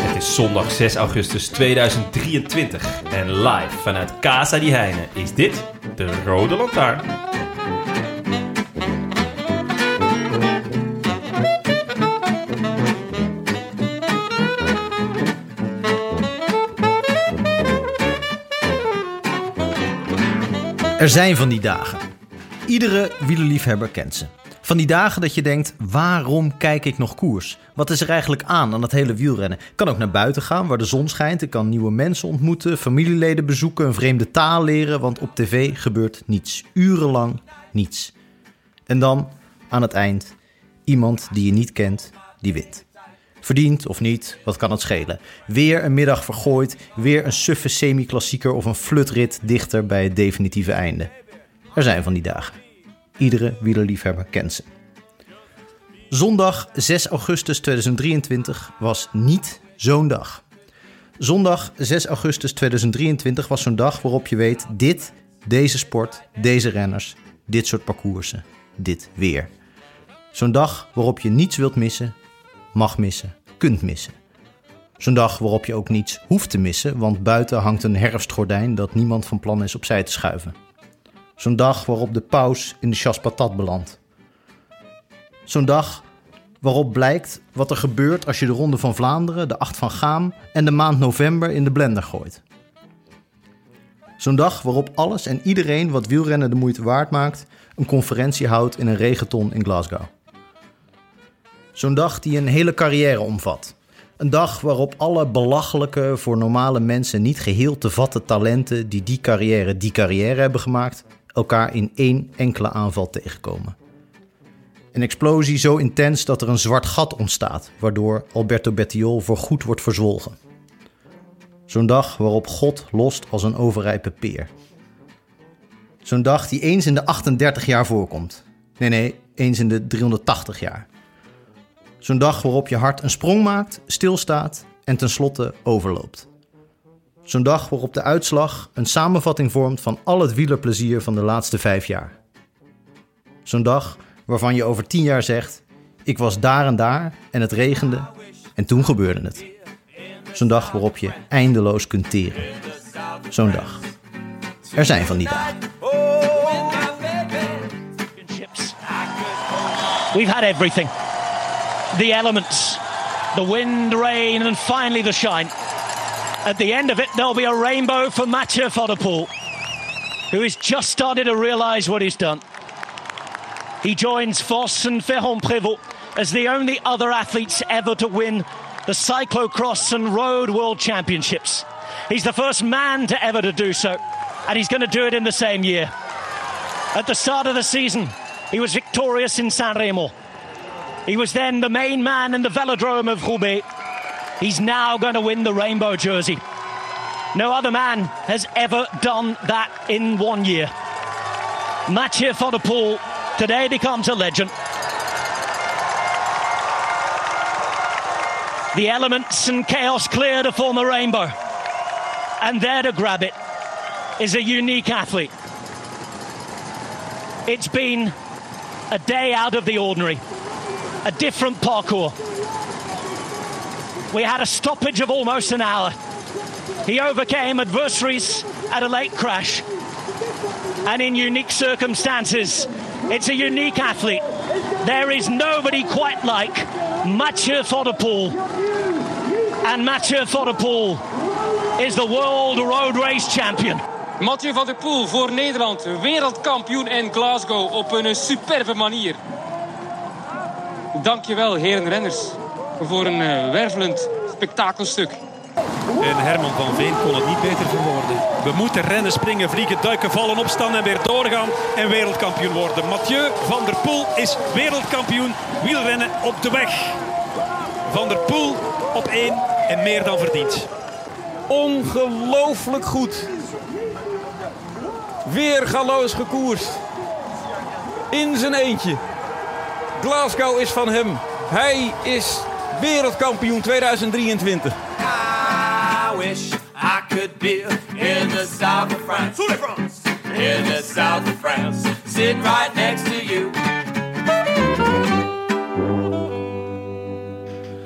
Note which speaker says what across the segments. Speaker 1: Het is zondag 6 augustus 2023 en live vanuit Casa die Heine is dit de Rode Lantaarn.
Speaker 2: Er zijn van die dagen. Iedere wielerliefhebber kent ze. Van die dagen dat je denkt, waarom kijk ik nog koers? Wat is er eigenlijk aan aan dat hele wielrennen? Ik kan ook naar buiten gaan waar de zon schijnt. Ik kan nieuwe mensen ontmoeten, familieleden bezoeken, een vreemde taal leren. Want op tv gebeurt niets. Urenlang niets. En dan, aan het eind, iemand die je niet kent, die wint. Verdiend of niet, wat kan het schelen? Weer een middag vergooid, weer een suffe semi-klassieker of een flutrit dichter bij het definitieve einde. Er zijn van die dagen. Iedere wielerliefhebber kent ze. Zondag 6 augustus 2023 was niet zo'n dag. Zondag 6 augustus 2023 was zo'n dag waarop je weet: dit, deze sport, deze renners, dit soort parcoursen, dit weer. Zo'n dag waarop je niets wilt missen, mag missen, kunt missen. Zo'n dag waarop je ook niets hoeft te missen, want buiten hangt een herfstgordijn dat niemand van plan is opzij te schuiven. Zo'n dag waarop de paus in de chaspatat belandt. Zo'n dag waarop blijkt wat er gebeurt als je de Ronde van Vlaanderen, de Acht van Gaam en de maand november in de blender gooit. Zo'n dag waarop alles en iedereen wat wielrennen de moeite waard maakt, een conferentie houdt in een regenton in Glasgow. Zo'n dag die een hele carrière omvat. Een dag waarop alle belachelijke, voor normale mensen niet geheel te vatten talenten die die carrière die carrière hebben gemaakt, elkaar in één enkele aanval tegenkomen. Een explosie zo intens dat er een zwart gat ontstaat, waardoor Alberto Bettiol voorgoed wordt verzwolgen. Zo'n dag waarop God lost als een overrijpe peer. Zo'n dag die eens in de 38 jaar voorkomt. Nee, nee, eens in de 380 jaar. Zo'n dag waarop je hart een sprong maakt, stilstaat en tenslotte overloopt. Zo'n dag waarop de uitslag een samenvatting vormt van al het wielerplezier van de laatste vijf jaar. Zo'n dag waarvan je over tien jaar zegt: Ik was daar en daar en het regende en toen gebeurde het. Zo'n dag waarop je eindeloos kunt teren. Zo'n dag. Er zijn van die dagen.
Speaker 3: We've had everything the elements, the wind, rain, and finally the shine. At the end of it, there'll be a rainbow for Mathieu Fodopoul, who has just started to realise what he's done. He joins Voss and Ferrand Prévot as the only other athletes ever to win the cyclocross and road world championships. He's the first man to ever to do so, and he's going to do it in the same year. At the start of the season, he was victorious in San Remo. He was then the main man in the velodrome of Roubaix. He's now going to win the rainbow jersey. No other man has ever done that in one year. Mathieu Fodopoul today becomes a legend. The elements and chaos clear to form a rainbow. And there to grab it is a unique athlete. It's been a day out of the ordinary a different parkour. We had a stoppage of almost an hour. He overcame adversaries at a late crash. And in unique circumstances, it's a unique athlete. There is nobody quite like Mathieu Fodopoul. And Mathieu Fodopoul is the world road race champion.
Speaker 4: Mathieu van der Poel voor Nederland, wereldkampioen in Glasgow op een superbe manier. Dankjewel, heren renners, voor een eh, wervelend spektakelstuk.
Speaker 5: En Herman van Veen kon het niet beter verwoorden. We moeten rennen, springen, vliegen, duiken, vallen, opstaan en weer doorgaan. En wereldkampioen worden. Mathieu van der Poel is wereldkampioen wielrennen op de weg. Van der Poel op één en meer dan verdiend.
Speaker 6: Ongelooflijk goed. Weer galoos gekoerst. In zijn eentje. Glasgow is van hem. Hij is wereldkampioen 2023.
Speaker 7: I wish I could be in the south of France. In the south of France. Sit right next to you.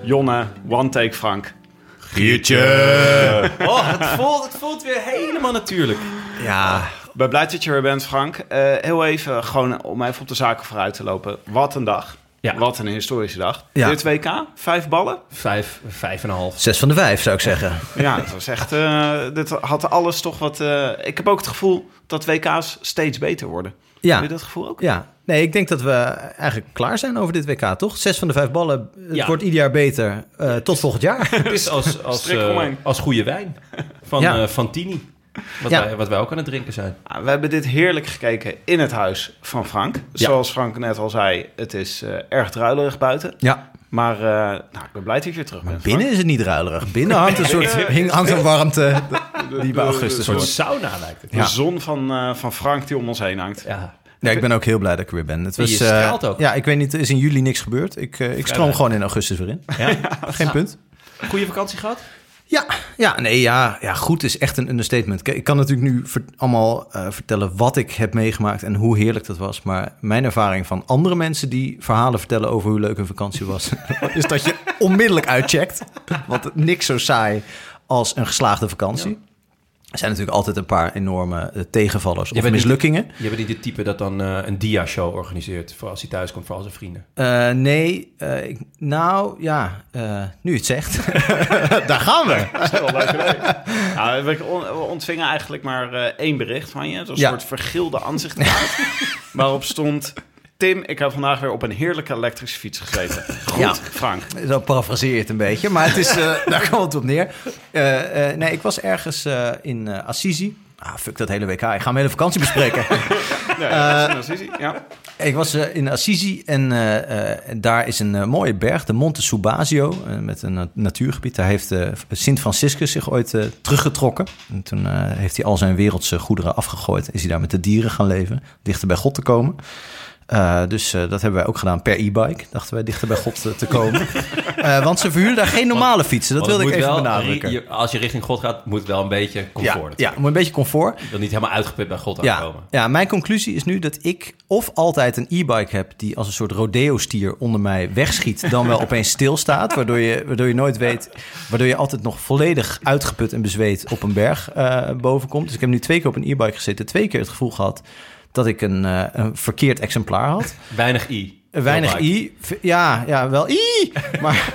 Speaker 8: Jonne, one take Frank.
Speaker 1: Oh, het voelt, het voelt weer helemaal natuurlijk.
Speaker 2: Ja,
Speaker 8: Ik ben blij dat je er bent, Frank. Eh, heel even, gewoon om even op de zaken vooruit te lopen. Wat een dag.
Speaker 1: Ja.
Speaker 8: Wat een historische dag.
Speaker 2: Ja.
Speaker 8: Dit WK, vijf ballen.
Speaker 1: Vijf, vijf en een half.
Speaker 2: zes van de vijf zou ik zeggen.
Speaker 8: Ja, het was echt. eh, dit had alles toch wat. eh, ik heb ook het gevoel dat WK's steeds beter worden.
Speaker 2: Ja.
Speaker 8: Heb je dat gevoel ook?
Speaker 2: Ja, nee, ik denk dat we eigenlijk klaar zijn over dit WK, toch? Zes van de vijf ballen. eh, Het
Speaker 1: Ja.
Speaker 2: wordt ieder jaar beter. Eh, tot volgend jaar.
Speaker 1: Het is als, als,
Speaker 8: Strik
Speaker 1: eh,
Speaker 8: omheen.
Speaker 1: als goede wijn van,
Speaker 2: Ja.
Speaker 1: eh, van Tini. Wat,
Speaker 2: Ja.
Speaker 1: wij, wat wij ook aan het drinken zijn.
Speaker 8: Ah, We hebben dit heerlijk gekeken in het huis van Frank. Zoals Frank net al zei, het is eh, erg druilerig buiten.
Speaker 2: ja.
Speaker 8: Maar eh, nou, ik ben blij dat je weer terug bent.
Speaker 2: Binnen is het niet ruilerig. Binnen hangt een soort hing, hangt een warmte die bij augustus
Speaker 1: Een soort
Speaker 2: wordt.
Speaker 1: sauna lijkt het.
Speaker 8: Frank. De zon van, eh, van Frank die om ons heen hangt.
Speaker 1: Ja.
Speaker 2: Nee, ik ben ook heel blij dat ik er weer ben. Het was,
Speaker 1: je
Speaker 2: eh,
Speaker 1: straalt ook.
Speaker 2: Ja, ik weet niet, er is in juli niks gebeurd. Ik, eh, ik stroom gewoon in augustus weer in. Geen punt.
Speaker 1: Goede vakantie gehad?
Speaker 2: Ja, ja, nee, ja, ja, goed is echt een understatement. Kijk, Ik kan natuurlijk nu ver- allemaal eh, vertellen wat ik heb meegemaakt en hoe heerlijk dat was. Maar mijn ervaring van andere mensen die verhalen vertellen over hoe leuk een vakantie was, is dat je onmiddellijk uitcheckt. Want niks zo saai als een geslaagde vakantie. Er zijn natuurlijk altijd een paar enorme eh, tegenvallers of
Speaker 1: bent niet-
Speaker 2: mislukkingen.
Speaker 1: Je bent niet het type dat dan eh, een dia-show organiseert voor als hij thuis komt voor al zijn vrienden.
Speaker 2: Eh, nee, eh, ik- nou ja, eh, nu je het zegt. Daar gaan we.
Speaker 8: Ja, Nou, we on- we ontvingen eigenlijk maar eh, één bericht van je. Zo'n
Speaker 2: Ja.
Speaker 8: soort vergilde aanzichtkaart. waarop stond... Tim, ik heb vandaag weer op een heerlijke elektrische fiets gezeten. Goed,
Speaker 2: Ja.
Speaker 8: Frank.
Speaker 1: Eh,
Speaker 2: Zo parafraseer je het een beetje, maar het is, eh, daar komt het op neer. Eh, eh, nee, ik was ergens eh, in eh, Assisi. Ah, fuck dat hele WK. Ik ga mijn hele vakantie bespreken.
Speaker 8: Nee, Nou, dat is een narcissie, ja.
Speaker 2: ik was eh, in Assisi en eh, eh, daar is een eh, mooie berg, de Monte Subasio, eh, met een na- natuurgebied. Daar heeft eh, Sint Franciscus zich ooit eh, teruggetrokken. En toen eh, heeft hij al zijn wereldse goederen afgegooid. Is hij daar met de dieren gaan leven, dichter bij God te komen. Eh, dus eh, dat hebben wij ook gedaan per e-bike. Dachten wij dichter bij God eh, te komen. Eh, want ze verhuren daar geen normale fietsen. Dat
Speaker 1: Want
Speaker 2: wilde
Speaker 1: het
Speaker 2: ik even
Speaker 1: moet wel-
Speaker 2: benadrukken.
Speaker 1: je- als je richting God gaat, moet het wel een beetje
Speaker 2: ja,
Speaker 1: comfort.
Speaker 2: ja, moet een beetje comfort.
Speaker 1: Je wil niet helemaal uitgeput bij God
Speaker 2: Ja,
Speaker 1: aankomen.
Speaker 2: ja, mijn conclusie is nu dat ik of altijd een e-bike heb die als een soort rodeo-stier onder mij wegschiet, dan wel opeens stilstaat, waardoor je, waardoor je nooit weet, waardoor je altijd nog volledig uitgeput en bezweet op een berg eh, boven komt. Dus ik heb nu twee keer op een e-bike gezeten, twee keer het gevoel gehad dat ik een, eh, een verkeerd exemplaar had.
Speaker 1: Weinig i.
Speaker 2: Weinig
Speaker 1: Heel vaak.
Speaker 2: i. V- Ja, ja, wel i. Maar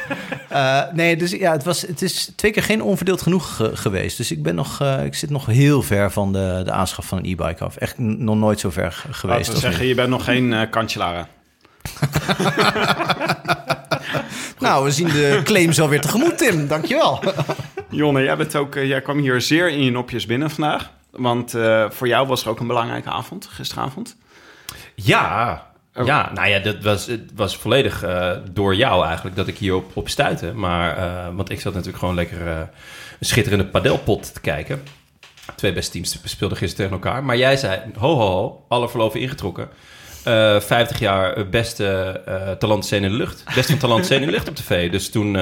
Speaker 2: eh, nee, dus ja, het, was, het is twee keer geen onverdeeld genoeg ge- geweest. Dus ik, ben nog, eh, ik zit nog heel ver van de, de aanschaf van een e-bike af. Echt n- nog nooit zo ver g- geweest.
Speaker 8: Laten we
Speaker 2: als nu.
Speaker 8: zeggen, je bent nog geen eh kanselaren.
Speaker 2: Nou, we zien de claims alweer tegemoet, Tim. Dankjewel.
Speaker 8: Jonne, jij, bent ook, eh, jij kwam hier zeer in je nopjes binnen vandaag. Want eh, voor jou was er ook een belangrijke avond, gisteravond.
Speaker 1: Ja, ja, nou ja, dat was, het was volledig eh, door jou eigenlijk dat ik hierop op stuitte. Maar, eh, want ik zat natuurlijk gewoon lekker eh, een schitterende padelpot te kijken. Twee beste teams speelden gisteren tegen elkaar. Maar jij zei, ho ho ho, alle verloven ingetrokken. Eh 50 jaar eh, beste eh talent scène in de lucht. Best van talent scène in de lucht op tv. Dus toen eh,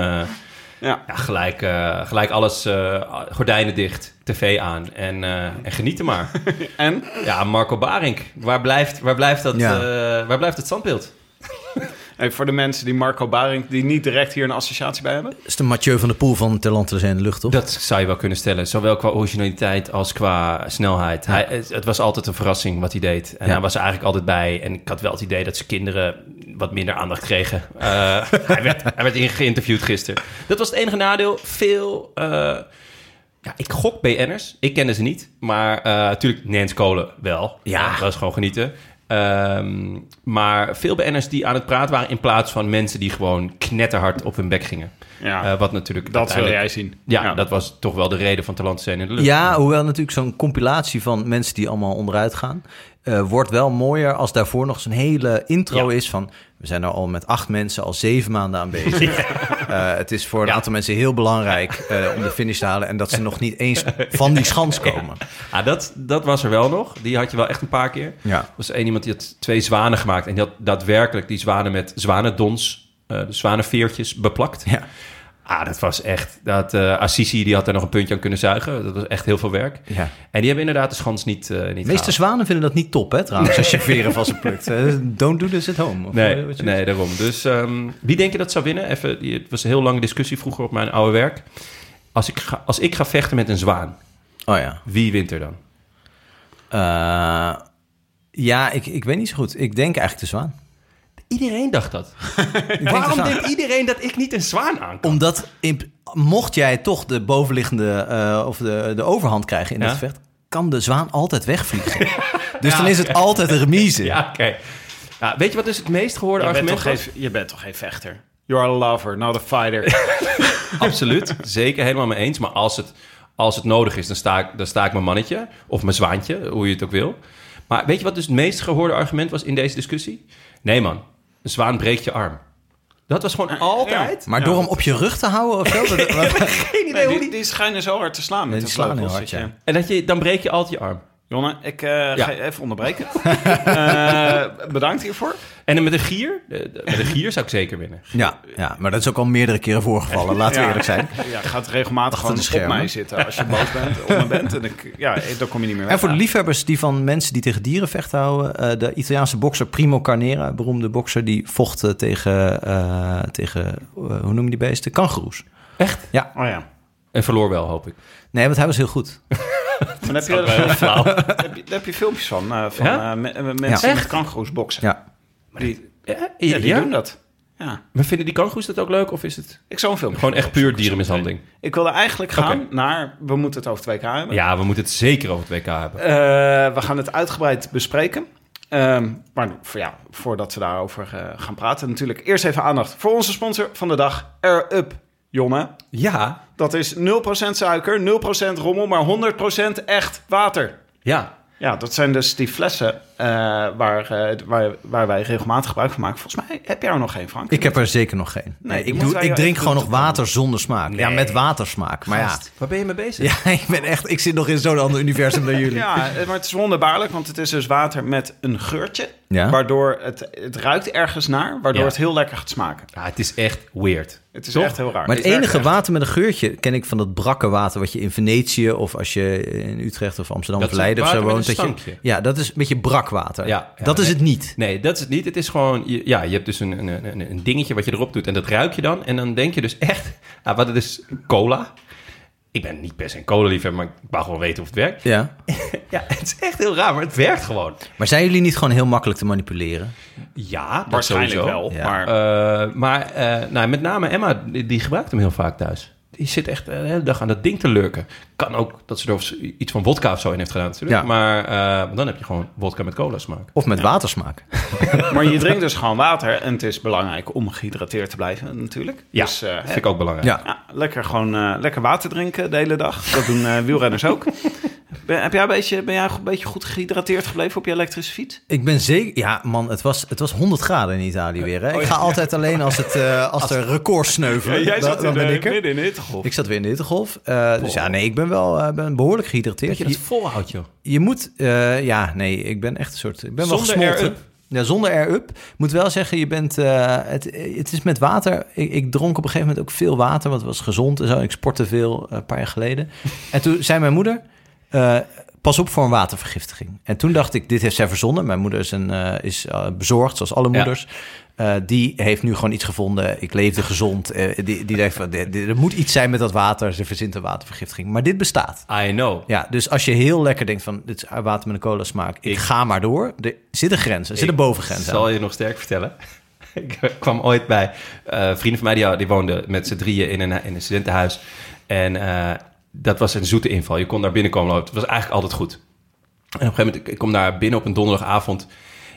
Speaker 8: Ja.
Speaker 1: ja, gelijk, eh, gelijk alles, eh, gordijnen dicht, tv aan en, eh en genieten maar.
Speaker 8: En?
Speaker 1: Ja, Marco Barink. Waar blijft, waar blijft, dat,
Speaker 2: Ja.
Speaker 1: eh, waar blijft het standbeeld?
Speaker 8: Even eh, voor de mensen die Marco Baring, die niet direct hier een associatie bij hebben.
Speaker 2: Dat is de Mathieu van der Poel van Terlanten zijn de lucht, toch?
Speaker 1: Dat zou je wel kunnen stellen. Zowel qua originaliteit als qua snelheid. Hij, het, het was altijd een verrassing wat hij deed. En
Speaker 2: Ja.
Speaker 1: hij was er eigenlijk altijd bij. En ik had wel het idee dat zijn kinderen wat minder aandacht kregen. Eh, hij werd, hij werd in- geïnterviewd gisteren. Dat was het enige nadeel. Veel... eh, ja, ik gok BN'ers. Ik kende ze niet. Maar eh, natuurlijk Nens Kolen wel.
Speaker 2: Ja.
Speaker 1: Dat was gewoon genieten. Ehm, maar veel BN'ers die aan het praten waren... in plaats van mensen die gewoon knetterhard op hun bek gingen.
Speaker 8: Ja.
Speaker 1: Eh, wat natuurlijk
Speaker 8: Dat wil
Speaker 1: uiteindelijk-
Speaker 8: jij zien.
Speaker 1: Ja,
Speaker 8: Ja.
Speaker 1: dat was toch wel de reden van Talent zijn in de lucht.
Speaker 2: Ja, hoewel natuurlijk zo'n compilatie van mensen die allemaal onderuit gaan... eh, wordt wel mooier als daarvoor nog zo'n hele intro is van... we zijn er al met acht mensen al zeven maanden aan bezig. Eh, het is voor een aantal mensen heel belangrijk eh, om de finish te halen... en dat ze nog niet eens van die schans komen.
Speaker 1: Ah, dat, dat was er wel nog. Die had je wel echt een paar keer.
Speaker 2: Ja.
Speaker 1: Er was één iemand die had twee zwanen gemaakt. En die had daadwerkelijk die zwanen met zwanendons, eh de zwanenveertjes, beplakt.
Speaker 2: Ja.
Speaker 1: Ah, dat was echt... Dat, eh, Assisi die had daar nog een puntje aan kunnen zuigen. Dat was echt heel veel werk.
Speaker 2: Ja.
Speaker 1: En die hebben inderdaad de schans niet, eh niet
Speaker 2: De meeste
Speaker 1: gehaald.
Speaker 2: zwanen vinden dat niet top, hè, trouwens, als je veren van ze plukt. Eh, Don't do this at home. Of, eh,
Speaker 1: Nee,
Speaker 2: wat je-
Speaker 1: nee, daarom. Dus ehm, wie denk je dat zou winnen? Even, die- het was een heel lange discussie vroeger op mijn oude werk. Als ik ga, als ik ga vechten met een zwaan,
Speaker 2: Oh ja.
Speaker 1: wie wint er dan?
Speaker 2: Eh, ja, ik, ik weet niet zo goed. Ik denk eigenlijk de zwaan.
Speaker 1: Iedereen dacht dat.
Speaker 2: Ik denk de
Speaker 1: Waarom
Speaker 2: zwaan.
Speaker 1: denkt iedereen dat ik niet een zwaan aan kan?
Speaker 2: Omdat in- mocht jij toch de bovenliggende eh, of de, de overhand krijgen in
Speaker 1: Ja.
Speaker 2: dat gevecht, kan de zwaan altijd wegvliegen. dus dan is het altijd een remise.
Speaker 1: Ja, oké. Ja, weet je wat dus het meest gehoorde
Speaker 8: Je bent,
Speaker 1: argument
Speaker 8: toch geen,
Speaker 1: was?
Speaker 8: je bent toch geen vechter? You're a lover, not a fighter.
Speaker 1: Absoluut, zeker, helemaal mee eens. Maar als het, als het nodig is, dan sta, ik, dan sta ik mijn mannetje of mijn zwaantje, hoe je het ook wil. Maar weet je wat dus het meest gehoorde argument was in deze discussie? Nee man, een zwaan breekt je arm. Dat was gewoon altijd...
Speaker 2: Maar door hem op je rug te houden of zo? dat- wat-
Speaker 1: Geen idee
Speaker 8: Nee,
Speaker 1: hoe
Speaker 8: die, die schijnen zo hard te slaan.
Speaker 2: Nee,
Speaker 8: met
Speaker 2: die
Speaker 8: hun
Speaker 2: slaan heel
Speaker 8: vleugels,
Speaker 2: hard,
Speaker 8: dat
Speaker 2: ja.
Speaker 1: En dat je, dan breek je altijd je arm.
Speaker 8: je- Jonne, ik eh, ga je even onderbreken. Eh, bedankt hiervoor.
Speaker 1: En dan met een gier? eh, Met een gier zou ik zeker winnen.
Speaker 2: ja, ja, maar dat is ook al meerdere keren voorgevallen, laten we
Speaker 8: Ja.
Speaker 2: eerlijk zijn.
Speaker 8: Ja, gaat regelmatig
Speaker 2: Achter de
Speaker 8: gewoon op
Speaker 2: schermen.
Speaker 8: mij zitten als je boos bent, op me bent. En ik, ja, dan kom je niet meer weg.
Speaker 2: En voor de liefhebbers die van mensen die tegen dieren vechten houden, eh, de Italiaanse bokser Primo Carnera, beroemde bokser, die vocht eh, tegen, eh, tegen eh, hoe noem je die beesten? Kangoeroes.
Speaker 1: Echt?
Speaker 8: Oh ja.
Speaker 1: En verloor wel, hoop ik.
Speaker 2: Nee, want hij was heel goed.
Speaker 8: Dan heb je, daar heb, je, daar heb je filmpjes van, eh, van
Speaker 1: Ja?
Speaker 8: eh, me- eh, mensen
Speaker 1: Ja.
Speaker 8: met kangoeroes boksen.
Speaker 2: Ja.
Speaker 8: Maar die,
Speaker 1: Ja,
Speaker 8: ja, die
Speaker 1: ja?
Speaker 8: doen dat. Ja.
Speaker 1: Maar vinden die kangoes dat ook leuk? Of is het
Speaker 8: Ik zou een filmpje
Speaker 1: gewoon echt puur dierenmishandeling?
Speaker 8: Ik wilde eigenlijk gaan
Speaker 1: Oké.
Speaker 8: naar, we moeten het over het WK hebben.
Speaker 1: Ja, we moeten het zeker over het WK hebben.
Speaker 8: Eh, we gaan het uitgebreid bespreken. Ehm, maar voor, ja, voordat we daarover eh, gaan praten, natuurlijk eerst even aandacht voor onze sponsor van de dag, Air Up, Jonne.
Speaker 1: Ja.
Speaker 8: Dat is 0% suiker, 0% rommel, maar 100% echt water.
Speaker 1: Ja.
Speaker 8: Ja, dat zijn dus die flessen eh, waar, eh, waar, waar wij regelmatig gebruik van maken. Volgens mij heb jij er nog geen, Frank.
Speaker 2: Ik heb er zeker nog geen. Nee, ik,
Speaker 8: die moeten
Speaker 2: doe,
Speaker 8: wij
Speaker 2: ik
Speaker 8: wel
Speaker 2: drink
Speaker 8: even
Speaker 2: gewoon nog
Speaker 8: doen te
Speaker 2: water zonder smaak. Ja,
Speaker 1: Nee.
Speaker 2: met watersmaak. Maar ja,
Speaker 1: Waar ben je mee bezig?
Speaker 2: ja, ik ben echt... Ik zit nog in zo'n ander universum dan jullie.
Speaker 8: Ja, eh, maar het is wonderbaarlijk, want het is dus water met een geurtje.
Speaker 2: Ja.
Speaker 8: Waardoor het, het ruikt ergens naar, waardoor
Speaker 1: Ja.
Speaker 8: het heel lekker gaat smaken.
Speaker 1: Ah, het is echt weird.
Speaker 8: Het is
Speaker 1: Toch?
Speaker 8: echt heel raar.
Speaker 2: Maar het
Speaker 8: werkt
Speaker 2: enige
Speaker 8: echt.
Speaker 2: water met een geurtje ken ik van dat brakke water... wat je in Venetië of als je in Utrecht of Amsterdam
Speaker 1: Dat
Speaker 2: of
Speaker 1: is
Speaker 2: Leiden of zo
Speaker 1: water
Speaker 2: woont...
Speaker 1: met een
Speaker 2: Dat je,
Speaker 1: stankje.
Speaker 2: ja, dat is een beetje brak water.
Speaker 1: Ja, ja,
Speaker 2: dat is
Speaker 1: nee.
Speaker 2: het niet.
Speaker 1: Nee, dat is het niet. Het is gewoon, je- ja, je hebt dus een, een, een, een dingetje wat je erop doet en dat ruik je dan. En dan denk je dus echt, ah, wat het is, cola. Ik ben niet best een cola-liefhebber, maar ik wou gewoon weten of het werkt.
Speaker 2: Ja.
Speaker 1: Ja, het is echt heel raar, maar het werkt gewoon.
Speaker 2: Maar zijn jullie niet gewoon heel makkelijk te manipuleren?
Speaker 1: Ja, dat
Speaker 8: Waarschijnlijk
Speaker 1: sowieso.
Speaker 8: wel,
Speaker 2: Ja.
Speaker 8: maar...
Speaker 1: Eh, maar eh, nou, met name Emma, die, die gebruikt hem heel vaak thuis. Die zit echt eh, de hele dag aan dat ding te lurken. Kan ook dat ze er iets van wodka of zo in heeft gedaan natuurlijk.
Speaker 2: Ja.
Speaker 1: Maar eh, dan heb je gewoon wodka met cola smaak.
Speaker 2: Of met watersmaak?
Speaker 8: Maar je drinkt dus gewoon water. En het is belangrijk om gehydrateerd te blijven, natuurlijk.
Speaker 1: Ja,
Speaker 8: Dus, eh,
Speaker 1: vind ik ook belangrijk.
Speaker 2: Ja.
Speaker 8: ja, lekker gewoon eh, lekker water drinken de hele dag. Dat doen eh, wielrenners ook. Ben, heb jij een beetje, ben jij een beetje goed gehydrateerd gebleven op je elektrische fiets?
Speaker 2: Ik ben zeker... Ja, man, het was, het was 100 graden in Italië weer. Hè? Ik ga altijd alleen als, het, eh, als er records sneuvelen. Dan- dan ben ik er.
Speaker 8: eh, midden in de hittegolf.
Speaker 2: Ik zat weer in de hittegolf. eh, dus ja, nee, ik ben wel eh, ben behoorlijk gehydrateerd.
Speaker 1: Dat je
Speaker 2: Je,
Speaker 1: dat volhoudt, joh.
Speaker 2: je moet... eh, ja, nee, ik ben echt een soort... Ik ben
Speaker 1: Zonder
Speaker 2: wel gesmolten.
Speaker 1: air-up?
Speaker 2: Ja, zonder air-up. Moet wel zeggen, je bent... eh, het, het is met water... Ik, ik dronk op een gegeven moment ook veel water, want het was gezond en zo. Ik sportte veel eh, een paar jaar geleden. En toen zei mijn moeder... eh, Pas op voor een watervergiftiging. En toen dacht ik, dit heeft zij verzonnen. Mijn moeder is, een, eh, is eh, bezorgd, zoals alle moeders. Eh, die heeft nu gewoon iets gevonden. Ik leefde gezond. Eh, die, die denkt van, dit- dit- er moet iets zijn met dat water. Ze verzint een watervergiftiging. Maar dit bestaat.
Speaker 1: I know.
Speaker 2: Ja, dus als je heel lekker denkt van, dit is water met een cola smaak. Ik, ga maar door. Er zit een grens, er zit een
Speaker 1: Ik
Speaker 2: bovengrens
Speaker 1: zal
Speaker 2: aan.
Speaker 1: je nog sterk vertellen. ik kwam ooit bij eh, vrienden van mij, die, die woonden met z'n drieën in een, in een studentenhuis. En eh, dat was een zoete inval. Je kon daar binnenkomen lopen. Het was eigenlijk altijd goed. En op een gegeven moment, ik- ik kom daar binnen op een donderdagavond.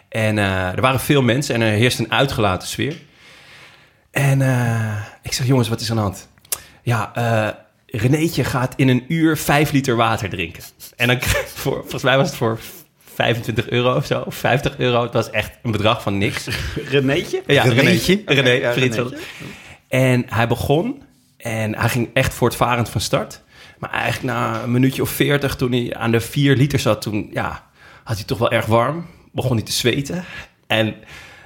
Speaker 1: En eh, er waren veel mensen en er heerst een uitgelaten sfeer. En eh, ik zeg, jongens, wat is aan de hand? Ja, eh Renéetje gaat in een uur vijf liter water drinken. En dan kreeg- voor, volgens mij was het voor 25 euro of zo, of 50 euro. Het was echt een bedrag van niks.
Speaker 8: Renéetje?
Speaker 1: Ja, Renéetje.
Speaker 8: Renéetje.
Speaker 1: René,
Speaker 8: Oké, ja,
Speaker 1: Frits.
Speaker 8: Renéetje.
Speaker 1: En hij begon en hij ging echt voortvarend van start. Maar eigenlijk na een minuutje of veertig, toen hij aan de 4 liter zat, toen ja, had hij toch wel erg warm. Begon hij te zweten. En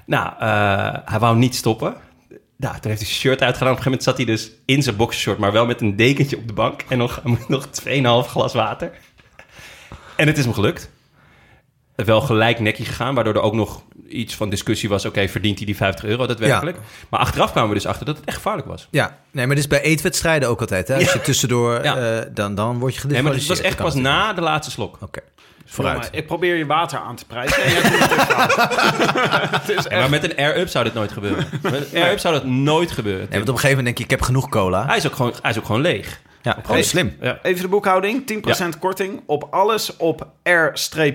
Speaker 1: nou, eh, hij wou niet stoppen. Nou, toen heeft hij zijn shirt uitgedaan. Op een gegeven moment zat hij dus in zijn boxershort, maar wel met een dekentje op de bank. En nog, nog 2,5 glas water. En het is hem gelukt. Wel gelijk nekje gegaan, waardoor er ook nog iets van discussie was. Oké, verdient hij die 50 euro daadwerkelijk? Maar achteraf kwamen we dus achter dat het echt gevaarlijk was.
Speaker 2: Ja, nee, maar dit is bij eetwedstrijden ook altijd. Hè? Als je tussendoor, eh, dan, dan word je
Speaker 1: Nee,
Speaker 2: gedisqualificeerd.
Speaker 1: maar het was echt
Speaker 2: Dat
Speaker 1: pas
Speaker 2: kan
Speaker 1: na de laatste slok. Oké,
Speaker 8: Jongen, Ik probeer je water aan te prijzen. en jij doet het echt fout. Het is
Speaker 1: maar
Speaker 8: echt-
Speaker 1: met een air-up zou dit nooit gebeuren. Met een air-up zou dat nooit gebeuren.
Speaker 2: Nee, want op een gegeven moment denk je, ik heb genoeg cola.
Speaker 1: Hij is ook gewoon, hij is ook gewoon leeg.
Speaker 2: Ja,
Speaker 1: Op
Speaker 2: gewoon
Speaker 1: leeg.
Speaker 2: slim.
Speaker 1: Ja.
Speaker 8: Even de boekhouding. 10% korting op alles op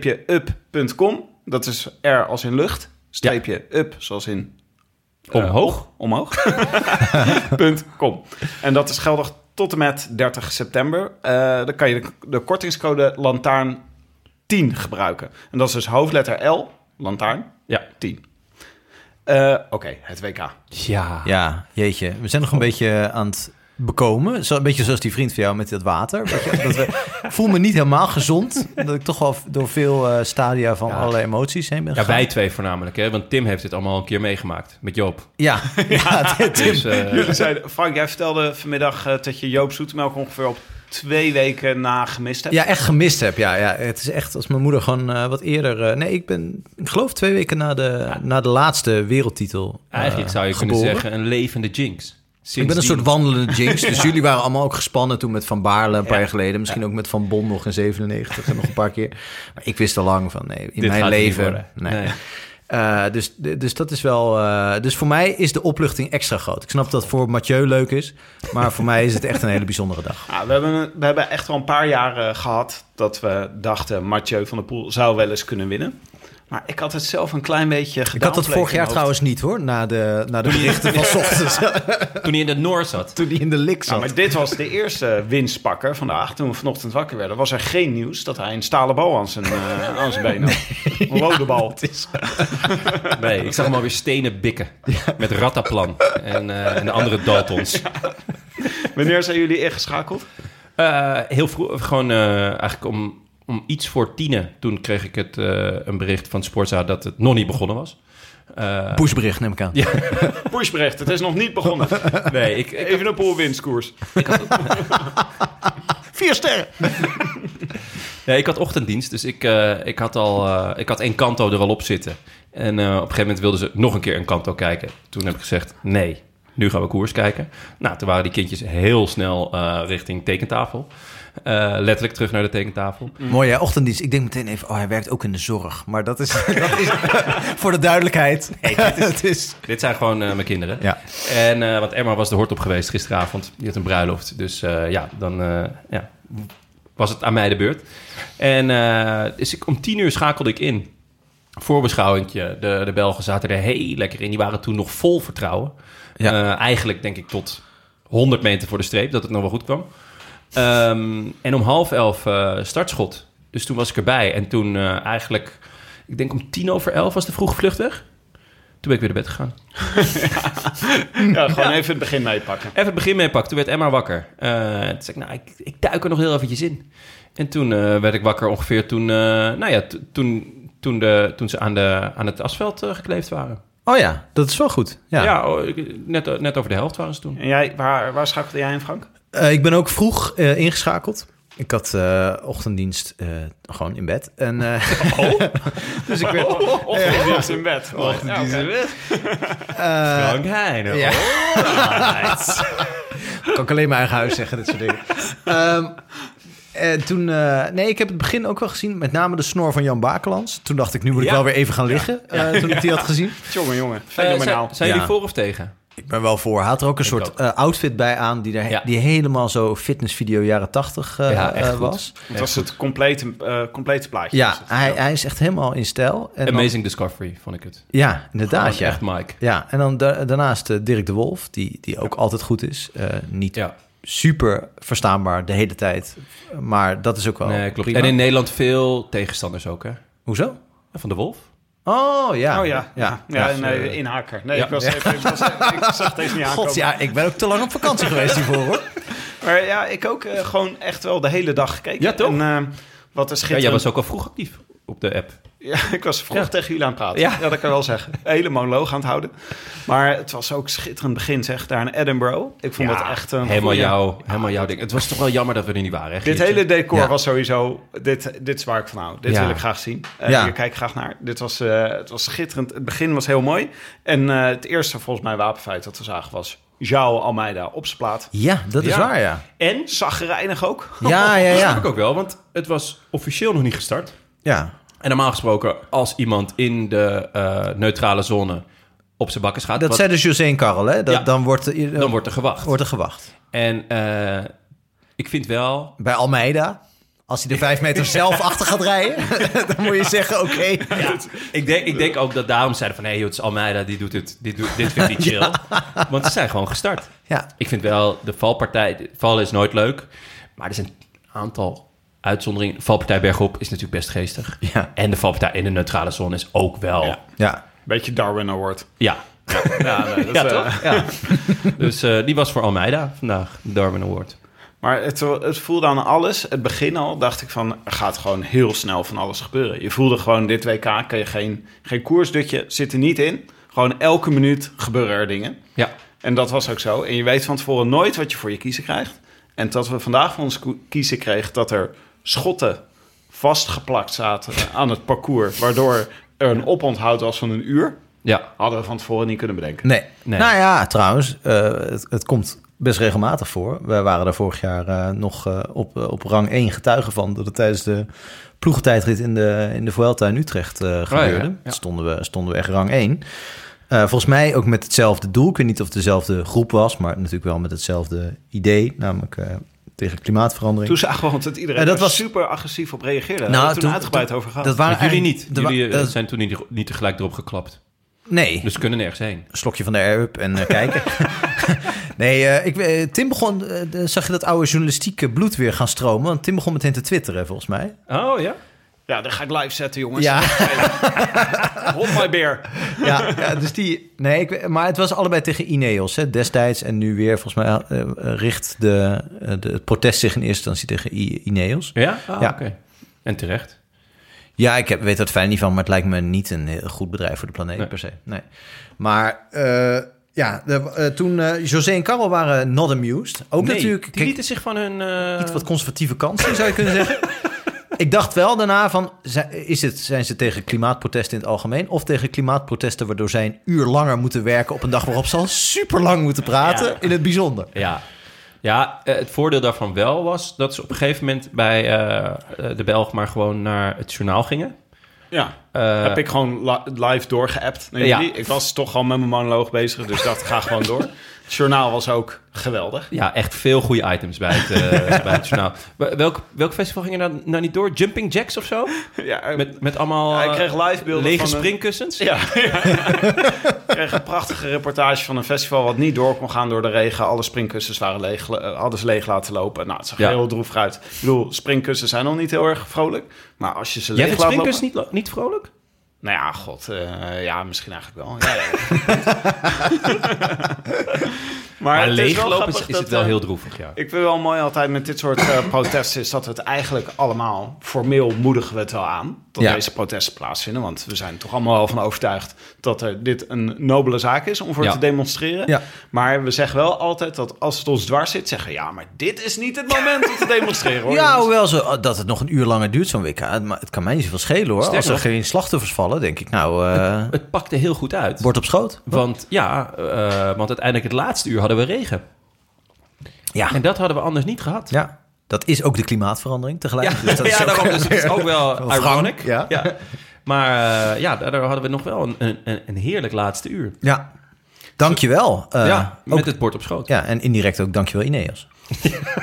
Speaker 8: r-up.com. Dat is r als in lucht. Streepje up zoals in... eh,
Speaker 1: Omhoog.
Speaker 8: op- omhoog. Punt .com. En dat is geldig tot en met 30 september. Eh, dan kan je de, de kortingscode lantaarn10 gebruiken. En dat is dus hoofdletter L, lantaarn,
Speaker 1: Ja. Eh,
Speaker 8: 10. Eh, Oké, het WK.
Speaker 1: Ja.
Speaker 2: Ja, jeetje. We zijn nog een
Speaker 1: Oh.
Speaker 2: beetje aan het bekomen. Zo, een beetje zoals die vriend van jou met dat water. Weet je, dat we, ik voel me niet helemaal gezond. Dat ik toch wel door veel eh, stadia van allerlei emoties heen ben
Speaker 1: Ja,
Speaker 2: gegaan.
Speaker 1: wij twee voornamelijk, hè? want Tim heeft dit allemaal een keer meegemaakt met Joop.
Speaker 2: Ja, ja, Tim.
Speaker 1: Dus, eh,
Speaker 8: Jullie zeiden, Frank, jij vertelde vanmiddag eh, dat je Joop Zoetemelk ongeveer op twee weken na gemist hebt.
Speaker 2: Ja, echt gemist heb. Ja, ja, het is echt als mijn moeder gewoon eh, wat eerder. eh, nee, ik ben, ik geloof twee weken na de, na de laatste wereldtitel. eh,
Speaker 1: eigenlijk zou je
Speaker 2: geboren.
Speaker 1: kunnen zeggen een levende jinx.
Speaker 2: Ik ben een soort
Speaker 1: Sindsdien-
Speaker 2: wandelende jinx. Dus jullie waren allemaal ook gespannen toen met Van Baarle een paar jaar geleden. Misschien ook met Van Bon nog in 97 en nog een paar keer. Maar ik wist al lang van nee, in
Speaker 1: Dit
Speaker 2: mijn
Speaker 1: gaat het niet
Speaker 2: leven.
Speaker 1: worden.
Speaker 2: Nee.
Speaker 1: Nee.
Speaker 2: Eh, dus, dus dat is wel. eh, dus voor mij is de opluchting extra groot. Ik snap dat voor Mathieu leuk is. Maar voor mij is het echt een hele bijzondere dag.
Speaker 8: Ja, Nou, we, hebben, we hebben echt wel een paar jaar eh, gehad dat we dachten... Mathieu van der Poel zou wel eens kunnen winnen. Maar ik had het zelf een klein beetje gedaan.
Speaker 2: Ik had dat vorig jaar trouwens niet hoor. Na de, na de berichten van 's ochtends.
Speaker 1: Toen hij in het Noor zat.
Speaker 2: toen die in de lik zat.
Speaker 8: maar dit was de eerste winstpakker vandaag. Toen we vanochtend wakker werden, was er geen nieuws dat hij een stalen bal aan zijn, eh, aan zijn been had. Een rode bal.
Speaker 1: Nee, ik zag hem alweer stenen bikken. Met Rattaplan en, eh, en de andere Daltons.
Speaker 8: Wanneer zijn jullie ingeschakeld?
Speaker 1: Eh, heel vroeg, gewoon eh, eigenlijk om, om iets voor tienen. Toen kreeg ik het, eh, een bericht van Sportza dat het nog niet begonnen was. Eh,
Speaker 2: Pushbericht neem ik aan.
Speaker 8: Pushbericht, het is nog niet begonnen.
Speaker 1: nee, ik, ik,
Speaker 8: Even een poolwinstkoers. Vier sterren.
Speaker 1: nee, ik had ochtenddienst, dus ik, eh, ik had al eh, ik had één kanto er al op zitten. En eh, op een gegeven moment wilden ze nog een keer een kanto kijken. Toen heb ik gezegd, nee, nu gaan we koers kijken. Nou, toen waren die kindjes heel snel eh, richting tekentafel. Eh, letterlijk terug naar de tekentafel.
Speaker 2: Mooie ochtenddienst. Ik denk meteen even, oh, hij werkt ook in de zorg. Maar dat is, dat is voor de duidelijkheid. het is...
Speaker 1: Dit zijn gewoon eh, mijn kinderen.
Speaker 2: Ja.
Speaker 1: En, eh, want Emma was de hort op geweest gisteravond. Die had een bruiloft. Dus eh, ja, dan eh, ja, was het aan mij de beurt. En eh, dus ik, om tien uur schakelde ik in. Voorbeschouwendje. De, de Belgen zaten er heel lekker in. Die waren toen nog vol vertrouwen.
Speaker 2: Ja.
Speaker 1: Eh, eigenlijk denk ik tot 100 meter voor de streep dat het nog wel goed kwam. Ehm, en om half elf eh, startschot. Dus toen was ik erbij. En toen eh, eigenlijk, ik denk om tien over elf was de vroege vlucht weg. Toen ben ik weer naar bed gegaan.
Speaker 8: Ja, gewoon even het begin meepakken.
Speaker 1: Even het begin mee pakken. Toen werd Emma wakker. Eh, toen zei ik, nou, ik, ik duik er nog heel eventjes in. En toen eh, werd ik wakker ongeveer toen, eh, nou ja, to- toen, toen, de, toen ze aan, de, aan het asfalt eh, gekleefd waren.
Speaker 2: Oh ja, dat is wel goed. Ja.
Speaker 1: Ja, oh, ik- net, net over de helft waren ze toen.
Speaker 8: En jij, waar, waar schakelde jij in, Frank?
Speaker 2: Eh, ik ben ook vroeg eh, ingeschakeld. Ik had eh, ochtenddienst eh, gewoon in bed. En, eh, dus ik werd...
Speaker 8: Ochtenddienst in bed.
Speaker 2: Ochtenddienst
Speaker 8: in bed.
Speaker 2: eh,
Speaker 1: Frank Heijnen.
Speaker 2: Ja. kan ik alleen mijn eigen huis zeggen, dit soort dingen. Ehm, en toen, eh, nee, ik heb het begin ook wel gezien, met name de snor van Jan Bakelands. Toen dacht ik, nu moet ik
Speaker 1: Ja.
Speaker 2: wel weer even gaan liggen, eh, toen ik die had gezien.
Speaker 8: Jongen, jongen.
Speaker 1: Eh,
Speaker 8: Fenomenaal.
Speaker 1: zijn zijn
Speaker 2: Ja.
Speaker 1: jullie voor of tegen?
Speaker 2: Ik ben wel voor. Haat er ook een
Speaker 1: Ik
Speaker 2: soort
Speaker 1: ook.
Speaker 2: eh, outfit bij aan die, daar,
Speaker 1: Ja.
Speaker 2: die helemaal zo fitnessvideo jaren tachtig eh,
Speaker 1: Ja, echt
Speaker 2: eh,
Speaker 1: goed.
Speaker 2: was.
Speaker 8: Het was het complete, eh, complete plaatje.
Speaker 2: Ja,
Speaker 8: Dus het-
Speaker 2: hij, hij is echt helemaal in stijl. En dan- Ah,
Speaker 1: Amazing Discovery, vond ik het.
Speaker 2: ja, inderdaad.
Speaker 1: Gewoon
Speaker 2: Ja.
Speaker 1: Echt Mike.
Speaker 2: ja, en dan da- daarnaast eh, Dirk de Wolf, die, die ook altijd goed is. Eh, niet
Speaker 1: Ja,
Speaker 2: super verstaanbaar de hele tijd, maar dat is ook wel
Speaker 1: nee, klopt.
Speaker 2: prima.
Speaker 1: En in Nederland veel tegenstanders ook, hè?
Speaker 2: Hoezo?
Speaker 1: Van de Wolf.
Speaker 2: Oh ja.
Speaker 8: Oh ja, ja, ja, nee, inhaker. Nee,
Speaker 1: Ja.
Speaker 8: ik, was even, ik, was, ik zag deze niet aankomen.
Speaker 2: God, ja, ik ben ook te lang op vakantie geweest hiervoor, hoor.
Speaker 8: Maar ja, ik ook eh, gewoon echt wel de hele dag gekeken.
Speaker 1: Ja, toch?
Speaker 8: En, eh, wat een
Speaker 1: Ja,
Speaker 8: schitterend...
Speaker 1: jij was ook al vroeg actief op de app.
Speaker 8: Ja, ik was vroeg
Speaker 1: Ja.
Speaker 8: tegen jullie aan het praten.
Speaker 1: Ja.
Speaker 8: Ja. dat kan ik wel zeggen. Een Hele monoloog aan het houden. Maar het was ook schitterend begin, zeg, daar in Edinburgh. Ik vond dat echt een
Speaker 1: helemaal,
Speaker 8: goeie-
Speaker 1: jou, helemaal jouw ding. Het was toch wel jammer dat we er niet waren, hè,
Speaker 8: Dit
Speaker 1: Geertje?
Speaker 8: hele decor
Speaker 2: Ja.
Speaker 8: was sowieso... Dit, dit is waar ik van hou. Dit
Speaker 1: Ja.
Speaker 8: wil ik graag zien. Eh
Speaker 2: Ja.
Speaker 8: Ik kijk graag naar. Dit was, eh, het was schitterend. Het begin was heel mooi. En eh, het eerste, volgens mij, wapenfeit dat we zagen was... João Almeida op zijn plaat.
Speaker 2: Ja, dat is
Speaker 8: Ja.
Speaker 2: waar, ja.
Speaker 8: En zagrijnig ook.
Speaker 2: Ja, ja,
Speaker 1: Dat snap
Speaker 2: ja.
Speaker 1: ik ook wel, want het was officieel nog niet gestart.
Speaker 2: Ja,
Speaker 1: En normaal gesproken, als iemand in de eh, neutrale zone op zijn bakken gaat,
Speaker 2: dat
Speaker 1: wat-
Speaker 2: zei dus José en Karel, hè? Dat,
Speaker 1: Ja.
Speaker 2: dan, wordt, er- eh,
Speaker 1: dan wordt er gewacht.
Speaker 2: wordt er gewacht.
Speaker 1: En eh, ik vind wel...
Speaker 2: Bij Almeida, als hij de vijf meter zelf achter gaat rijden, dan moet je zeggen, oké.
Speaker 1: Ik denk, ik denk ook dat daarom zeiden van... hé, hey, het is Almeida, die doet het, dit, doet, dit vind ik niet chill. Want ze zijn gewoon gestart.
Speaker 2: Ja.
Speaker 1: Ik vind wel, de valpartij... de- Vallen is nooit leuk, maar er zijn een aantal uitzonderingen. De valpartij bergop is natuurlijk best geestig.
Speaker 2: Ja.
Speaker 1: En de valpartij in de neutrale zone is ook wel... Ja,
Speaker 2: Ja.
Speaker 8: Beetje Darwin Award.
Speaker 1: ja.
Speaker 8: Ja, nee, dat, eh,
Speaker 1: toch? Ja. dus eh, die was voor Almeida vandaag, de Darwin Award.
Speaker 8: Maar het, het voelde aan alles, het begin al, dacht ik van... er gaat gewoon heel snel van alles gebeuren. Je voelde gewoon, dit WK kan je geen, geen koersdutje, zit er niet in. Gewoon elke minuut gebeuren er dingen.
Speaker 1: Ja.
Speaker 8: En dat was ook zo. En je weet van tevoren nooit wat je voor je kiezen krijgt. En dat we vandaag voor ons ko- kiezen kregen dat er schotten vastgeplakt zaten aan het parcours... waardoor er een oponthoud was van een uur.
Speaker 1: Ja.
Speaker 8: Hadden we van tevoren niet kunnen bedenken.
Speaker 2: Nee.
Speaker 1: Nee.
Speaker 2: Nou ja, trouwens, eh, het, het komt best regelmatig voor. Wij waren daar vorig jaar eh, nog eh, op, eh, op rang 1 getuige van... dat het tijdens de ploegentijdrit in de, in de Vuelta in Utrecht eh, gebeurde.
Speaker 1: Oh ja. Ja.
Speaker 2: Stonden, we, stonden we echt rang 1. Eh, volgens mij ook met hetzelfde doel. Ik weet niet of het dezelfde groep was... maar natuurlijk wel met hetzelfde idee. Namelijk eh, tegen klimaatverandering.
Speaker 8: Toen zagen we, want dat iedereen
Speaker 2: En dat
Speaker 8: er
Speaker 2: was-
Speaker 8: super agressief op reageerde. Daar
Speaker 2: Nou,
Speaker 8: hebben Eh, we toen
Speaker 2: toen-
Speaker 8: uitgebreid
Speaker 2: toen-
Speaker 8: over gehad.
Speaker 2: dat waren
Speaker 1: jullie
Speaker 2: eigenlijk-
Speaker 1: niet.
Speaker 2: er wa-
Speaker 1: Jullie eh,
Speaker 2: eh,
Speaker 1: zijn toen niet, niet tegelijk erop geklapt.
Speaker 2: nee,
Speaker 1: Dus ze kunnen nergens heen.
Speaker 2: slokje van de air-up en eh, kijken. nee, eh, ik, eh, Tim begon... eh, de- zag je dat oude journalistieke bloed weer gaan stromen? Want Tim begon meteen te twitteren, volgens mij.
Speaker 1: Oh ja?
Speaker 8: Ja, dat ga ik live zetten, jongens.
Speaker 2: Ja.
Speaker 8: Hop my beer.
Speaker 2: ja, ja, dus die... Nee, ik, maar het was allebei tegen Ineos, hè, destijds. En nu weer, volgens mij, eh, eh, richt de, eh, de, het protest zich in eerste instantie tegen I- Ineos.
Speaker 1: Ja? Ah,
Speaker 2: Ja.
Speaker 1: oké. En terecht.
Speaker 2: Ja, ik heb, weet dat fijn niet van, maar het lijkt me niet een heel goed bedrijf voor de planeet
Speaker 1: Nee.
Speaker 2: per se. Nee. Maar eh, ja, de- eh, toen eh, José en Karel waren not amused. Ook
Speaker 1: Nee,
Speaker 2: natuurlijk...
Speaker 1: die
Speaker 2: kijk,
Speaker 1: lieten zich van hun... eh,
Speaker 2: iets wat conservatieve kansen, zou je kunnen zeggen. Ik dacht wel daarna van, zijn- is het, zijn ze tegen klimaatprotesten in het algemeen... of tegen klimaatprotesten waardoor zij een uur langer moeten werken... op een dag waarop ze al super lang moeten praten, in het bijzonder.
Speaker 1: Ja. Ja, eh, het voordeel daarvan wel was dat ze op een gegeven moment bij eh, eh, de Belg maar gewoon naar het journaal gingen.
Speaker 8: Ja,
Speaker 1: Eh,
Speaker 8: heb ik gewoon li- live doorgeappt. Nee,
Speaker 1: Ja.
Speaker 8: jullie? Ik was toch gewoon met mijn monoloog bezig, dus dat ga gewoon door. Het journaal was ook geweldig.
Speaker 1: Ja, echt veel goede items bij het, eh, bij het journaal. Wel- Welk, welk festival ging er nou, nou niet door? Jumping Jacks of zo?
Speaker 8: Ja,
Speaker 1: Met, met allemaal
Speaker 8: Ja, ik
Speaker 1: eh,
Speaker 8: kreeg live beelden
Speaker 1: lege
Speaker 8: van een-
Speaker 1: springkussens?
Speaker 8: ja, ja. Ik kreeg een prachtige reportage van een festival wat niet door kon gaan door de regen. Alle springkussens waren leeg, eh, hadden ze leeg laten lopen. Nou, het zag er
Speaker 1: Ja.
Speaker 8: heel droevig uit. Ik bedoel, springkussens zijn nog niet heel erg vrolijk. Maar als je ze
Speaker 1: Jij
Speaker 8: leeg
Speaker 1: vindt
Speaker 8: laat lopen...
Speaker 1: springkussens niet, lo- niet vrolijk?
Speaker 8: Nou ja, god. eh, ja, misschien eigenlijk wel. Ja, ja. maar
Speaker 1: Maar
Speaker 8: het is wel
Speaker 1: leeglopen is,
Speaker 8: grappig
Speaker 1: is,
Speaker 8: dat,
Speaker 1: het wel
Speaker 8: eh,
Speaker 1: heel droevig, ja.
Speaker 8: Ik vind wel mooi altijd met dit soort eh, protesten... is dat het eigenlijk allemaal... formeel moedigen we het wel aan... dat
Speaker 2: Ja.
Speaker 8: deze protesten plaatsvinden. Want we zijn toch allemaal wel van overtuigd... dat er dit een nobele zaak is om voor
Speaker 1: Ja.
Speaker 8: te demonstreren.
Speaker 2: Ja.
Speaker 8: Maar we zeggen wel altijd dat als het ons dwars zit... zeggen we, ja, maar dit is niet het moment om te demonstreren. Hoor,
Speaker 2: Ja,
Speaker 8: jongens."
Speaker 2: hoewel zo, dat het nog een uur langer duurt, zo'n WK. Het, ma- het kan mij niet zoveel schelen, hoor.
Speaker 1: Sterker
Speaker 2: Als er
Speaker 1: nog-
Speaker 2: geen slachtoffers vallen, denk ik, nou, eh
Speaker 1: Het pakte heel goed uit.
Speaker 2: bord op schoot.
Speaker 1: Want ja, eh, want uiteindelijk het laatste uur hadden we regen.
Speaker 2: Ja.
Speaker 1: En dat hadden we anders niet gehad.
Speaker 2: ja, dat is ook de klimaatverandering tegelijk.
Speaker 1: Ja,
Speaker 2: Dus dat is
Speaker 1: ja,
Speaker 2: ook-
Speaker 1: daarom dus het is ook wel
Speaker 2: Wrang,
Speaker 1: ironic.
Speaker 2: ja.
Speaker 1: Maar eh, ja, daardoor hadden we nog wel een, een, een heerlijk laatste uur.
Speaker 2: ja. Dankjewel. Eh,
Speaker 1: Ja, met
Speaker 2: ook-
Speaker 1: het bord op schoot.
Speaker 2: Ja, en indirect ook dankjewel Ineos.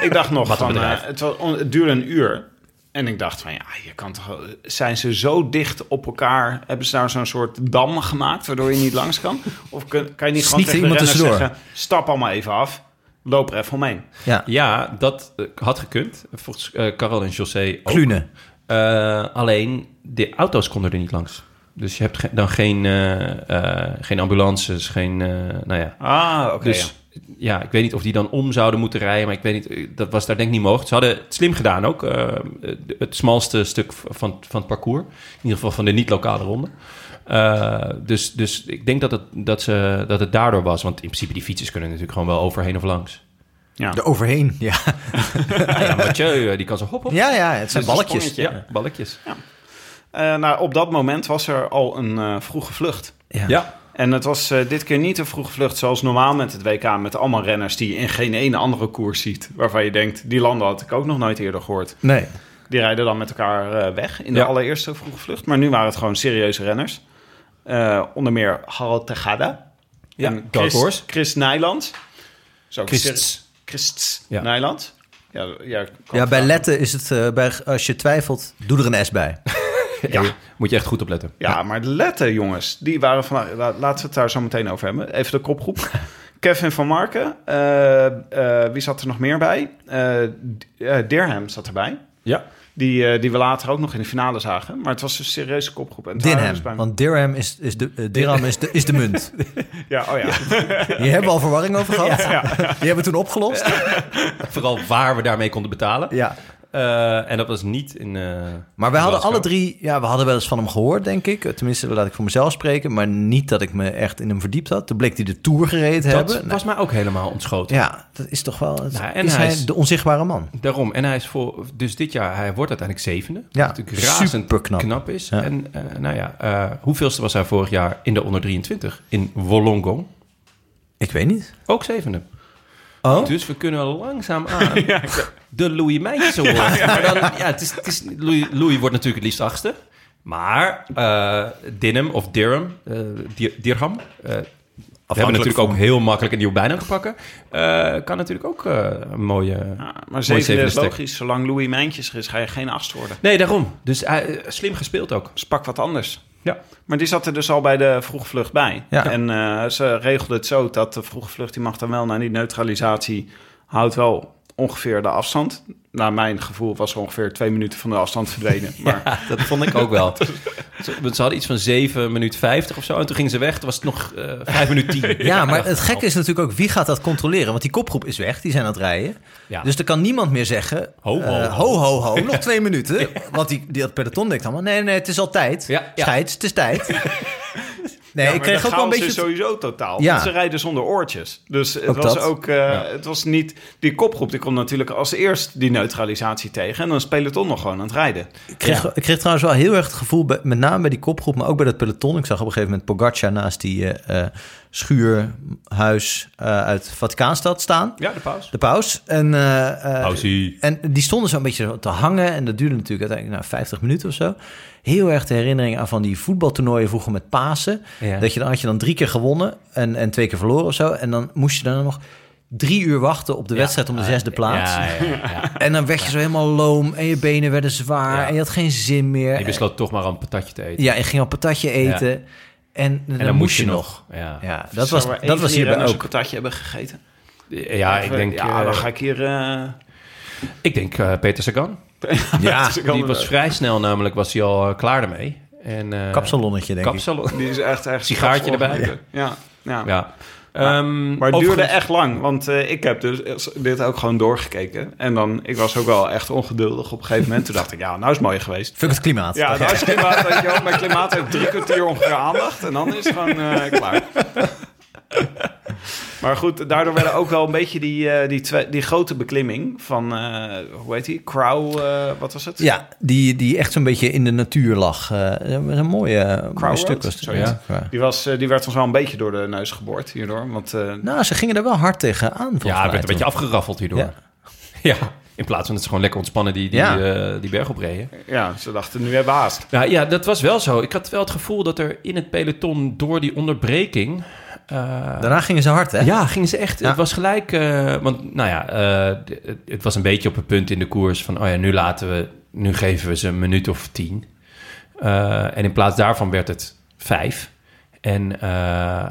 Speaker 8: Ik dacht nog,
Speaker 1: Wat een
Speaker 8: van, eh,
Speaker 1: bedrijf.
Speaker 8: het, was on- het duurde een uur. En ik dacht van, ja, je kan toch, zijn ze zo dicht op elkaar? Hebben ze nou zo'n soort dam gemaakt, waardoor je niet langs kan? Of kun- kan je niet
Speaker 2: Sneakt
Speaker 8: gewoon tegen de
Speaker 2: iemand
Speaker 8: renners
Speaker 2: tussendoor.
Speaker 8: zeggen, stap allemaal even af. Loop er even omheen.
Speaker 2: Ja,
Speaker 1: Ja, dat eh, had gekund. Volgens eh Karel en José ook.
Speaker 2: Klune.
Speaker 1: Eh, alleen, de auto's konden er niet langs. Dus je hebt ge- dan geen, eh, eh, geen ambulances, geen... eh, nou ja.
Speaker 8: Ah, oké.
Speaker 1: dus ja. ik weet niet of die dan om zouden moeten rijden. Maar ik weet niet, eh, dat was daar denk ik niet mogelijk. Ze hadden het slim gedaan ook. eh, het smalste stuk van, van het parcours. In ieder geval van de niet-lokale ronde. Eh, dus, dus ik denk dat het, dat, ze, dat het daardoor was. Want in principe die fietsers kunnen natuurlijk gewoon wel overheen of langs.
Speaker 8: ja.
Speaker 2: Er overheen, ja. Ah,
Speaker 1: Ja, Mathieu, eh, die kan zo hop, hop.
Speaker 2: Ja, ja, het zijn
Speaker 8: Dus een
Speaker 2: balkjes.
Speaker 8: sprongetje.
Speaker 1: Ja, balletjes.
Speaker 8: Eh, nou, op dat moment was er al een eh, vroege vlucht.
Speaker 2: Ja.
Speaker 1: Ja,
Speaker 8: En het was eh, dit keer niet een vroege vlucht zoals normaal met het WK. Met allemaal renners die je in geen ene andere koers ziet. Waarvan je denkt, die landen had ik ook nog nooit eerder gehoord.
Speaker 2: Nee.
Speaker 8: Die rijden dan met elkaar eh, weg in de
Speaker 1: Ja.
Speaker 8: allereerste vroege vlucht. Maar nu waren het gewoon serieuze renners. Eh, onder meer Harald Tejada.
Speaker 1: Ja,
Speaker 8: En
Speaker 1: Dark
Speaker 8: Chris,
Speaker 1: Horse.
Speaker 8: Chris Nijland. Zo,
Speaker 1: Christs.
Speaker 8: Christs
Speaker 1: Ja.
Speaker 8: Nijland. Ja, ja, kan
Speaker 2: Ja, bij
Speaker 8: vragen.
Speaker 2: letten is het, eh, bij, als je twijfelt, doe er een S bij.
Speaker 1: Ja. Moet je echt goed opletten.
Speaker 8: Ja, maar de letten, jongens, die waren van. la- Laten we het daar zo meteen over hebben. Even de kopgroep. Kevin van Marken. eh, eh, wie zat er nog meer bij? Eh D- eh, Dirham zat erbij.
Speaker 1: Ja.
Speaker 8: Die, eh, die we later ook nog in de finale zagen. Maar het was een serieuze kopgroep. En het waren dus bij-
Speaker 2: Dirham. Want dirham is, is, de, eh, dirham is, de, is de munt.
Speaker 8: Ja, oh ja.
Speaker 2: Hier hebben we al verwarring over gehad. Die hebben we toen opgelost.
Speaker 1: Vooral waar we daarmee konden betalen.
Speaker 2: Ja.
Speaker 1: Eh, en dat was niet in... eh,
Speaker 2: Maar wij hadden
Speaker 1: Glasgow.
Speaker 2: alle drie, ja, we hadden wel eens van hem gehoord, denk ik. Tenminste, laat ik voor mezelf spreken. Maar niet dat ik me echt in hem verdiept had. Toen bleek hij de Tour gereden te
Speaker 1: Dat
Speaker 2: hebben. Nou,
Speaker 1: was mij ook helemaal ontschoten.
Speaker 2: ja, dat is toch wel...
Speaker 1: Nou, en
Speaker 2: en is hij
Speaker 1: hij is-
Speaker 2: de onzichtbare man.
Speaker 1: Daarom. En hij is voor... Dus dit jaar, hij wordt uiteindelijk zevende.
Speaker 2: Ja,
Speaker 1: Wat natuurlijk razend
Speaker 2: superknap.
Speaker 1: knap is.
Speaker 2: Ja.
Speaker 1: En eh, nou ja, eh, hoeveelste was hij vorig jaar in de onder 23? In Wollongong.
Speaker 2: Ik weet niet.
Speaker 1: Ook zevende.
Speaker 2: Oh?
Speaker 1: Dus we kunnen langzaam aan de Louis Meijntjes worden. Maar dan, ja, het is, het is, Louis, Louis wordt natuurlijk het liefst achtste. Maar eh Dinham of Dirham, eh, Dir- Dirham... eh, we hebben natuurlijk ook heel makkelijk een nieuwe bijnaam te pakken. Eh, kan natuurlijk ook eh, een mooie...
Speaker 8: Ja, maar zeven
Speaker 1: zevende
Speaker 8: is
Speaker 1: stek.
Speaker 8: logisch. Zolang Louis Mijntjes er is, ga je geen achtst worden.
Speaker 1: Nee, daarom. Dus eh, slim gespeeld ook.
Speaker 8: Dus pak wat anders.
Speaker 1: Ja.
Speaker 8: Maar die zat er dus al bij de vroege vlucht bij.
Speaker 2: Ja.
Speaker 8: En eh, ze regelde het zo dat de vroege vlucht... die mag dan wel naar die neutralisatie... houdt wel ongeveer de afstand. Naar mijn gevoel was ze ongeveer twee minuten van de afstand verdwenen. Maar
Speaker 1: Dat vond ik ook wel. Ze, want ze hadden iets van 7 minuut 50 of zo. En toen gingen ze weg. Toen was het nog eh 5 minuut 10.
Speaker 2: Ja, maar het gekke is natuurlijk ook, wie gaat dat controleren? Want die kopgroep is weg, die zijn aan het rijden.
Speaker 1: Ja.
Speaker 2: Dus er kan niemand meer zeggen,
Speaker 1: Ho, ho,
Speaker 2: eh, ho, ho, ho, nog twee minuten. Want die, die, dat peloton denkt allemaal, nee, nee, het is al tijd.
Speaker 1: Ja, ja.
Speaker 2: Scheids, het is tijd. Nee, ik kreeg ook wel een beetje... het-
Speaker 8: sowieso totaal.
Speaker 2: Ja.
Speaker 8: Want ze rijden zonder oortjes. Dus het
Speaker 2: Ook
Speaker 8: was
Speaker 2: dat.
Speaker 8: ook... eh, Het was niet... Die kopgroep die komt natuurlijk als eerst die neutralisatie tegen. En dan is het peloton nog gewoon aan het rijden.
Speaker 2: Ik kreeg, ik kreeg trouwens wel heel erg het gevoel, bij- met name bij die kopgroep, maar ook bij dat peloton. Ik zag op een gegeven moment Pogacar naast die eh, eh, schuurhuis eh, uit Vaticaanstad staan.
Speaker 1: Ja, de paus.
Speaker 2: De paus. En, eh, eh,
Speaker 1: Pausie.
Speaker 2: en die stonden zo'n beetje zo te hangen. En dat duurde natuurlijk uiteindelijk nou, 50 minuten of zo. Heel erg de herinnering aan van die voetbaltoernooien vroeger met Pasen.
Speaker 1: Ja.
Speaker 2: Dat je dan had je dan drie keer gewonnen en, en twee keer verloren of zo. En dan moest je dan nog drie uur wachten op de wedstrijd om de zesde plaats.
Speaker 1: Ja, ja, ja.
Speaker 2: En dan werd je zo helemaal loom en je benen werden zwaar
Speaker 1: Ja.
Speaker 2: en je had geen zin meer.
Speaker 1: Je besloot toch maar een patatje te eten.
Speaker 2: Ja, en ging al patatje eten. En, en dan,
Speaker 1: dan moest
Speaker 2: moest
Speaker 1: je
Speaker 2: je
Speaker 1: nog.
Speaker 2: nog.
Speaker 1: Ja.
Speaker 2: ja dat was, dat was
Speaker 8: hier
Speaker 2: hierbij
Speaker 8: een
Speaker 2: ook.
Speaker 8: patatje hebben gegeten.
Speaker 1: Ja, ik denk,
Speaker 8: Ja, dan
Speaker 1: eh,
Speaker 8: ga ik hier... eh,
Speaker 1: ik denk eh, Peter Sagan.
Speaker 2: Ja,
Speaker 1: Die was vrij snel namelijk, was hij al eh, klaar ermee. En, eh,
Speaker 2: kapsalonnetje denk ik.
Speaker 1: kapsalon.
Speaker 8: Die is echt echt
Speaker 1: Sigaartje erbij.
Speaker 8: Ja. ja. ja.
Speaker 1: Ja.
Speaker 8: Maar-
Speaker 1: Ehm,
Speaker 8: Maar het duurde
Speaker 1: overigens-
Speaker 8: echt lang, want eh, ik heb dus dit ook gewoon doorgekeken. En dan, ik was ook wel echt ongeduldig op een gegeven moment. Toen dacht ik, ja, nou is het mooi geweest.
Speaker 2: Fuck het klimaat.
Speaker 8: Ja, nou is het klimaat, weet je wel. Mijn klimaat heeft drie kwartier ongeveer aandacht en dan is het gewoon eh, klaar. Maar goed, daardoor werden ook wel een beetje die, eh, die, twee- die grote beklimming van, eh, hoe heet die? Crow, eh, wat was het?
Speaker 2: Ja, die, die echt zo'n beetje in de natuur lag. Eh een mooie, eh, mooi
Speaker 8: Road,
Speaker 2: stuk was het.
Speaker 8: zoiets.
Speaker 2: Ja.
Speaker 8: Die, was, eh, die werd ons wel een beetje door de neus geboord hierdoor. Want eh,
Speaker 2: Nou, ze gingen er wel hard tegen aan. volgens
Speaker 1: Ja,
Speaker 2: mij
Speaker 1: het werd een
Speaker 2: toen.
Speaker 1: beetje afgeraffeld hierdoor. Ja.
Speaker 2: Ja.
Speaker 1: In plaats van dat ze gewoon lekker ontspannen die, die,
Speaker 2: Ja.
Speaker 1: eh, die berg opreden.
Speaker 8: ja, ze dachten, nu hebben we haast.
Speaker 1: Nou ja, dat was wel zo. Ik had wel het gevoel dat er in het peloton door die onderbreking... Eh,
Speaker 2: Daarna gingen ze hard, hè?
Speaker 1: Ja, gingen ze echt.
Speaker 2: Ja.
Speaker 1: Het was gelijk. eh, want nou ja, eh, het, het was een beetje op het punt in de koers van. Oh ja, nu laten we. Nu geven we ze een minuut of tien. Eh, en in plaats daarvan werd het vijf. En eh,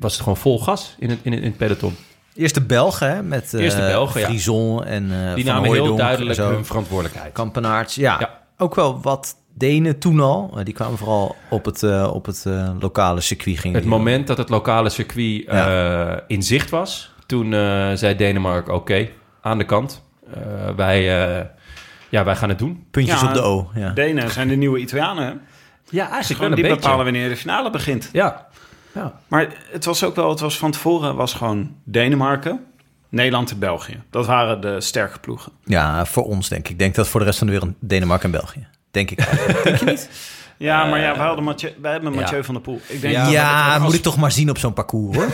Speaker 1: was het gewoon vol gas in het, in het, in het peloton.
Speaker 2: Eerst de Belgen, hè? Met eh
Speaker 1: Eerst de Belgen, ja.
Speaker 2: Frison en eh
Speaker 1: Die
Speaker 2: Van
Speaker 1: namen heel
Speaker 2: Hooijdonk en
Speaker 1: duidelijk
Speaker 2: zo.
Speaker 1: hun verantwoordelijkheid.
Speaker 2: Kampenaarts, ja.
Speaker 1: Ja.
Speaker 2: Ook wel wat Denen toen al. Eh, die kwamen vooral op het, eh, op het eh, lokale circuit. Gingen
Speaker 1: Het
Speaker 2: die-
Speaker 1: moment dat het lokale circuit eh, in zicht was, toen eh, zei Denemarken: oké, aan de kant. Eh, wij, eh, ja, wij gaan het doen.
Speaker 2: Puntjes
Speaker 8: Ja,
Speaker 2: op de O. Ja.
Speaker 8: Denen zijn de nieuwe Italianen. hè?
Speaker 1: Ja, eigenlijk
Speaker 8: Gewoon die bepalen wanneer de finale begint.
Speaker 1: Ja,
Speaker 8: Maar het was ook wel, het was van tevoren was gewoon Denemarken, Nederland en België. Dat waren de sterke ploegen.
Speaker 2: ja, voor ons denk ik. Ik denk dat voor de rest van de wereld Denemarken en België. Denk ik. Eh,
Speaker 8: Ja, maar ja, we hadden Mathieu, wij hebben Mathieu
Speaker 1: ja.
Speaker 8: van der Poel. Ik denk,
Speaker 2: ja, moet ik toch maar zien op zo'n parcours, hoor.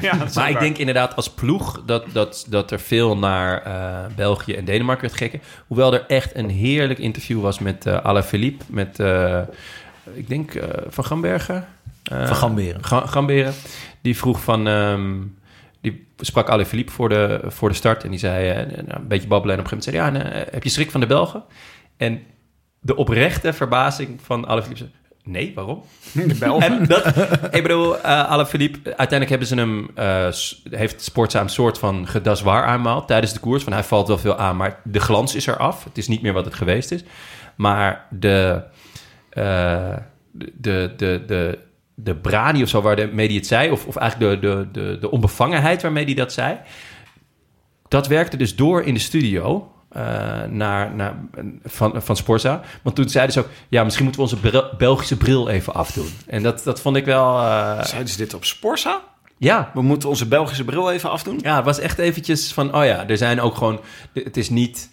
Speaker 8: ja, dat is
Speaker 1: Maar
Speaker 8: ook
Speaker 1: ik
Speaker 8: waar.
Speaker 1: denk inderdaad als ploeg dat, dat, dat er veel naar eh, België en Denemarken werd gekken. Hoewel er echt een heerlijk interview was met eh Alain Philippe, met eh, ik denk eh, Van Gambergen. Eh,
Speaker 2: Van Gamberen.
Speaker 1: Ga- Gamberen. Die vroeg van... ehm, die sprak Alain Philippe voor de, voor de start en die zei eh, nou, een beetje babbelen. En op een gegeven moment zei hij, ja, en, eh, heb je schrik van de Belgen? En de oprechte verbazing van Alain Philippe zei, nee, waarom? En dat, ik bedoel, eh Alain Philippe, uiteindelijk hebben ze hem, eh, s- heeft Sportza een soort van gedaswaar aanmaald tijdens de koers. Van hij valt wel veel aan, maar de glans is eraf. Het is niet meer wat het geweest is. Maar de, eh, de, de, de, de, de brani of zo waarmee hij het zei, of, of eigenlijk de, de, de, de onbevangenheid waarmee hij dat zei, dat werkte dus door in de studio. eh, naar, naar, van, van Sporza. Want toen zeiden ze ook... ja, misschien moeten we onze bril- Belgische bril even afdoen. En dat, dat vond ik wel... eh,
Speaker 8: Zeiden ze dit op Sporza?
Speaker 1: ja,
Speaker 8: We moeten onze Belgische bril even afdoen.
Speaker 1: ja, het was echt eventjes van... oh ja, er zijn ook gewoon... het is niet...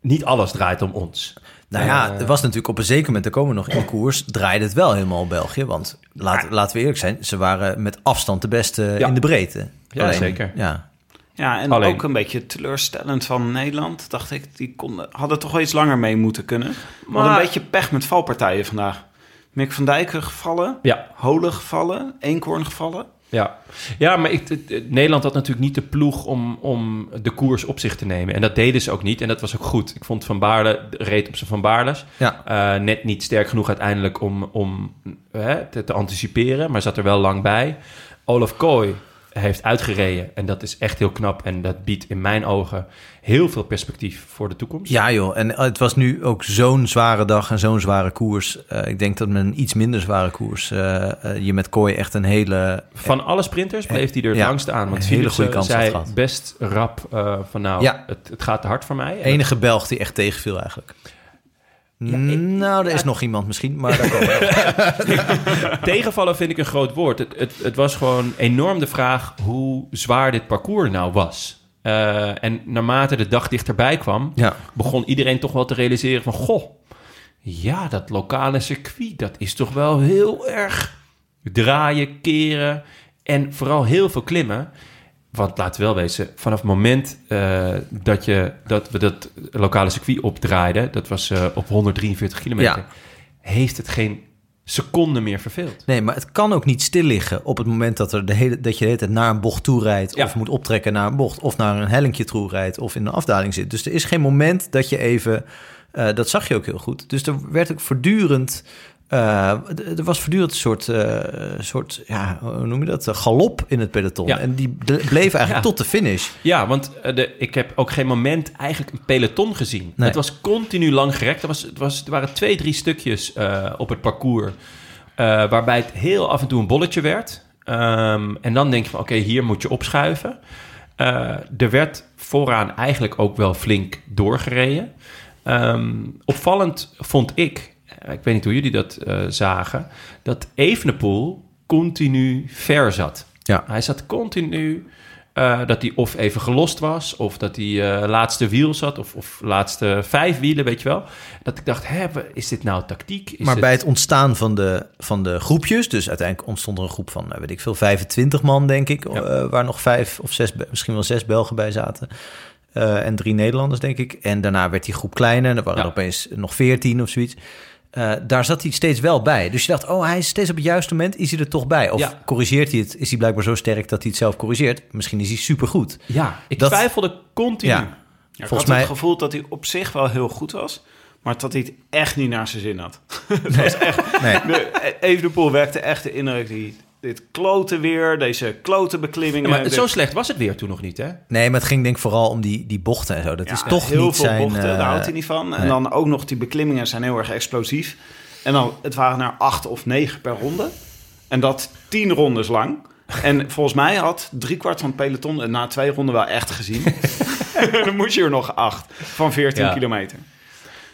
Speaker 1: niet alles draait om ons.
Speaker 2: Nou ja, het was natuurlijk op een zeker moment, daar komen we nog in de koers, draaide het wel helemaal België. Want laat, laten we eerlijk zijn, ze waren met afstand de beste
Speaker 1: Ja.
Speaker 2: in de breedte.
Speaker 1: Ja, zeker.
Speaker 2: Ja.
Speaker 8: Ja, en
Speaker 1: Alleen-
Speaker 8: ook een beetje teleurstellend van Nederland. Dacht ik, die konden, hadden toch wel iets langer mee moeten kunnen. Maar
Speaker 1: Maar-
Speaker 8: een beetje pech met valpartijen vandaag. Mick van Dijken gevallen,
Speaker 1: Ja,
Speaker 8: Holen gevallen, Eenkhoorn gevallen.
Speaker 1: Ja, ja maar ik, het- het- Nederland had natuurlijk niet de ploeg om, om de koers op zich te nemen. En dat deden ze ook niet. En dat was ook goed. Ik vond Van Baarle, reed op zijn Van Baarles.
Speaker 2: Ja.
Speaker 1: Eh, net niet sterk genoeg uiteindelijk om, om hè, te, te anticiperen. Maar zat er wel lang bij. Olaf Kooi heeft uitgereden. En dat is echt heel knap. En dat biedt in mijn ogen heel veel perspectief voor de toekomst.
Speaker 2: ja joh, en eh, het was nu ook zo'n zware dag en zo'n zware koers. Eh, ik denk dat met een iets minder zware koers eh, eh, je met Kooi echt een hele...
Speaker 1: Van alle sprinters bleef hij er het
Speaker 2: Ja,
Speaker 1: langst aan. Want
Speaker 2: een hele
Speaker 1: Philipsen
Speaker 2: goede kans had
Speaker 1: zei
Speaker 2: gehad.
Speaker 1: best rap eh, van nou,
Speaker 2: Ja.
Speaker 1: het, het gaat te hard voor mij. En dat-
Speaker 2: enige Belg die echt tegenviel eigenlijk. nou, er is nog iemand misschien, maar daar komen we.
Speaker 1: Tegenvallen vind ik een groot woord. Het, het, het was gewoon enorm de vraag hoe zwaar dit parcours nou was. Eh, en naarmate de dag dichterbij kwam,
Speaker 2: Ja.
Speaker 1: begon iedereen toch wel te realiseren van... Goh, ja, dat lokale circuit, dat is toch wel heel erg draaien, keren en vooral heel veel klimmen. Want laten we wel wezen, vanaf het moment eh, dat, je, dat we dat lokale circuit opdraaiden... dat was eh, op 143 kilometer,
Speaker 2: Ja.
Speaker 1: heeft het geen seconde meer verveeld.
Speaker 2: Nee, maar het kan ook niet stil liggen op het moment dat, er de hele, dat je de hele tijd naar een bocht toe rijdt...
Speaker 1: Ja.
Speaker 2: of moet optrekken naar een bocht, of naar een hellinkje toe rijdt... of in een afdaling zit. Dus er is geen moment dat je even... eh, dat zag je ook heel goed. Dus er werd ook voortdurend... eh, d- er was voortdurend een soort, eh, soort ja, hoe noem je dat? Een galop in het peloton.
Speaker 1: Ja.
Speaker 2: En die ble- bleef eigenlijk
Speaker 1: Ja.
Speaker 2: tot de finish.
Speaker 1: Ja, want eh, de, ik heb ook geen moment eigenlijk een peloton gezien.
Speaker 2: Nee.
Speaker 1: Het was continu lang gerekt. Er, was, het was, er waren twee, drie stukjes eh, op het parcours... eh, waarbij het heel af en toe een bolletje werd. Ehm, en dan denk je van, oké, hier moet je opschuiven. Eh, er werd vooraan eigenlijk ook wel flink doorgereden. Ehm, opvallend vond ik, eh, ik weet niet hoe jullie dat eh, zagen... dat Evenepoel continu ver zat.
Speaker 2: Ja.
Speaker 1: Hij zat continu... eh, dat hij of even gelost was, of dat hij eh, laatste wiel zat, of, of laatste vijf wielen, weet je wel. Dat ik dacht, hè, wa- is dit nou tactiek? Is
Speaker 2: maar
Speaker 1: het-
Speaker 2: bij het ontstaan van de, van de groepjes, dus uiteindelijk ontstond er een groep van, eh, weet ik veel, 25 man, denk ik, eh, waar nog vijf of zes, Be- misschien wel zes Belgen bij zaten. eh, en drie Nederlanders, denk ik. En daarna werd die groep kleiner. En er waren
Speaker 1: Ja.
Speaker 2: er opeens nog veertien of zoiets. eh, daar zat hij steeds wel bij. Dus je dacht, oh, hij is steeds op het juiste moment, is hij er toch bij? Of
Speaker 1: Ja.
Speaker 2: corrigeert hij het? Is hij blijkbaar zo sterk dat hij het zelf corrigeert? Misschien is hij supergoed.
Speaker 1: Ja, ik
Speaker 2: Dat-
Speaker 1: twijfelde continu.
Speaker 2: Ja.
Speaker 8: Ja, ik
Speaker 2: Volgens
Speaker 8: had
Speaker 2: mij-
Speaker 8: het gevoel dat hij op zich wel heel goed was, maar dat hij het echt niet naar zijn zin had. het was echt,
Speaker 2: Nee.
Speaker 8: de, Evenepoel werkte echt de indruk die dit klote weer, deze klote
Speaker 1: Ja,
Speaker 8: beklimmingen.
Speaker 1: maar
Speaker 8: dit-
Speaker 1: zo slecht was het weer toen nog niet, hè?
Speaker 2: Nee, maar het ging denk ik vooral om die, die bochten en zo. Dat
Speaker 8: ja,
Speaker 2: is toch
Speaker 8: heel
Speaker 2: niet
Speaker 8: veel
Speaker 2: zijn...
Speaker 8: bochten, daar
Speaker 2: eh,
Speaker 8: houdt hij niet van. En
Speaker 2: nee.
Speaker 8: dan ook nog die beklimmingen zijn heel erg explosief. En dan, het waren er acht of negen per ronde. En dat tien rondes lang. En volgens mij had driekwart van het peloton het na twee ronden wel echt gezien. dan moest je er nog acht van 14
Speaker 1: Ja.
Speaker 8: kilometer.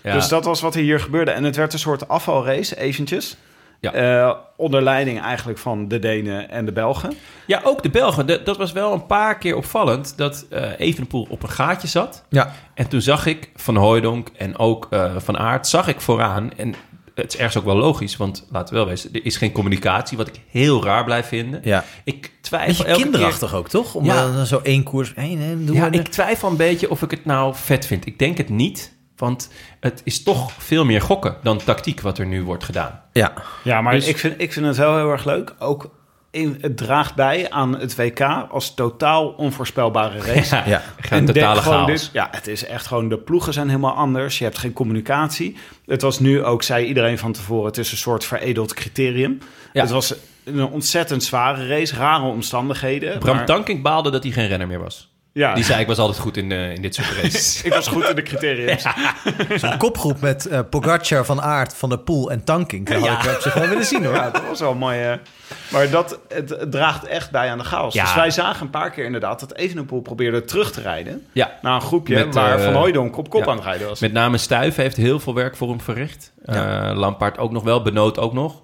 Speaker 1: Ja.
Speaker 8: Dus dat was wat er hier gebeurde. En het werd een soort afvalrace, eventjes.
Speaker 1: Ja.
Speaker 8: Eh, onder leiding eigenlijk van de Denen en de Belgen.
Speaker 1: Ja, ook de Belgen. De- dat was wel een paar keer opvallend dat eh Evenepoel op een gaatje zat.
Speaker 2: Ja,
Speaker 1: En toen zag ik Van Hooijdonk en ook eh, Van Aert, zag ik vooraan. En het is ergens ook wel logisch, want laten we wel wezen, er is geen communicatie, wat ik heel raar blijf vinden.
Speaker 2: ja.
Speaker 1: Ik
Speaker 2: Beetje
Speaker 1: twijfel elke
Speaker 2: kinderachtig ook, toch? Om eh,
Speaker 1: Ja.
Speaker 2: dan dan zo één koers... Hey, nee,
Speaker 1: keer.
Speaker 2: doen
Speaker 1: Ja,
Speaker 2: we de-
Speaker 1: ik twijfel een beetje of ik het nou vet vind. Ik denk het niet, want het is toch veel meer gokken dan tactiek wat er nu wordt gedaan.
Speaker 2: ja.
Speaker 8: Ja, maar
Speaker 1: Dus-
Speaker 8: ik, vind, ik vind het wel heel erg leuk. Ook in, het draagt bij aan het WK als totaal onvoorspelbare race.
Speaker 2: Ja.
Speaker 1: Geen
Speaker 8: denk
Speaker 1: totale
Speaker 8: gewoon
Speaker 1: chaos.
Speaker 8: dus- ja, het is echt gewoon, de ploegen zijn helemaal anders. Je hebt geen communicatie. Het was nu ook, zei iedereen van tevoren, het is een soort veredeld criterium.
Speaker 1: Ja.
Speaker 8: Het was een ontzettend zware race, rare omstandigheden.
Speaker 1: Bram
Speaker 8: maar-
Speaker 1: Tankink baalde dat hij geen renner meer was.
Speaker 8: Ja,
Speaker 1: Die zei, ik was altijd goed in, eh, in dit soort races.
Speaker 8: ik was goed in de criteriums.
Speaker 2: Zo'n kopgroep met eh Pogacar, Van Aert, Van der Poel en Tanking. Dat had ik op zich wel willen zien, hoor.
Speaker 8: Ja, dat was wel mooi. eh. Maar dat, het, het draagt echt bij aan de chaos.
Speaker 1: Ja.
Speaker 8: Dus wij zagen een paar keer inderdaad dat Evenepoel probeerde terug te rijden.
Speaker 1: ja.
Speaker 8: Naar Nou, een groepje
Speaker 1: Met,
Speaker 8: waar
Speaker 1: eh,
Speaker 8: Van Hooijdonk op kop
Speaker 1: ja.
Speaker 8: aan het rijden was.
Speaker 1: Met name Stuif heeft heel veel werk voor hem verricht. Eh, Lampaard ook nog wel, Benoot ook nog.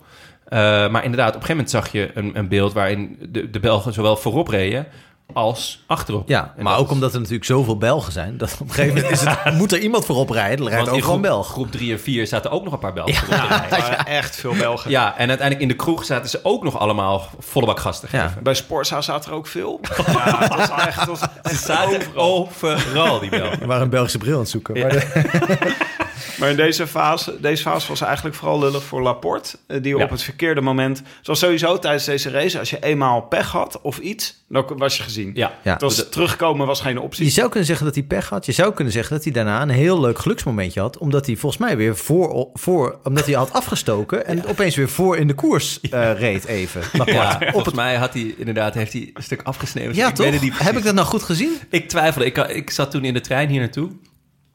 Speaker 1: Eh, maar inderdaad, op een gegeven moment zag je een, een beeld waarin de, de Belgen zowel voorop reden als achterop.
Speaker 2: Ja,
Speaker 1: En
Speaker 2: maar
Speaker 1: dat
Speaker 2: ook omdat er natuurlijk zoveel Belgen zijn. Dat op een gegeven moment is het, moet er iemand voorop rijden. Dan
Speaker 1: is-
Speaker 2: rijdt
Speaker 1: want in
Speaker 2: ook gewoon
Speaker 1: groep-
Speaker 2: Belg.
Speaker 1: Groep 3 en 4 zaten ook nog een paar Belgen. voorop.
Speaker 8: Ja, er waren echt veel Belgen.
Speaker 1: Ja, en uiteindelijk in de kroeg zaten ze ook nog allemaal volle bak gasten
Speaker 2: Ja.
Speaker 1: geven.
Speaker 8: Bij Sporza zaten er ook veel. Ja, dat was echt... Dat was-
Speaker 1: Ze zaten overal, die Belgen.
Speaker 2: We waren een Belgische bril aan het zoeken. Maar de-
Speaker 8: Maar in deze fase, deze fase was eigenlijk vooral lullig voor Laporte. eh, Die
Speaker 1: Ja.
Speaker 8: op het verkeerde moment... Zoals sowieso tijdens deze race, als je eenmaal pech had of iets... dan was je gezien.
Speaker 1: Ja.
Speaker 2: Ja.
Speaker 8: Het was, terugkomen was geen optie.
Speaker 2: je zou kunnen zeggen dat hij pech had. Je zou kunnen zeggen dat hij daarna een heel leuk geluksmomentje had. Omdat hij volgens mij weer voor... voor omdat hij had afgestoken en opeens weer voor in de koers eh, reed even.
Speaker 1: Ja,
Speaker 2: Laporte. op
Speaker 1: volgens
Speaker 2: het,
Speaker 1: mij had hij inderdaad heeft hij een stuk afgesneden.
Speaker 2: ja,
Speaker 1: ik weet
Speaker 2: toch?
Speaker 1: het niet
Speaker 2: Heb
Speaker 1: precies.
Speaker 2: ik dat nou goed gezien?
Speaker 1: Ik twijfelde. Ik, ik zat toen in de trein hier naartoe.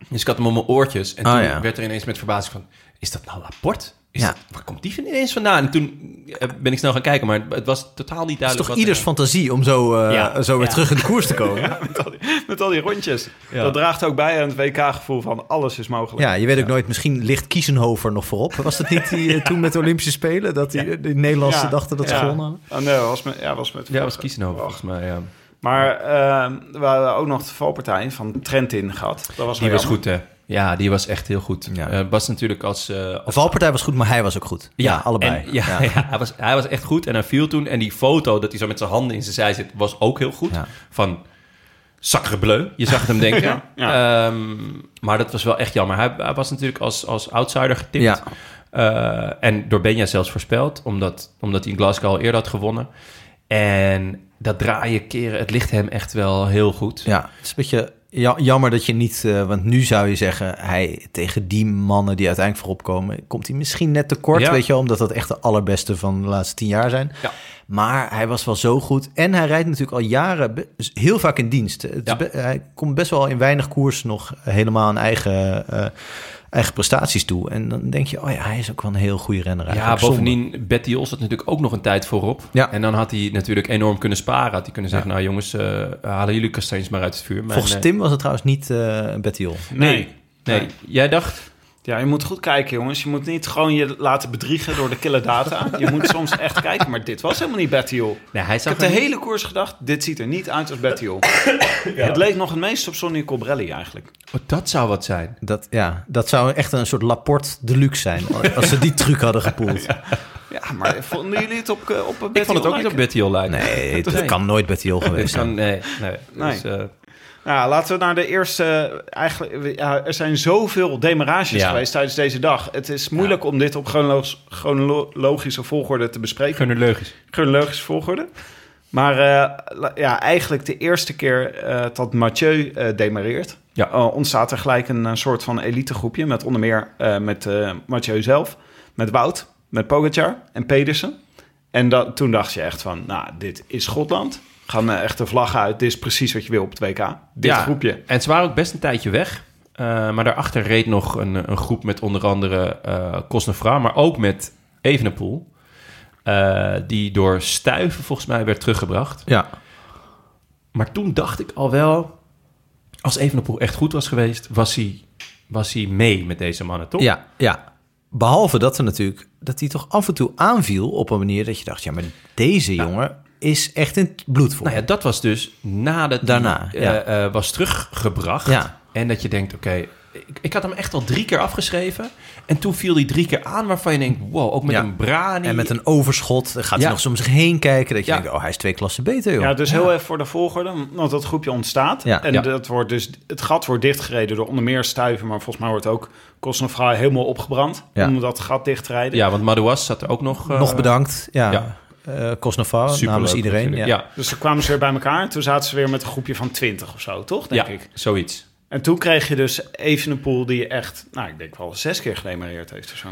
Speaker 1: Dus ik had hem op mijn oortjes. En
Speaker 2: Ah,
Speaker 1: toen
Speaker 2: ja.
Speaker 1: werd er ineens met verbazing van... Is dat nou Laporte? Is
Speaker 2: Ja.
Speaker 1: dat- waar komt die van ineens vandaan? En toen eh, ben ik snel gaan kijken. Maar het was totaal niet
Speaker 2: Het is
Speaker 1: duidelijk.
Speaker 2: toch
Speaker 1: wat
Speaker 2: ieders
Speaker 1: er-
Speaker 2: fantasie om zo, eh,
Speaker 1: Ja.
Speaker 2: zo weer
Speaker 1: Ja.
Speaker 2: terug in de koers te komen. Ja,
Speaker 8: Met al die, met al die rondjes.
Speaker 1: Ja.
Speaker 8: Dat draagt ook bij aan het WK-gevoel van alles is mogelijk.
Speaker 2: je weet ook nooit, misschien ligt Kiesenhover nog voorop. Was dat niet die, eh, toen met de Olympische Spelen? Dat die, de Nederlandse
Speaker 8: Ja.
Speaker 2: dachten dat ze
Speaker 8: Ja.
Speaker 2: gewonnen hadden?
Speaker 8: Ah, nee, was met, ja, was met
Speaker 1: Ja, was Kiesenhoven volgens mij, ja.
Speaker 8: Maar eh, we hadden ook nog de valpartij van Trentin gehad. Dat was
Speaker 1: Die
Speaker 8: wel
Speaker 1: was
Speaker 8: jammer.
Speaker 1: goed, hè? Ja, die was echt heel goed.
Speaker 2: Ja.
Speaker 1: Eh, was natuurlijk als... eh,
Speaker 2: De
Speaker 1: als-
Speaker 2: valpartij was goed, maar hij was ook goed. Ja, allebei.
Speaker 1: en- ja, ja. hij, was, hij was echt goed en hij viel toen. En die foto dat hij zo met zijn handen in zijn zij zit, was ook heel goed.
Speaker 2: Ja.
Speaker 1: Van sacrebleu, je zag het hem denken.
Speaker 8: Ja, ja.
Speaker 1: Ehm, maar dat was wel echt jammer. Hij, hij was natuurlijk als, als outsider getipt.
Speaker 2: Ja.
Speaker 1: Eh, en door Benja zelfs voorspeld, omdat, omdat hij in Glasgow al eerder had gewonnen. En dat draaien, keren, het ligt hem echt wel heel goed.
Speaker 2: Ja, het is een beetje ja- jammer dat je niet... eh, want nu zou je zeggen, hij tegen die mannen die uiteindelijk voorop komen... komt hij misschien net tekort,
Speaker 1: Ja.
Speaker 2: weet je wel, Omdat dat echt de allerbeste van de laatste tien jaar zijn.
Speaker 1: Ja.
Speaker 2: Maar hij was wel zo goed. En hij rijdt natuurlijk al jaren be- dus heel vaak in dienst. Het is
Speaker 1: Ja.
Speaker 2: be- hij komt best wel in weinig koers nog helemaal aan eigen... eh, eigen prestaties toe. En dan denk je, oh ja, hij is ook wel een heel goede renner.
Speaker 1: Ja,
Speaker 2: eigenlijk. Zonde.
Speaker 1: bovendien, Betty Os had natuurlijk ook nog een tijd voorop.
Speaker 2: Ja.
Speaker 1: En dan had hij natuurlijk enorm kunnen sparen. Had hij kunnen zeggen, nou jongens, eh, halen jullie kastanjes maar uit het vuur. Maar
Speaker 2: Volgens
Speaker 1: nee.
Speaker 2: Tim was het trouwens niet eh Betty Hol.
Speaker 1: Nee. Nee. jij dacht...
Speaker 8: Ja, je moet goed kijken, jongens. Je moet niet gewoon je laten bedriegen door de kille data. Je moet soms echt kijken. Maar dit was helemaal niet Betty Hill.
Speaker 1: Nee, hij
Speaker 8: Ik
Speaker 1: zag
Speaker 8: heb de
Speaker 1: er niet-
Speaker 8: hele koers gedacht, dit ziet er niet uit als Betty Hill. Het leek nog het meest op Sonny Colbrelli eigenlijk.
Speaker 1: Oh, dat zou wat zijn.
Speaker 2: Dat, ja, dat zou echt een soort Laporte deluxe zijn.
Speaker 1: Oh,
Speaker 2: Als ze die truc hadden gepoeld.
Speaker 8: Ja, maar vonden jullie het op, eh, op Betty
Speaker 1: Ik vond het ook niet op
Speaker 8: Hill lijken?
Speaker 1: Betty Hol lijken. Dus
Speaker 2: Nee, dat kan nooit Betty Hol geweest
Speaker 1: Dit
Speaker 2: zijn.
Speaker 1: kan, nee, nee. Dus, eh,
Speaker 8: Nou, laten we naar de eerste. eh, Eigenlijk, ja, er zijn zoveel demarages
Speaker 1: Ja.
Speaker 8: geweest tijdens deze dag. Het is moeilijk om dit op chronologisch- chronologische volgorde te bespreken.
Speaker 1: Chronologisch.
Speaker 8: Chronologische volgorde. Maar eh, la- ja, eigenlijk de eerste keer eh, dat Mathieu eh demareert,
Speaker 1: Ja.
Speaker 8: eh, ontstaat er gelijk een, eh, soort van elitegroepje. Met onder meer eh, met eh, Mathieu zelf, met Wout, met Pogacar en Pedersen. En dat, toen dacht je echt van, nou, dit is Schotland. Gaan eh, echt de vlag uit. Dit is precies wat je wil op het WK. Dit
Speaker 1: Ja,
Speaker 8: groepje.
Speaker 1: En ze waren ook best een tijdje weg. Eh, maar daarachter reed nog een, een groep met onder andere eh Cosnefra, maar ook met Evenepoel. eh, die door stuiven volgens mij werd teruggebracht.
Speaker 2: Ja.
Speaker 1: Maar toen dacht ik al wel, als Evenepoel echt goed was geweest, was hij, was hij mee met deze mannen, toch?
Speaker 2: Ja, ja. Behalve dat er natuurlijk dat hij toch af en toe aanviel op een manier dat je dacht, ja, maar deze jongen is echt in het bloed voor.
Speaker 1: Nou ja, dat was dus nadat
Speaker 2: Daarna,
Speaker 1: hij
Speaker 2: ja.
Speaker 1: eh, eh, was teruggebracht.
Speaker 2: Ja.
Speaker 1: En dat je denkt, oké, ik, ik had hem echt al drie keer afgeschreven. En toen viel hij drie keer aan waarvan je denkt, wow, ook met
Speaker 2: Ja.
Speaker 1: een brani.
Speaker 2: En met een overschot dan gaat hij
Speaker 1: Ja.
Speaker 2: nog soms heen kijken dat je
Speaker 1: Ja.
Speaker 2: denkt, oh, hij is twee klassen beter, joh.
Speaker 8: Ja, dus heel even voor de volgorde, want dat groepje ontstaat.
Speaker 2: Ja.
Speaker 8: En
Speaker 1: Ja.
Speaker 8: Dat wordt dus, het gat wordt dichtgereden door onder meer stuiven, maar volgens mij wordt ook Kosnefraai helemaal opgebrand
Speaker 2: Ja.
Speaker 8: om dat gat dicht te rijden.
Speaker 1: Ja, want Madouas zat er ook nog. eh,
Speaker 2: nog bedankt. Ja.
Speaker 1: ja.
Speaker 2: Eh, Cosnefar
Speaker 1: superleuk
Speaker 2: namens iedereen. Ja.
Speaker 1: natuurlijk. Ja,
Speaker 8: Dus toen kwamen ze weer bij elkaar en toen zaten ze weer met een groepje van 20 of zo, toch? Denk
Speaker 1: ja,
Speaker 8: ik.
Speaker 1: zoiets.
Speaker 8: En toen kreeg je dus even een pool die echt, nou, ik denk wel zes keer gedemareerd heeft of zo.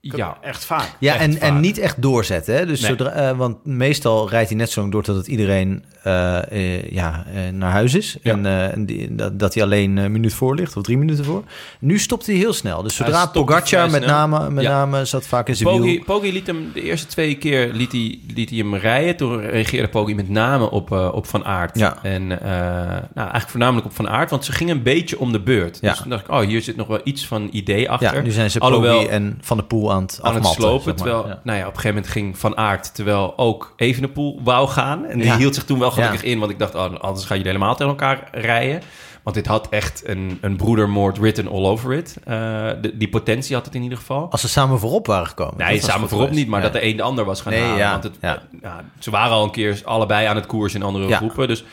Speaker 1: Ja,
Speaker 8: Echt vaak.
Speaker 2: Ja,
Speaker 1: Echt
Speaker 2: en, en
Speaker 1: vaak.
Speaker 2: niet echt doorzetten. Hè? Dus
Speaker 1: Nee.
Speaker 2: zodra, eh, want meestal rijdt hij net zo lang door totdat iedereen eh, eh, ja, eh, naar huis is.
Speaker 1: Ja.
Speaker 2: En eh, en die- dat, dat hij alleen een minuut voor ligt of drie minuten voor. Nu stopt hij heel snel. Dus
Speaker 1: Hij
Speaker 2: zodra
Speaker 1: stopte
Speaker 2: Pogacar
Speaker 1: vrij
Speaker 2: met,
Speaker 1: snel.
Speaker 2: name, met
Speaker 1: Ja.
Speaker 2: name zat vaak in zijn
Speaker 1: Poggi,
Speaker 2: wiel.
Speaker 1: Poggi liet hem de eerste twee keer liet hij, liet hij hem rijden. Toen reageerde Poggi met name op, eh, op Van Aert.
Speaker 2: Ja.
Speaker 1: En eh, nou, eigenlijk voornamelijk op Van Aert, want ze gingen een beetje om de beurt.
Speaker 2: Ja.
Speaker 1: Dus toen dacht ik, oh, hier zit nog wel iets van idee achter.
Speaker 2: Ja, nu zijn ze
Speaker 1: Alhoewel,
Speaker 2: Poggi en Van der Poel aan het
Speaker 1: aan het
Speaker 2: afmatten,
Speaker 1: slopen.
Speaker 2: zeg maar.
Speaker 1: terwijl,
Speaker 2: Ja.
Speaker 1: nou ja, op een gegeven moment ging Van Aert, terwijl ook Evenepoel wou gaan. En die
Speaker 2: Ja.
Speaker 1: hield zich toen wel gelukkig
Speaker 2: Ja.
Speaker 1: in, want ik dacht, oh, anders gaan jullie helemaal tegen elkaar rijden. Want dit had echt een, een broedermoord written all over it. Eh, de- die potentie had het in ieder geval.
Speaker 2: Als ze samen voorop waren gekomen. dat
Speaker 1: Nee,
Speaker 2: was
Speaker 1: samen
Speaker 2: goed
Speaker 1: voorop
Speaker 2: geweest.
Speaker 1: niet, maar
Speaker 2: Nee.
Speaker 1: dat de een de ander was gaan
Speaker 2: Nee,
Speaker 1: halen.
Speaker 2: ja,
Speaker 1: want het,
Speaker 2: ja.
Speaker 1: ja, ze waren al een keer allebei aan het koers in andere
Speaker 2: Ja.
Speaker 1: groepen. Dus,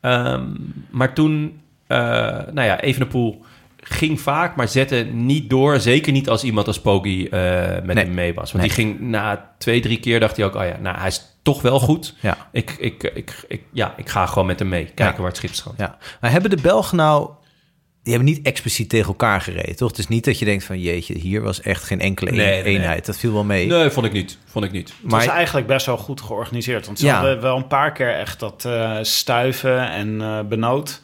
Speaker 1: ehm, maar toen, eh nou ja, Evenepoel ging vaak, maar zette niet door. Zeker niet als iemand als Poggi eh, met
Speaker 2: Nee.
Speaker 1: hem mee was.
Speaker 2: Nee.
Speaker 1: Want die ging na twee, drie keer, dacht hij ook... oh ja, nou, hij is toch wel goed.
Speaker 2: Ja.
Speaker 1: Ik, ik, ik, ik, ja, ik ga gewoon met hem mee. Kijken
Speaker 2: Ja.
Speaker 1: waar het schip strandt.
Speaker 2: Ja. Maar hebben de Belgen nou... Die hebben niet expliciet tegen elkaar gereden, toch? Het is niet dat je denkt van... jeetje, hier was echt geen enkele een-
Speaker 1: Nee, nee, nee.
Speaker 2: eenheid. Dat viel wel mee.
Speaker 1: Nee, vond ik niet. Vond ik niet.
Speaker 8: Het
Speaker 2: maar
Speaker 8: was eigenlijk best wel goed georganiseerd. Want ze
Speaker 2: Ja.
Speaker 8: hadden wel een paar keer echt dat eh, stuiven en eh benood.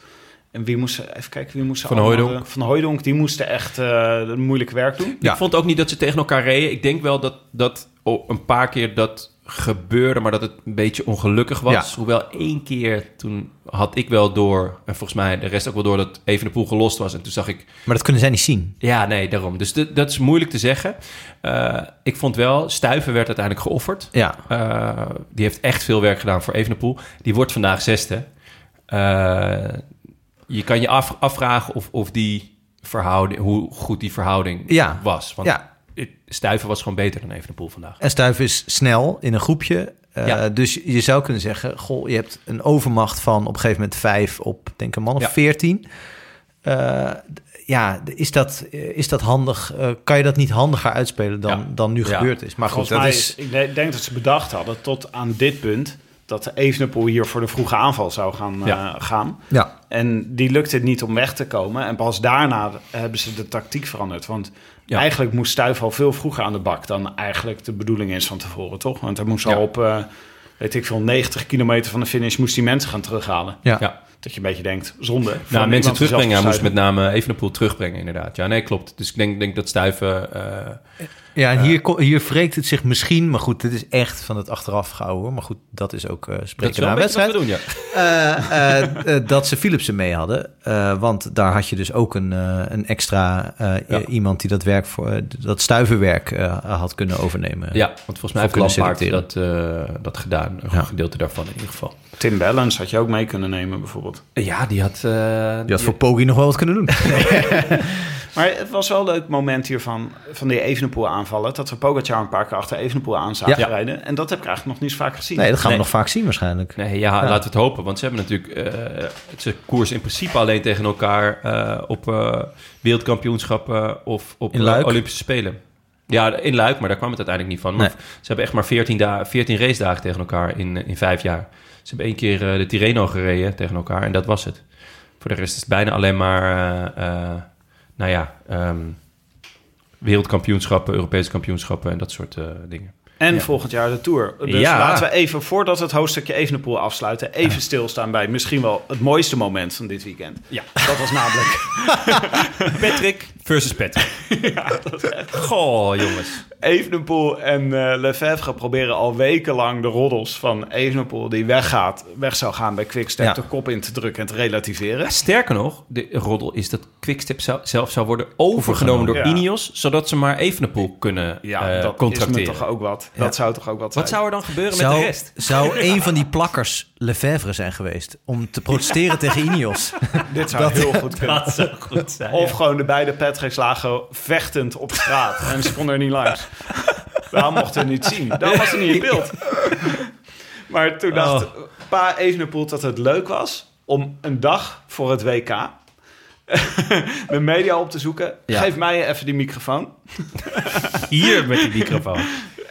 Speaker 8: En wie moest, even kijken, wie moest ze
Speaker 1: Van
Speaker 8: allemaal-
Speaker 1: Hooijdonk.
Speaker 8: Van Hooijdonk, die moesten echt eh het moeilijk werk doen.
Speaker 2: Ja.
Speaker 1: Ik vond ook niet dat ze tegen elkaar reden. Ik denk wel dat, dat oh, een paar keer dat gebeurde, maar dat het een beetje ongelukkig was.
Speaker 2: Ja.
Speaker 1: Hoewel één keer toen had ik wel door, en volgens mij de rest ook wel door, dat even de poel gelost was. En toen zag ik,
Speaker 2: Maar dat kunnen zij niet zien.
Speaker 1: ja, nee, daarom. Dus dat- dat is moeilijk te zeggen. Eh, ik vond wel, Stuiven werd uiteindelijk geofferd.
Speaker 2: Ja.
Speaker 1: Eh, die heeft echt veel werk gedaan voor Evenepoel. Die wordt vandaag zesde. Eh, je kan je af, afvragen of, of die verhouding, hoe goed die verhouding
Speaker 2: Ja.
Speaker 1: was. Want
Speaker 2: Ja.
Speaker 1: het- Stuiven was gewoon beter dan Evenepoel vandaag.
Speaker 2: En Stuif is snel in een groepje. Eh,
Speaker 1: Ja.
Speaker 2: Dus je zou kunnen zeggen... goh, je hebt een overmacht van op een gegeven moment vijf... op, denk ik, een man of
Speaker 1: Ja.
Speaker 2: veertien. Eh, ja, is dat, eh, is dat handig? Eh, kan je dat niet handiger uitspelen dan,
Speaker 1: Ja.
Speaker 2: dan nu
Speaker 1: Ja.
Speaker 2: gebeurd is? Maar goed,
Speaker 8: Volgens
Speaker 2: dat
Speaker 8: mij,
Speaker 2: is...
Speaker 8: ik de- denk dat ze bedacht hadden tot aan dit punt... dat de Evenepoel hier voor de vroege aanval zou gaan. eh,
Speaker 1: Ja.
Speaker 8: gaan.
Speaker 2: Ja,
Speaker 8: En die lukte het niet om weg te komen. En pas daarna hebben ze de tactiek veranderd. Want
Speaker 1: Ja.
Speaker 8: eigenlijk moest Stuif al veel vroeger aan de bak... dan eigenlijk de bedoeling is van tevoren, toch? Want hij moest
Speaker 1: Ja.
Speaker 8: al op, eh, weet ik veel, 90 kilometer van de finish... moest die mensen gaan terughalen.
Speaker 2: ja.
Speaker 1: Ja.
Speaker 8: Dat je een beetje denkt, zonde.
Speaker 1: Nou,
Speaker 8: van
Speaker 1: mensen
Speaker 8: iemand zelf
Speaker 1: terugbrengen. Hij moest
Speaker 8: besluiten.
Speaker 1: met name Evenepoel terugbrengen, inderdaad. Ja, nee, klopt. Dus ik denk, denk dat Stuiven... eh,
Speaker 2: Ja, en hier, ko- hier wreekt het zich misschien, maar goed, dit is echt van het achteraf gehouden hoor. Maar goed, dat is ook eh
Speaker 1: dat is
Speaker 2: spreken
Speaker 1: wel
Speaker 2: na
Speaker 1: een
Speaker 2: een
Speaker 1: beetje wat
Speaker 2: wedstrijd.
Speaker 1: we doen, ja.
Speaker 2: Eh, eh, eh, dat ze Philipsen mee hadden, Eh, want daar had je dus ook een, eh, een extra eh,
Speaker 1: Ja.
Speaker 2: i- iemand die dat werk voor eh, dat stuiverwerk eh, had kunnen overnemen.
Speaker 1: Ja, want volgens mij heeft
Speaker 2: kunnen
Speaker 1: Lampaard dat,
Speaker 2: selecteren.
Speaker 1: eh, dat gedaan. Een
Speaker 2: Ja.
Speaker 1: gedeelte daarvan in ieder geval.
Speaker 8: Tim Bellens had je ook mee kunnen nemen, bijvoorbeeld.
Speaker 1: Ja, die had... eh,
Speaker 2: Die had voor Poggi nog wel wat kunnen doen.
Speaker 8: Maar het was wel een leuk moment hiervan, van die Evenepoel aanvallen. Dat we Pogacar een paar keer achter Evenepoel aan zagen
Speaker 2: Ja.
Speaker 8: rijden. En dat heb ik eigenlijk nog niet zo vaak gezien.
Speaker 2: Nee, dat gaan we nog vaak zien waarschijnlijk.
Speaker 1: Nee, ja, laten we het hopen. Want ze hebben natuurlijk eh, ze koers in principe alleen tegen elkaar eh, op eh, wereldkampioenschappen of op
Speaker 2: In Luik?
Speaker 1: eh, Olympische Spelen. Ja, in Luik, maar daar kwam het uiteindelijk niet van. Maar
Speaker 2: Nee.
Speaker 1: Ze hebben echt maar 14, da- 14 race dagen tegen elkaar in, eh, in vijf jaar. Ze hebben één keer eh, de Tirreno gereden tegen elkaar en dat was het. Voor de rest is het bijna alleen maar, eh, eh, nou ja, ehm, wereldkampioenschappen, Europese kampioenschappen en dat soort eh, dingen.
Speaker 8: En volgend jaar de Tour. Dus
Speaker 1: Ja.
Speaker 8: laten we even, voordat we het hoofdstukje Evenepoel afsluiten... even stilstaan bij misschien wel het mooiste moment van dit weekend.
Speaker 1: Ja.
Speaker 8: Dat was namelijk Patrick
Speaker 1: Versus Patrick. Goh, jongens.
Speaker 8: Evenepoel en eh Lefebvre proberen al wekenlang de roddels van Evenepoel... die weggaat, weg zou gaan bij Quickstep...
Speaker 2: Ja.
Speaker 8: de kop in te drukken en te relativeren.
Speaker 1: Sterker nog, de roddel is dat Quickstep zou- zelf zou worden overgenomen door
Speaker 8: Ja.
Speaker 1: Ineos, zodat ze maar Evenepoel kunnen
Speaker 8: Ja,
Speaker 1: eh,
Speaker 8: dat
Speaker 1: contracteren.
Speaker 8: is me toch ook wat. Dat zou toch ook wat zijn.
Speaker 1: Wat zou er dan gebeuren
Speaker 2: Zou,
Speaker 1: met de rest?
Speaker 2: zou een van die plakkers Lefebvre zijn geweest om te protesteren tegen Ineos?
Speaker 8: Dit zou heel goed kunnen.
Speaker 1: Dat zou goed zijn.
Speaker 8: Of gewoon de beide Patricks lagen vechtend op straat. en ze konden er niet langs. Daarom mochten we het niet zien. Daarom was het niet in beeld. Maar toen dacht pa Evenepoel dat het leuk was... om een dag voor het WK... de media op te zoeken.
Speaker 2: Ja.
Speaker 8: Geef mij even die microfoon.
Speaker 1: Hier met die microfoon.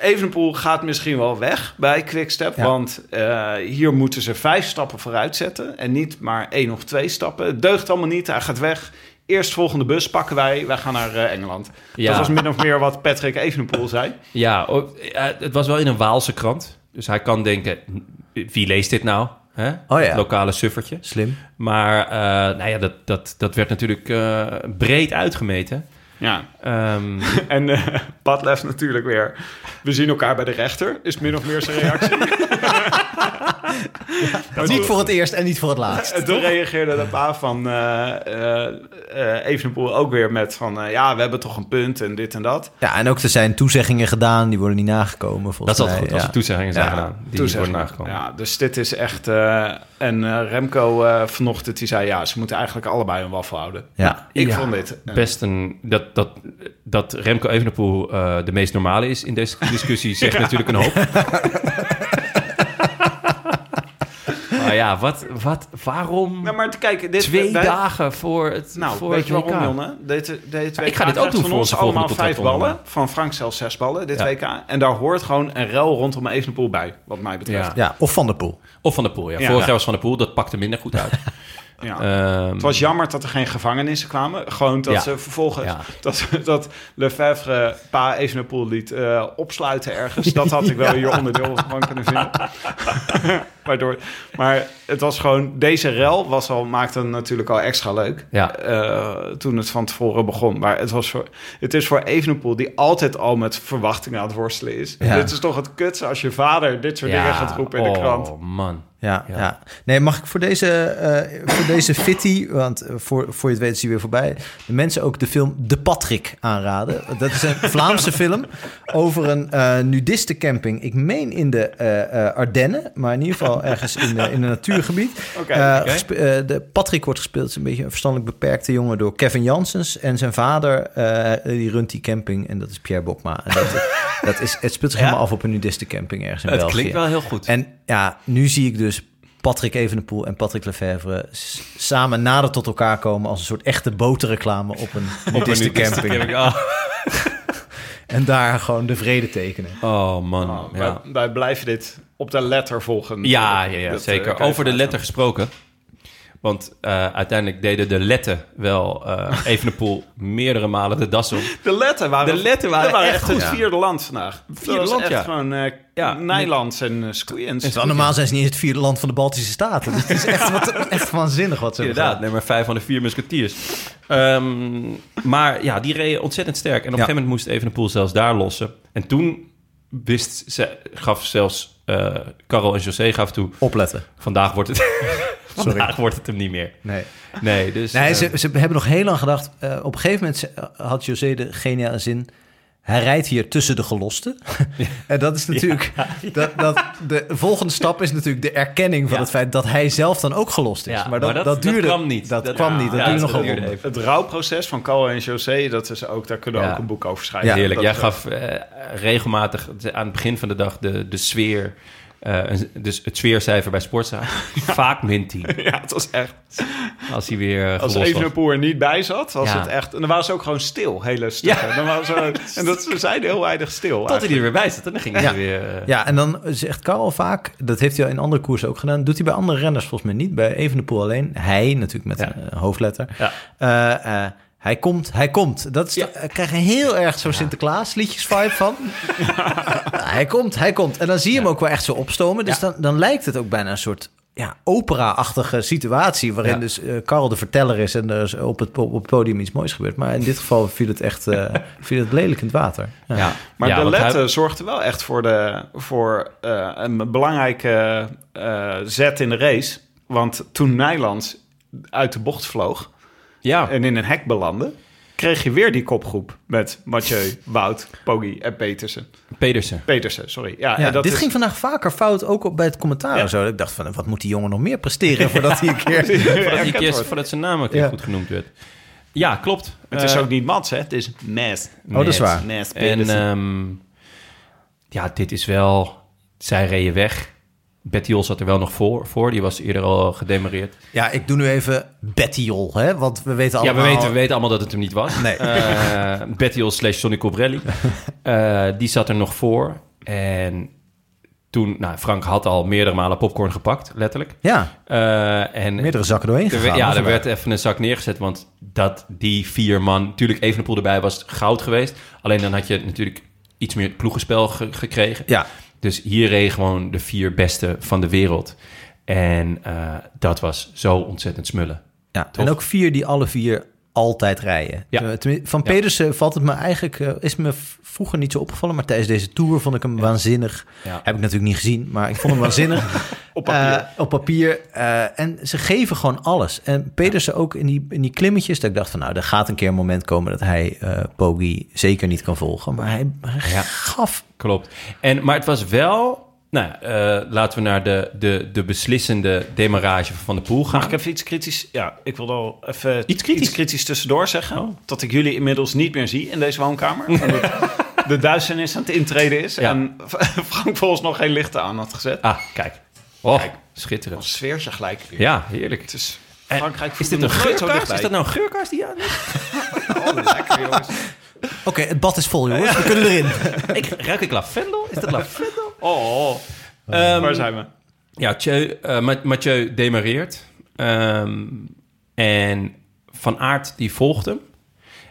Speaker 8: Evenepoel gaat misschien wel weg bij Quickstep.
Speaker 2: Ja.
Speaker 8: Want eh, hier moeten ze vijf stappen vooruit zetten. En niet maar één of twee stappen. Het deugt allemaal niet. Hij gaat weg. Eerst volgende bus pakken wij. Wij gaan naar eh, Engeland.
Speaker 1: Ja.
Speaker 8: Dat was min of meer wat Patrick Evenepoel zei.
Speaker 1: Ja, o- eh, het was wel in een Waalse krant. Dus hij kan denken, wie leest dit nou? Hè?
Speaker 2: ja.
Speaker 1: Het lokale suffertje.
Speaker 2: Slim.
Speaker 1: Maar eh, nou ja, dat, dat, dat werd natuurlijk eh, breed uitgemeten.
Speaker 8: Ja.
Speaker 1: Ehm,
Speaker 8: En eh Pat left natuurlijk weer. We zien elkaar bij de rechter. Is min of meer zijn reactie.
Speaker 2: Niet voor het eerst en niet voor het laatst.
Speaker 8: En toen Eh, reageerde de pa van eh eh, eh, Evenepoel ook weer met van... eh, ja, we hebben toch een punt en dit en dat.
Speaker 2: Ja, en ook er zijn toezeggingen gedaan, die worden niet nagekomen
Speaker 1: dat
Speaker 2: volgens
Speaker 1: is altijd
Speaker 2: mij.
Speaker 1: goed als
Speaker 2: ja.
Speaker 1: er toezeggingen zijn
Speaker 2: Ja,
Speaker 1: gedaan. Die niet worden
Speaker 8: Toezegging.
Speaker 1: nagekomen.
Speaker 8: Ja, dus dit is echt... eh, en eh, Remco eh, vanochtend, die zei... Ja, ze moeten eigenlijk allebei een waffel houden.
Speaker 2: Ja.
Speaker 8: Ik
Speaker 1: Ja. Nou,
Speaker 8: vond dit... eh,
Speaker 1: best een... Dat, dat, dat Remco Evenepoel eh, de meest normale is in deze discussie... zegt natuurlijk een hoop. maar ja, wat, wat, waarom
Speaker 8: nou, maar kijk, dit...
Speaker 1: twee
Speaker 8: wij-
Speaker 1: dagen voor het
Speaker 8: Nou,
Speaker 1: voor
Speaker 8: weet je
Speaker 1: het
Speaker 8: waarom,
Speaker 1: WK?
Speaker 8: Jonne? Dit, dit WK
Speaker 1: ik ga dit ook
Speaker 8: krijgt
Speaker 1: doen
Speaker 8: van
Speaker 1: voor
Speaker 8: ons
Speaker 1: onze volgende
Speaker 8: allemaal vijf ballen.
Speaker 1: contractonderhandeling.
Speaker 8: Van Frank zelfs zes ballen, dit
Speaker 1: Ja.
Speaker 8: WK. En daar hoort gewoon een rel rondom Evenepoel bij, wat mij betreft.
Speaker 2: ja, of Van der Poel.
Speaker 1: Of Van der Poel, ja.
Speaker 8: Ja.
Speaker 1: Vorig
Speaker 8: Ja.
Speaker 1: jaar was Van der Poel, dat pakte minder goed uit.
Speaker 8: Ja.
Speaker 1: Ehm,
Speaker 8: het was jammer dat er geen gevangenissen kwamen. Gewoon dat
Speaker 1: Ja.
Speaker 8: ze vervolgens...
Speaker 1: Ja.
Speaker 8: Dat, dat Lefebvre pa Evenepoel liet eh, opsluiten ergens. Dat had ik wel hier onderdeel van kunnen vinden. Waardoor, maar het was gewoon... Deze rel was al, maakte het natuurlijk al extra leuk.
Speaker 1: ja.
Speaker 8: eh, toen het van tevoren begon. Maar het, was voor, het is voor Evenepoel, die altijd al met verwachtingen aan het worstelen is.
Speaker 2: Ja.
Speaker 8: Dit is toch het kutste als je vader dit soort dingen gaat roepen in
Speaker 1: oh,
Speaker 8: de krant.
Speaker 1: man.
Speaker 2: Ja,
Speaker 1: Ja.
Speaker 2: ja. Nee, mag ik voor deze, eh, voor deze fitty, want eh, voor, voor je het weet is hij weer voorbij, de mensen ook de film De Patrick aanraden. Dat is een Vlaamse film over een eh nudistencamping. Ik meen in de eh, eh, Ardennen, maar in ieder geval ergens in, de- in een natuurgebied.
Speaker 8: Oké,
Speaker 2: Eh,
Speaker 8: oké.
Speaker 2: gespe- eh, de Patrick wordt gespeeld, is een beetje een verstandelijk beperkte jongen, door Kevin Janssens. En zijn vader, eh, die runt die camping en dat is Pierre Bokma. En dat, dat is, het speelt zich helemaal af op een nudistencamping ergens in
Speaker 1: Het
Speaker 2: België.
Speaker 1: klinkt wel heel goed.
Speaker 2: En ja, nu zie ik dus Patrick Evenepoel en Patrick Lefevre s- samen nader tot elkaar komen als een soort echte boterreclame op een nudistencamping. En daar gewoon de vrede tekenen.
Speaker 1: Oh, man.
Speaker 8: Nou,
Speaker 1: ja.
Speaker 8: wij, wij blijven dit op de letter volgen.
Speaker 1: Ja, ja,
Speaker 8: natuurlijk.
Speaker 1: ja
Speaker 8: Dat, eh,
Speaker 1: zeker.
Speaker 8: kan je
Speaker 1: Over de
Speaker 8: vaak
Speaker 1: letter gesproken. Want eh, uiteindelijk deden de letten wel eh Evenepoel meerdere malen de das om.
Speaker 8: De letter waren,
Speaker 1: De letter waren
Speaker 8: dat
Speaker 1: echt
Speaker 8: het
Speaker 1: goed.
Speaker 8: vierde land vandaag. Vierde
Speaker 1: land,
Speaker 8: echt
Speaker 1: ja.
Speaker 8: gewoon eh
Speaker 1: Ja,
Speaker 8: Nijlands en uh, Squeens.
Speaker 2: Terwijl normaal Dus zijn ze niet eens het vierde land van de Baltische Staten. Dus het is echt, wat, echt waanzinnig wat ze hebben
Speaker 1: Inderdaad,
Speaker 2: gedaan.
Speaker 1: nummer vijf van de vier musketiers. Ehm, maar ja, die reden ontzettend sterk. En op een
Speaker 2: Ja.
Speaker 1: gegeven moment moest Evenepoel zelfs daar lossen. En toen wist ze, gaf zelfs eh Karel en José gaf toe...
Speaker 2: Opletten.
Speaker 1: Vandaag wordt het, vandaag wordt het hem niet meer.
Speaker 2: Nee.
Speaker 1: Nee, dus...
Speaker 2: Nee,
Speaker 1: eh,
Speaker 2: ze, ze hebben nog heel lang gedacht. eh, op een gegeven moment ze- had José de geniale zin. Hij rijdt hier tussen de gelosten. en dat is natuurlijk. Dat, dat, de volgende stap is natuurlijk de erkenning van het feit dat hij zelf dan ook gelost is. Maar dat, dat, duurde.
Speaker 1: kwam niet.
Speaker 2: Dat, kwam niet. Dat
Speaker 1: ja,
Speaker 2: duurde
Speaker 1: dat
Speaker 2: nog een
Speaker 1: duurde
Speaker 2: ronde.
Speaker 1: even.
Speaker 8: Het rouwproces van Carl en José, dat is ook, daar kunnen we
Speaker 1: Ja.
Speaker 8: ook een boek over schrijven.
Speaker 1: Ja, heerlijk.
Speaker 8: Dat
Speaker 1: Jij
Speaker 8: is-
Speaker 1: gaf eh, regelmatig aan het begin van de dag de, de sfeer, eh, een- dus het sfeercijfer bij Sportza, vaak min 10.
Speaker 8: eh, Ja, het was echt...
Speaker 1: Als hij weer eh,
Speaker 8: Als
Speaker 1: gelost was.
Speaker 8: Evenepoel er niet bij zat, was
Speaker 1: Ja.
Speaker 8: het echt... En dan waren ze ook gewoon stil, hele stukken. Dan waren ze, en dat, ze zijn heel weinig stil.
Speaker 1: Tot hij
Speaker 8: eigenlijk.
Speaker 1: er weer bij zat en dan ging hij
Speaker 2: Ja.
Speaker 1: weer... eh,
Speaker 2: Ja, en dan zegt Karel vaak, dat heeft hij al in andere koersen ook gedaan, doet hij bij andere renners volgens mij niet, bij Evenepoel alleen. Hij natuurlijk met
Speaker 1: Ja.
Speaker 2: een eh, hoofdletter.
Speaker 1: Ja.
Speaker 2: Eh, eh, hij komt, hij komt. Dat is,
Speaker 1: Ja.
Speaker 2: ik krijg een heel erg zo'n Sinterklaas liedjes vibe van. hij komt, hij komt. En dan zie je hem ook wel echt zo opstomen. Dus dan, dan lijkt het ook bijna een soort ja, opera-achtige situatie... waarin
Speaker 1: Ja.
Speaker 2: dus eh, Karel de verteller is en er is op het, po- op het podium iets moois gebeurt. Maar in dit geval viel het echt eh, viel het lelijk in het water. Ja.
Speaker 1: ja.
Speaker 8: Maar
Speaker 1: Ja,
Speaker 8: de
Speaker 1: want hij-
Speaker 8: letten zorgde wel echt voor, de, voor eh, een belangrijke eh, zet in de race. Want toen Nijlands uit de bocht vloog
Speaker 1: Ja,
Speaker 8: en in een hek belandde... kreeg je weer die kopgroep met Mathieu, Wout, Poggi en Petersen.
Speaker 1: Pedersen.
Speaker 8: Petersen, sorry. Ja,
Speaker 2: Ja,
Speaker 8: en dat
Speaker 2: dit
Speaker 8: is-
Speaker 2: ging vandaag vaker fout, ook op, bij het commentaar en zo. Ik dacht van, wat moet die jongen nog meer presteren voordat hij een keer...
Speaker 1: Voordat, hij
Speaker 8: Erkend
Speaker 1: eerst-
Speaker 8: wordt.
Speaker 1: voordat zijn naam ook keer
Speaker 2: Ja.
Speaker 1: goed genoemd werd. Ja, klopt.
Speaker 8: Het is
Speaker 1: Eh,
Speaker 8: ook niet Mats, hè? Het is Mes.
Speaker 2: Oh, dat is
Speaker 1: net.
Speaker 2: waar.
Speaker 8: Nes
Speaker 1: En
Speaker 8: Pedersen.
Speaker 1: ehm, ja, dit is wel... Zij reden weg. Betty Jol zat er wel nog voor. voor. Die was eerder al gedemareerd.
Speaker 2: Ja, ik doe nu even Betty Jol, hè? Want we weten allemaal...
Speaker 1: Ja, we weten, we weten allemaal dat het hem niet was.
Speaker 2: Nee.
Speaker 1: Eh, Betty Hill slash Sonny Cobrelli. Eh, die zat er nog voor. En toen... Nou, Frank had al meerdere malen popcorn gepakt, letterlijk.
Speaker 2: Ja,
Speaker 1: Eh, en
Speaker 2: meerdere zakken doorheen
Speaker 1: er
Speaker 2: gegaan.
Speaker 1: werd- ja,
Speaker 2: hoor,
Speaker 1: er
Speaker 2: vandaag.
Speaker 1: werd even een zak neergezet. Want dat die vier man... Natuurlijk, Evenepoel erbij was goud geweest. Alleen dan had je natuurlijk iets meer ploegenspel ge- gekregen.
Speaker 2: Ja,
Speaker 1: Dus hier reden gewoon de vier beste van de wereld. En eh, dat was zo ontzettend smullen.
Speaker 2: ja.
Speaker 1: Toch?
Speaker 2: en ook vier die alle vier altijd rijden.
Speaker 1: Ja.
Speaker 2: Tenmin- Van
Speaker 1: Ja.
Speaker 2: Pedersen valt het me eigenlijk... eh, is me v- vroeger niet zo opgevallen, maar tijdens deze tour vond ik hem waanzinnig.
Speaker 1: Ja.
Speaker 2: Heb ik natuurlijk niet gezien, maar ik vond hem waanzinnig.
Speaker 8: Op papier.
Speaker 2: Eh, op papier. eh, en ze geven gewoon alles. En Pedersen ook in die, in die klimmetjes. Dat ik dacht van nou, er gaat een keer een moment komen dat hij eh Poggi zeker niet kan volgen. Maar hij, hij
Speaker 1: Ja.
Speaker 2: gaf.
Speaker 1: Klopt. En, maar het was wel... Nou, ja, eh, laten we naar de, de, de beslissende demarrage van de pool gaan.
Speaker 8: Mag ik even iets kritisch? Ja, ik wil al even
Speaker 1: Iets kritisch?
Speaker 8: tussendoor zeggen. Dat ik jullie inmiddels niet meer zie in deze woonkamer. Omdat de duisternis aan het intreden is.
Speaker 1: Ja.
Speaker 8: En Frank volgens nog geen lichten aan had gezet.
Speaker 1: Ah, kijk. Oh, schitterend.
Speaker 8: Als sfeertje gelijk weer.
Speaker 1: Ja, heerlijk.
Speaker 8: Het is
Speaker 1: En
Speaker 8: Frankrijk
Speaker 1: is
Speaker 8: voelt
Speaker 1: dit
Speaker 8: me
Speaker 1: een
Speaker 8: nog nooit zo
Speaker 1: geurkaars?
Speaker 8: dichtbij.
Speaker 1: Is dat nou een geurkaars die je aan hebt?
Speaker 8: Oh, lekker jongens.
Speaker 2: Oké, het bad is vol jongens, we kunnen erin.
Speaker 1: Ik Ruik ik lavendel? Is dat lavendel?
Speaker 8: Oh, oh.
Speaker 1: Ehm,
Speaker 8: waar zijn we?
Speaker 1: Ja, Thieu, eh, Ma- Mathieu demareert. Ehm, en Van Aert die volgt hem.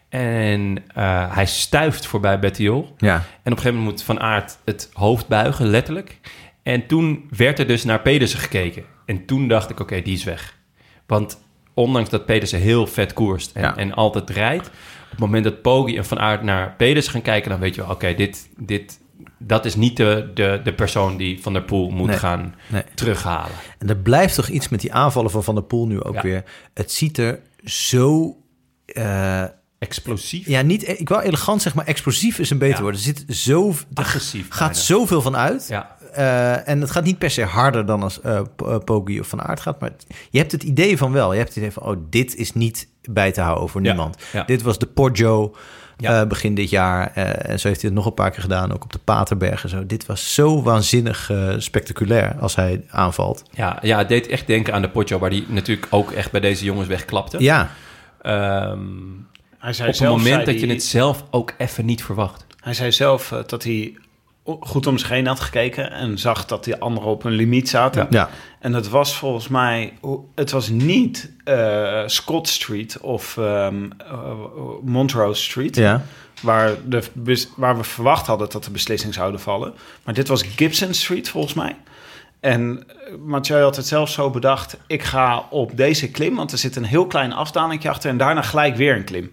Speaker 1: En eh, hij stuift voorbij Betty Jol.
Speaker 2: Ja.
Speaker 1: En op een gegeven moment moet Van Aert het hoofd buigen, letterlijk. En toen werd er dus naar Pedersen gekeken. En toen dacht ik, oké, die is weg. Want ondanks dat Pedersen heel vet koerst en,
Speaker 2: Ja.
Speaker 1: en altijd rijdt... op het moment dat Poggi en Van Aert naar Pedersen gaan kijken... dan weet je wel, oké, dit, dit, dat is niet de, de, de persoon die Van der Poel moet
Speaker 2: Nee.
Speaker 1: gaan
Speaker 2: Nee.
Speaker 1: terughalen.
Speaker 2: En er blijft toch iets met die aanvallen van Van der Poel nu ook
Speaker 1: Ja.
Speaker 2: weer. Het ziet er zo... eh,
Speaker 1: Explosief.
Speaker 2: ja, niet, e- ik wou elegant zeg maar explosief is een beter
Speaker 1: Ja.
Speaker 2: woord. Er, zit zo, er
Speaker 1: Agressief
Speaker 2: gaat
Speaker 1: bijna.
Speaker 2: zoveel van uit.
Speaker 1: Ja.
Speaker 2: Eh, en het gaat niet per se harder dan als eh P- eh, Poggi of Van Aert gaat. Maar je hebt het idee van wel. Je hebt het idee van, oh, dit is niet bij te houden voor
Speaker 1: Ja,
Speaker 2: niemand.
Speaker 1: ja.
Speaker 2: Dit was de Poggio
Speaker 1: Ja.
Speaker 2: eh, begin dit jaar. Eh, en zo heeft hij het nog een paar keer gedaan, ook op de Paterberg en zo. Dit was zo waanzinnig eh, spectaculair als hij aanvalt.
Speaker 1: Ja, ja, het deed echt denken aan de Potjo... waar die natuurlijk ook echt bij deze jongens wegklapte.
Speaker 2: Ja,
Speaker 1: Ehm,
Speaker 8: Hij zei
Speaker 1: op het
Speaker 8: zelf,
Speaker 1: moment
Speaker 8: zei
Speaker 1: dat je
Speaker 8: hij-
Speaker 1: het zelf ook even niet verwacht.
Speaker 8: Hij zei zelf eh, dat hij o- goed om zich heen had gekeken en zag dat die anderen op een limiet zaten.
Speaker 2: Ja.
Speaker 8: En het was volgens mij, o- het was niet eh, Scott Street of ehm, eh, Montrose Street,
Speaker 2: ja.
Speaker 8: waar, de, bes- waar we verwacht hadden dat de beslissing zouden vallen. Maar dit was Gibson Street volgens mij. En eh, Mathieu had het zelf zo bedacht, ik ga op deze klim, want er zit een heel klein afdalingje achter en daarna gelijk weer een klim.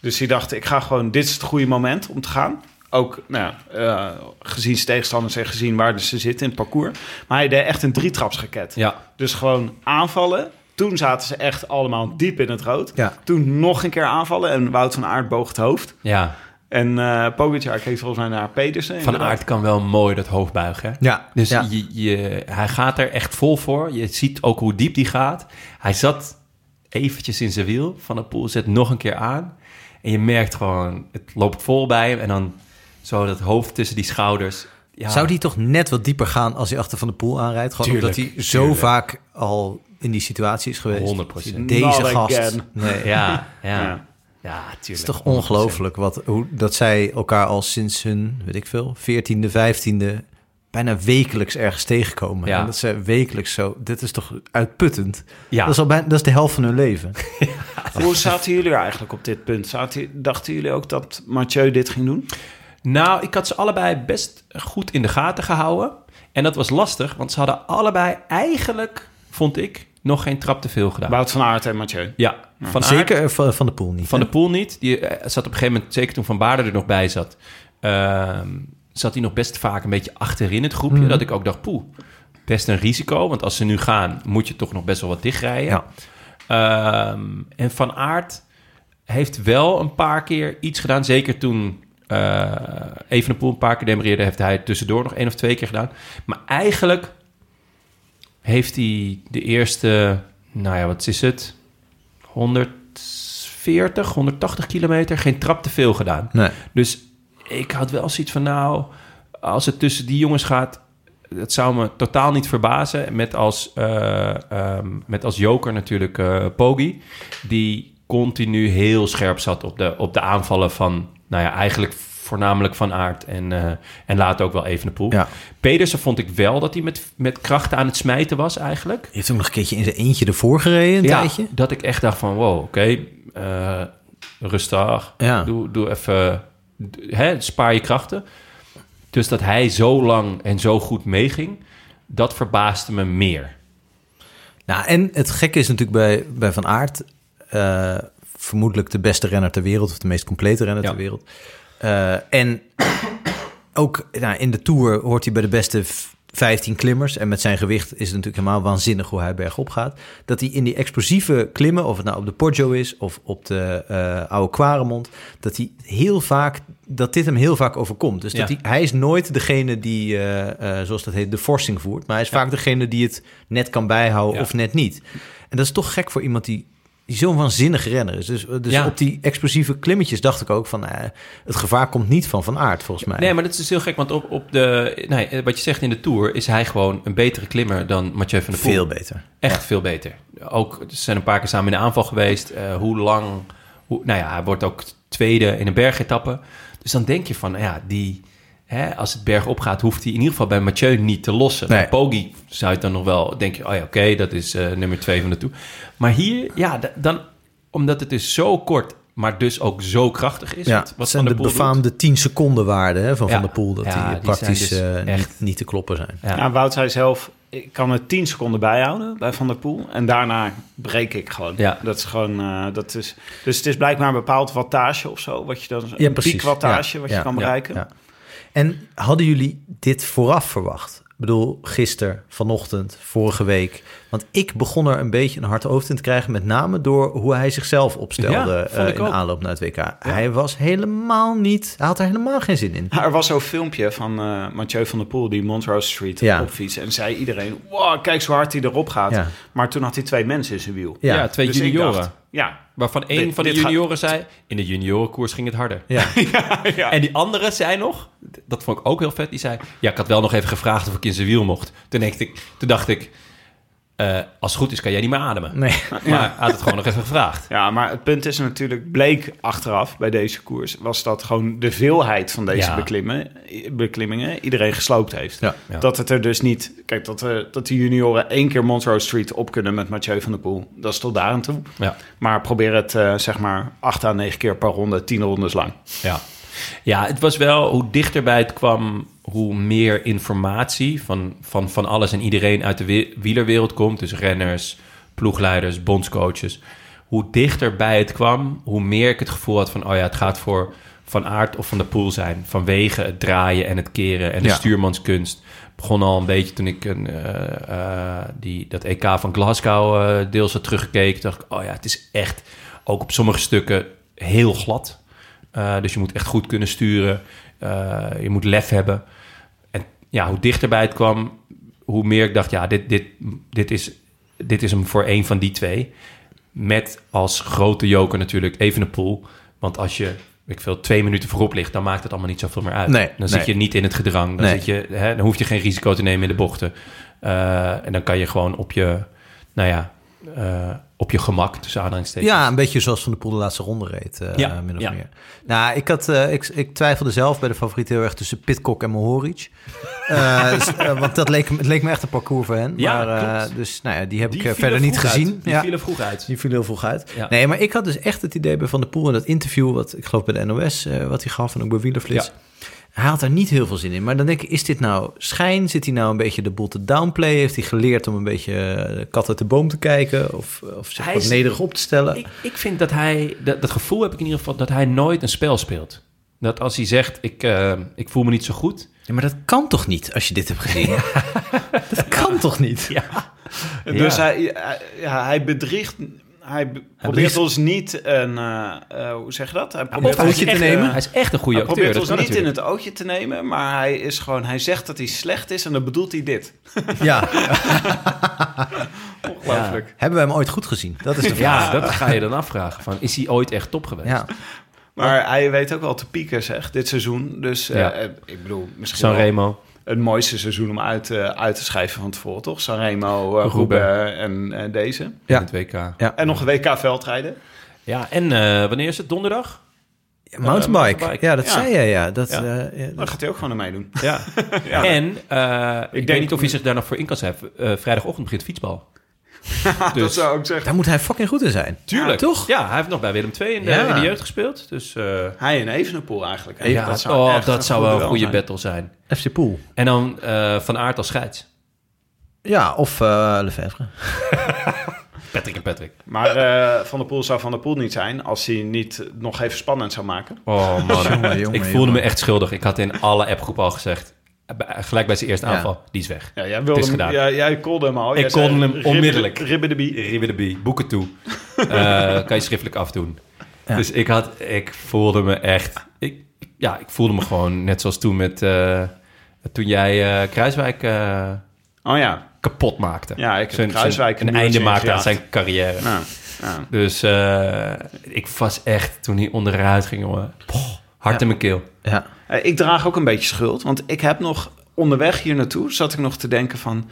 Speaker 8: Dus die dacht, ik ga gewoon, dit is het goede moment om te gaan. Ook nou, ja, eh, gezien zijn tegenstanders en gezien waar dus ze zitten in het parcours. Maar hij deed echt een drietrapsraket.
Speaker 1: Ja,
Speaker 8: Dus gewoon aanvallen. Toen zaten ze echt allemaal diep in het rood.
Speaker 2: Ja.
Speaker 8: Toen nog een keer aanvallen en Wout van Aert boog het hoofd.
Speaker 1: ja.
Speaker 8: En eh Pogacar heeft volgens mij naar Pedersen.
Speaker 1: Van
Speaker 8: inderdaad.
Speaker 1: Aert kan wel mooi dat hoogbuigen. Hè?
Speaker 2: Ja,
Speaker 1: Dus
Speaker 2: ja.
Speaker 1: Je, je, hij gaat er echt vol voor. Je ziet ook hoe diep die gaat. Hij zat eventjes in zijn wiel. Van de Poel zet nog een keer aan. En je merkt gewoon, het loopt vol bij hem. En dan zo dat hoofd tussen die schouders. Ja,
Speaker 2: Zou die toch net wat dieper gaan als hij achter van de poel aanrijdt? Gewoon
Speaker 1: Tuurlijk,
Speaker 2: omdat hij zo
Speaker 1: tuurlijk.
Speaker 2: vaak al in die situatie is geweest.
Speaker 1: 100%.
Speaker 2: Deze
Speaker 8: Not
Speaker 2: gast.
Speaker 8: again.
Speaker 2: Nee.
Speaker 1: Ja, ja.
Speaker 8: Ja.
Speaker 1: ja. tuurlijk.
Speaker 2: Het is toch ongelooflijk wat, hoe, dat zij elkaar al sinds hun, weet ik veel, 14e, 15e bijna wekelijks ergens tegenkomen.
Speaker 1: Ja.
Speaker 2: En dat ze wekelijks zo, dit is toch uitputtend?
Speaker 1: Ja.
Speaker 2: Dat, is al bijna, dat is de helft van hun leven.
Speaker 8: Hoe zaten jullie eigenlijk op dit punt? Zaten, dachten jullie ook dat Mathieu dit ging doen?
Speaker 1: Nou, ik had ze allebei best goed in de gaten gehouden. En dat was lastig, want ze hadden allebei eigenlijk, vond ik, nog geen trap te veel gedaan.
Speaker 8: Wout van Aert en Mathieu.
Speaker 1: Ja, van Aert-
Speaker 2: Zeker eh, van, van de poel niet.
Speaker 1: Van
Speaker 2: hè?
Speaker 1: de Poel niet. Die eh, zat op een gegeven moment, zeker toen Van Baarden er nog bij zat... ehm, zat hij nog best vaak een beetje achterin het groepje.
Speaker 2: Mhm.
Speaker 1: Dat ik ook dacht, poeh, best een risico. Want als ze nu gaan, moet je toch nog best wel wat dichtrijden.
Speaker 2: Ja.
Speaker 1: Ehm, en Van Aert heeft wel een paar keer iets gedaan. Zeker toen eh Evenepoel een paar keer demereerde... heeft hij het tussendoor nog één of twee keer gedaan. Maar eigenlijk heeft hij de eerste... Nou ja, wat is het? 140, 180 kilometer geen trap te veel gedaan.
Speaker 2: Nee.
Speaker 1: Dus ik had wel zoiets van, nou, als het tussen die jongens gaat, dat zou me totaal niet verbazen. Met als, eh, ehm, met als joker natuurlijk eh Poggi, die continu heel scherp zat op de, op de aanvallen van, nou ja, eigenlijk voornamelijk van Aert en, eh, en later ook wel even de poel.
Speaker 2: Ja.
Speaker 1: Pedersen vond ik wel dat hij met, met krachten aan het smijten was eigenlijk.
Speaker 2: Hij heeft ook nog een keertje in zijn eentje ervoor gereden, een tijdje.
Speaker 1: Dat ik echt dacht van, wow, oké, eh, rustig.
Speaker 2: Ja.
Speaker 1: Doe, doe even, d- hè, spaar je krachten. Dus dat hij zo lang en zo goed meeging, dat verbaasde me meer.
Speaker 2: Nou, en het gekke is natuurlijk bij, bij Van Aert... eh, vermoedelijk de beste renner ter wereld... of de meest complete renner
Speaker 1: Ja.
Speaker 2: ter wereld. Eh, en ook nou, in de Tour hoort hij bij de beste v- 15 klimmers. En met zijn gewicht is het natuurlijk helemaal waanzinnig hoe hij bergop gaat. Dat hij in die explosieve klimmen, of het nou op de Poggio is... of op de eh Oude Quaremont, dat hij heel vaak... dat dit hem heel vaak overkomt. Dus dat
Speaker 1: Ja.
Speaker 2: hij, hij is nooit degene die, eh, eh, zoals dat heet, de forsing voert. Maar hij is vaak degene die het net kan bijhouden
Speaker 1: Ja.
Speaker 2: of net niet. En dat is toch gek voor iemand die... Die zo'n waanzinnig renner is. Dus, dus
Speaker 1: Ja.
Speaker 2: op die explosieve klimmetjes dacht ik ook van... eh, het gevaar komt niet van Van Aert, volgens mij.
Speaker 1: Nee, maar dat is dus heel gek, want op, op de, nee, eh, wat je zegt in de Tour... is hij gewoon een betere klimmer dan Mathieu van der Poel.
Speaker 2: Veel beter.
Speaker 1: Echt veel beter. Ook, ze zijn een paar keer samen in de aanval geweest. Eh, hoe lang... Hoe, nou ja, hij wordt ook tweede in een bergetappe. Dus dan denk je van, ja, die... Hè, als het berg opgaat, hoeft hij in ieder geval bij Mathieu niet te lossen.
Speaker 2: Nee.
Speaker 1: Bij Poggi zou je dan nog wel denken... oh ja, oké, dat is eh, nummer twee van de toe. Maar hier, ja, da- dan... Omdat het dus zo kort, maar dus ook zo krachtig is...
Speaker 2: Ja,
Speaker 1: wat- wat
Speaker 2: wat zijn
Speaker 1: Van
Speaker 2: de,
Speaker 1: der Poel doet.
Speaker 2: befaamde 10 seconden waarde hè, van
Speaker 1: Ja.
Speaker 2: Van der Poel... dat
Speaker 1: Ja,
Speaker 2: die
Speaker 1: die
Speaker 2: praktisch
Speaker 1: zijn dus
Speaker 2: eh,
Speaker 1: echt-
Speaker 2: niet, niet te kloppen zijn.
Speaker 1: Ja.
Speaker 8: Nou, Wout zei zelf, ik kan het 10 seconden bijhouden bij Van der Poel. En daarna breek ik gewoon.
Speaker 1: Ja.
Speaker 8: Dat is gewoon, eh, dat is, dus het is blijkbaar een bepaald wattage of zo. Wat je dan, een piekwattage
Speaker 2: Ja,
Speaker 8: wat
Speaker 2: ja,
Speaker 8: je kan
Speaker 2: ja,
Speaker 8: bereiken.
Speaker 2: ja. En hadden jullie dit vooraf verwacht? Ik bedoel, gisteren, vanochtend, vorige week. Want ik begon er een beetje een hard hoofd in te krijgen... met name door hoe hij zichzelf opstelde
Speaker 1: Ja, vond
Speaker 2: eh,
Speaker 1: ik
Speaker 2: in de
Speaker 1: ook.
Speaker 2: aanloop naar het WK. Hij was helemaal niet... Hij had er helemaal geen zin in.
Speaker 8: Ja, Er was zo'n filmpje van eh, Mathieu van der Poel die Montrose Street
Speaker 2: Ja.
Speaker 8: opfietst. En zei iedereen, wow, kijk zo hard hij erop gaat.
Speaker 2: Ja.
Speaker 8: Maar toen had hij twee mensen in zijn wiel.
Speaker 1: Ja,
Speaker 2: Ja,
Speaker 1: twee
Speaker 8: Dus ik
Speaker 1: junioren.
Speaker 8: dacht, ja,
Speaker 1: Waarvan één
Speaker 8: Dit-
Speaker 1: van de
Speaker 8: dit gaat-
Speaker 1: junioren zei... in de juniorenkoers ging het harder.
Speaker 2: ja.
Speaker 1: En die andere zei nog... dat vond ik ook heel vet. Die zei... ja, ik had wel nog even gevraagd of ik in zijn wiel mocht. Toen, dacht ik, toen dacht ik... eh, als het goed is, kan jij niet meer ademen.
Speaker 2: Nee.
Speaker 1: Maar hij had het gewoon nog even gevraagd.
Speaker 8: Ja, maar het punt is natuurlijk, bleek achteraf bij deze koers, was dat gewoon de veelheid van deze
Speaker 1: Ja.
Speaker 8: beklimmen, beklimmingen iedereen gesloopt heeft.
Speaker 2: Ja.
Speaker 1: Ja.
Speaker 8: Dat het er dus niet, kijk, dat, de dat die junioren één keer Montrose Street op kunnen met Mathieu van der Poel, dat is tot daar aan toe.
Speaker 1: Ja.
Speaker 8: Maar probeer het eh, zeg maar acht à negen keer per ronde, tien rondes lang.
Speaker 1: Ja. ja, het was wel hoe dichterbij het kwam, hoe meer informatie van, van, van alles en iedereen uit de wi- wielerwereld komt. Dus renners, ploegleiders, bondscoaches. Hoe dichterbij het kwam, hoe meer ik het gevoel had van: oh ja, het gaat voor Van Aert of Van de Poel zijn. Vanwege het draaien en het keren en de
Speaker 2: Ja.
Speaker 1: stuurmanskunst. Begon al een beetje toen ik een, eh, eh, die, dat EK van Glasgow eh, deels had teruggekeken. Dacht ik: oh ja, het is echt ook op sommige stukken heel glad. Eh, Eh, dus je moet echt goed kunnen sturen. Eh, je moet lef hebben. En ja, hoe dichterbij het kwam, hoe meer ik dacht, ja, dit, dit, dit, is, dit is hem voor één van die twee. Met als grote joker natuurlijk even een pool. Want als je ik veel, twee minuten voorop ligt, dan maakt het allemaal niet zoveel meer uit.
Speaker 2: Nee,
Speaker 1: dan
Speaker 2: nee.
Speaker 1: zit je niet in het gedrang. Dan,
Speaker 2: Nee.
Speaker 1: zit je, hè, dan hoef je geen risico te nemen in de bochten. Eh, en dan kan je gewoon op je, nou ja, eh, op je gemak tussen aanhalingstekens.
Speaker 2: Ja, een beetje zoals Van de Poel de laatste ronde reed, eh,
Speaker 1: Ja,
Speaker 2: min of
Speaker 1: ja.
Speaker 2: meer. Nou, ik, had, eh, ik, ik twijfelde zelf bij de favoriet heel erg tussen Pitcock en Mohoric. Eh, dus, eh, want dat leek, me- het leek me echt een parcours voor hen.
Speaker 1: Ja,
Speaker 2: maar, eh,
Speaker 1: klopt.
Speaker 2: dus nou ja, die heb
Speaker 1: Die
Speaker 2: ik eh,
Speaker 1: vielen
Speaker 2: verder niet
Speaker 1: vroeg
Speaker 2: gezien.
Speaker 1: uit. Die vielen vroeg uit.
Speaker 2: Die vielen heel vroeg uit.
Speaker 1: Ja.
Speaker 2: Nee, maar ik had dus echt het idee bij Van der Poel in dat interview... wat ik geloof bij de NOS, eh, wat hij gaf en ook bij Wielerflits...
Speaker 1: Ja.
Speaker 2: Hij had daar niet heel veel zin in. Maar dan denk ik, is dit nou schijn? Zit hij nou een beetje de boel te downplayen? Heeft hij geleerd om een beetje eh, de kat uit de boom te kijken? Of, of zich
Speaker 1: Hij
Speaker 2: wat
Speaker 1: is-
Speaker 2: nederig op te stellen?
Speaker 1: Ik, ik vind dat hij, dat, dat gevoel heb ik in ieder geval, dat hij nooit een spel speelt. Dat als hij zegt, ik, eh, ik voel me niet zo goed.
Speaker 2: Ja, maar dat kan toch niet als je dit hebt gezien? dat kan toch niet?
Speaker 8: Dus
Speaker 1: Ja.
Speaker 8: hij, hij- ja, hij bedriegt... Hij be- probeert
Speaker 2: bedriegt-
Speaker 8: ons niet een... eh, eh, hoe zeg je dat? Hij probeert
Speaker 1: Of hij
Speaker 8: ons
Speaker 1: is,
Speaker 8: niet,
Speaker 1: echt,
Speaker 8: eh,
Speaker 1: hij is echt een goede
Speaker 8: hij
Speaker 1: acteur.
Speaker 8: probeert
Speaker 1: dat
Speaker 8: ons
Speaker 1: kan
Speaker 8: niet in
Speaker 1: natuurlijk.
Speaker 8: het oogje te nemen, maar hij is gewoon... Hij zegt dat hij slecht is en dan bedoelt hij dit.
Speaker 2: Ja.
Speaker 8: Ongelooflijk.
Speaker 2: Hebben we hem ooit goed gezien? Dat is de vraag.
Speaker 1: Ja, dat ga je dan afvragen. Van, is hij ooit echt top geweest?
Speaker 2: Ja.
Speaker 8: Maar hij weet ook wel te pieken, zeg, dit seizoen. Dus eh,
Speaker 1: Ja.
Speaker 8: eh, ik bedoel, misschien
Speaker 1: San
Speaker 8: wel
Speaker 1: Remo.
Speaker 8: het mooiste seizoen om uit, eh, uit te schrijven van tevoren, toch? Sanremo, eh
Speaker 1: Roubaix.
Speaker 8: Roubaix en eh, deze.
Speaker 2: Ja.
Speaker 1: In het WK.
Speaker 2: Ja.
Speaker 8: En nog een WK-veldrijden.
Speaker 1: Ja, en eh, wanneer is het? Donderdag?
Speaker 2: Mountainbike.
Speaker 1: mountainbike.
Speaker 2: Ja, dat
Speaker 8: Ja.
Speaker 2: zei je. Ja. Dat,
Speaker 8: Ja.
Speaker 2: eh, ja,
Speaker 8: Dan gaat hij ook gewoon aan meedoen.
Speaker 1: Ja.
Speaker 8: Ja.
Speaker 1: En eh, ik,
Speaker 8: denk-
Speaker 1: weet niet of hij zich daar nog voor in kan zetten. Eh, vrijdagochtend begint fietsbal. Dus,
Speaker 8: Dat zou ik zeggen.
Speaker 2: daar moet hij fucking goed in zijn.
Speaker 1: Tuurlijk.
Speaker 2: Ja, toch?
Speaker 1: Ja, hij heeft nog bij Willem II in de,
Speaker 2: Ja.
Speaker 1: in de jeugd gespeeld. Dus eh,
Speaker 8: Hij en Evenepoel eigenlijk.
Speaker 1: ja, dat zou, oh, dat zou wel een goede
Speaker 8: bed.
Speaker 1: battle zijn.
Speaker 2: FC Poel.
Speaker 1: En dan eh, Van Aert als scheids.
Speaker 2: Ja, of eh Lefebvre.
Speaker 1: Patrick en Patrick.
Speaker 8: Maar eh, Van der Poel zou Van der Poel niet zijn als hij niet nog even spannend zou maken.
Speaker 1: Oh man,
Speaker 2: Jongen, jongen,
Speaker 1: ik voelde
Speaker 2: jongen.
Speaker 1: me echt schuldig. Ik had in alle appgroepen al gezegd, bij- gelijk bij zijn eerste
Speaker 2: Ja.
Speaker 1: aanval, die is weg.
Speaker 8: Ja, jij
Speaker 1: Het
Speaker 8: wilde
Speaker 1: is
Speaker 8: hem,
Speaker 1: gedaan.
Speaker 8: ja, jij kolde hem al.
Speaker 1: Ik
Speaker 8: Jij zei,
Speaker 1: kolde hem
Speaker 8: ribbe-
Speaker 1: onmiddellijk.
Speaker 8: Ribbe de bie.
Speaker 1: Ribben de bie, boeken toe. Eh, kan je schriftelijk afdoen. Dus ik, had, ik voelde me echt... Ik, ja, ik voelde me gewoon net zoals toen met... eh, toen jij eh, Kruiswijk eh,
Speaker 8: Oh ja.
Speaker 1: kapot maakte.
Speaker 8: Ja, ik heb
Speaker 1: Zijn-
Speaker 8: Kruiswijk
Speaker 1: zijn-
Speaker 8: een
Speaker 1: een einde
Speaker 8: muurtje
Speaker 1: maakte aan
Speaker 8: ingejaagd.
Speaker 1: zijn carrière.
Speaker 8: Nou, nou.
Speaker 1: Dus eh, ik was echt, toen hij onderuit ging, jongen, poh, hart in mijn keel.
Speaker 2: Ja.
Speaker 8: Eh, Ik draag ook een beetje schuld, want ik heb nog onderweg hier naartoe zat ik nog te denken van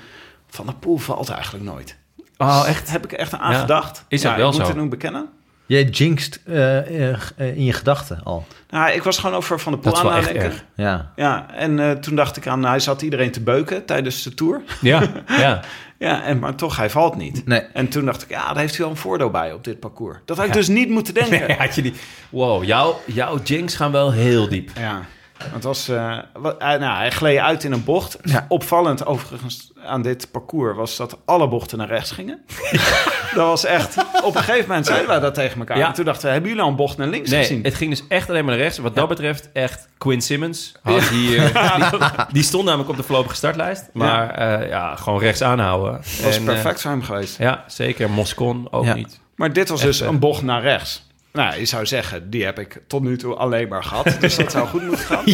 Speaker 8: Van der Poel valt eigenlijk nooit.
Speaker 1: Oh, echt?
Speaker 8: Heb ik er echt aan gedacht?
Speaker 1: is dat
Speaker 8: Ja,
Speaker 1: wel
Speaker 8: ik
Speaker 1: zo?
Speaker 8: moet het nu bekennen.
Speaker 2: Jij jinxt eh, eh, eh, in je gedachten al.
Speaker 8: Nou, ik was gewoon over Van der Poel
Speaker 1: Dat is
Speaker 8: aan
Speaker 1: wel
Speaker 8: het
Speaker 1: echt
Speaker 8: denken.
Speaker 1: erg.
Speaker 2: Ja.
Speaker 8: Ja, en eh, toen dacht ik aan, hij zat iedereen te beuken tijdens de tour.
Speaker 1: Ja, ja.
Speaker 8: Ja, en, maar toch, hij valt niet.
Speaker 2: Nee.
Speaker 8: En toen dacht ik, ja, daar heeft hij wel een voordeel bij op dit parcours. Dat had ik dus niet moeten denken.
Speaker 1: Nee, had je die... Wow, jouw, jouw jinx gaan wel heel diep.
Speaker 8: Ja, want het was, eh, wat, hij- nou, hij gleed uit in een bocht. Opvallend overigens aan dit parcours was dat alle bochten naar rechts gingen. dat was echt... Op een gegeven moment zeiden wij dat tegen elkaar.
Speaker 1: Ja.
Speaker 8: En toen dachten we, hebben jullie al een bocht naar links
Speaker 1: Nee,
Speaker 8: gezien?
Speaker 1: het ging dus echt alleen maar naar rechts. Wat dat betreft echt Quinn Simmons. Had hier, die, die stond namelijk op de voorlopige startlijst. Maar ja, ja gewoon rechts aanhouden.
Speaker 8: Dat was
Speaker 1: En, eh,
Speaker 8: perfect voor hem geweest.
Speaker 1: ja, zeker. Moscon ook
Speaker 2: Ja.
Speaker 1: niet.
Speaker 8: Maar dit was
Speaker 1: Echt,
Speaker 8: dus
Speaker 1: eh.
Speaker 8: een bocht naar rechts. Nou, je zou zeggen, die heb ik tot nu toe alleen maar gehad. Dus dat zou goed moeten gaan.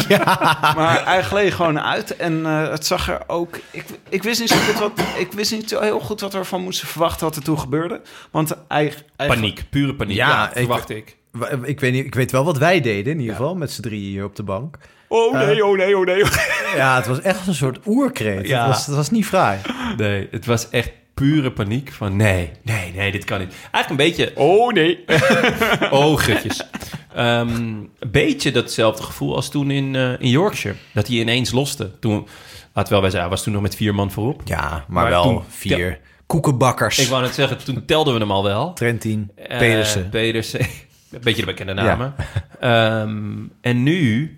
Speaker 8: Maar hij gleed gewoon uit. En eh, het zag er ook... Ik, ik, wist niet zo goed wat, ik wist niet zo heel goed wat we ervan moesten verwachten wat er toen gebeurde. Want hij... hij
Speaker 1: Paniek, pure paniek.
Speaker 2: Ja,
Speaker 1: Ja,
Speaker 2: ik-
Speaker 1: verwacht ik.
Speaker 2: Wa- eh, Ik weet, niet, ik weet wel wat wij deden in ieder geval, met z'n drieën hier op de bank.
Speaker 8: Oh
Speaker 1: Eh.
Speaker 8: nee, oh nee, oh nee.
Speaker 2: Ja, het was echt een soort oerkreet.
Speaker 1: Ja.
Speaker 2: Het, was, het was niet fraai.
Speaker 1: Nee, het was echt pure paniek van nee, nee, nee, dit kan niet. Eigenlijk een beetje
Speaker 8: Oh nee.
Speaker 1: oogjes. Ehm, een beetje datzelfde gevoel als toen in, eh, in Yorkshire. Dat hij ineens loste. Toen, laat wel bij zijn, hij was toen nog met vier man voorop.
Speaker 2: Ja, maar,
Speaker 1: Maar
Speaker 2: wel
Speaker 1: toen-
Speaker 2: vier koekenbakkers.
Speaker 1: Ik wou net zeggen, toen telden we hem al wel.
Speaker 2: Trentin,
Speaker 1: Eh,
Speaker 2: Pedersen.
Speaker 1: Pedersen. Een beetje de bekende
Speaker 2: Ja.
Speaker 1: namen. Ehm, en nu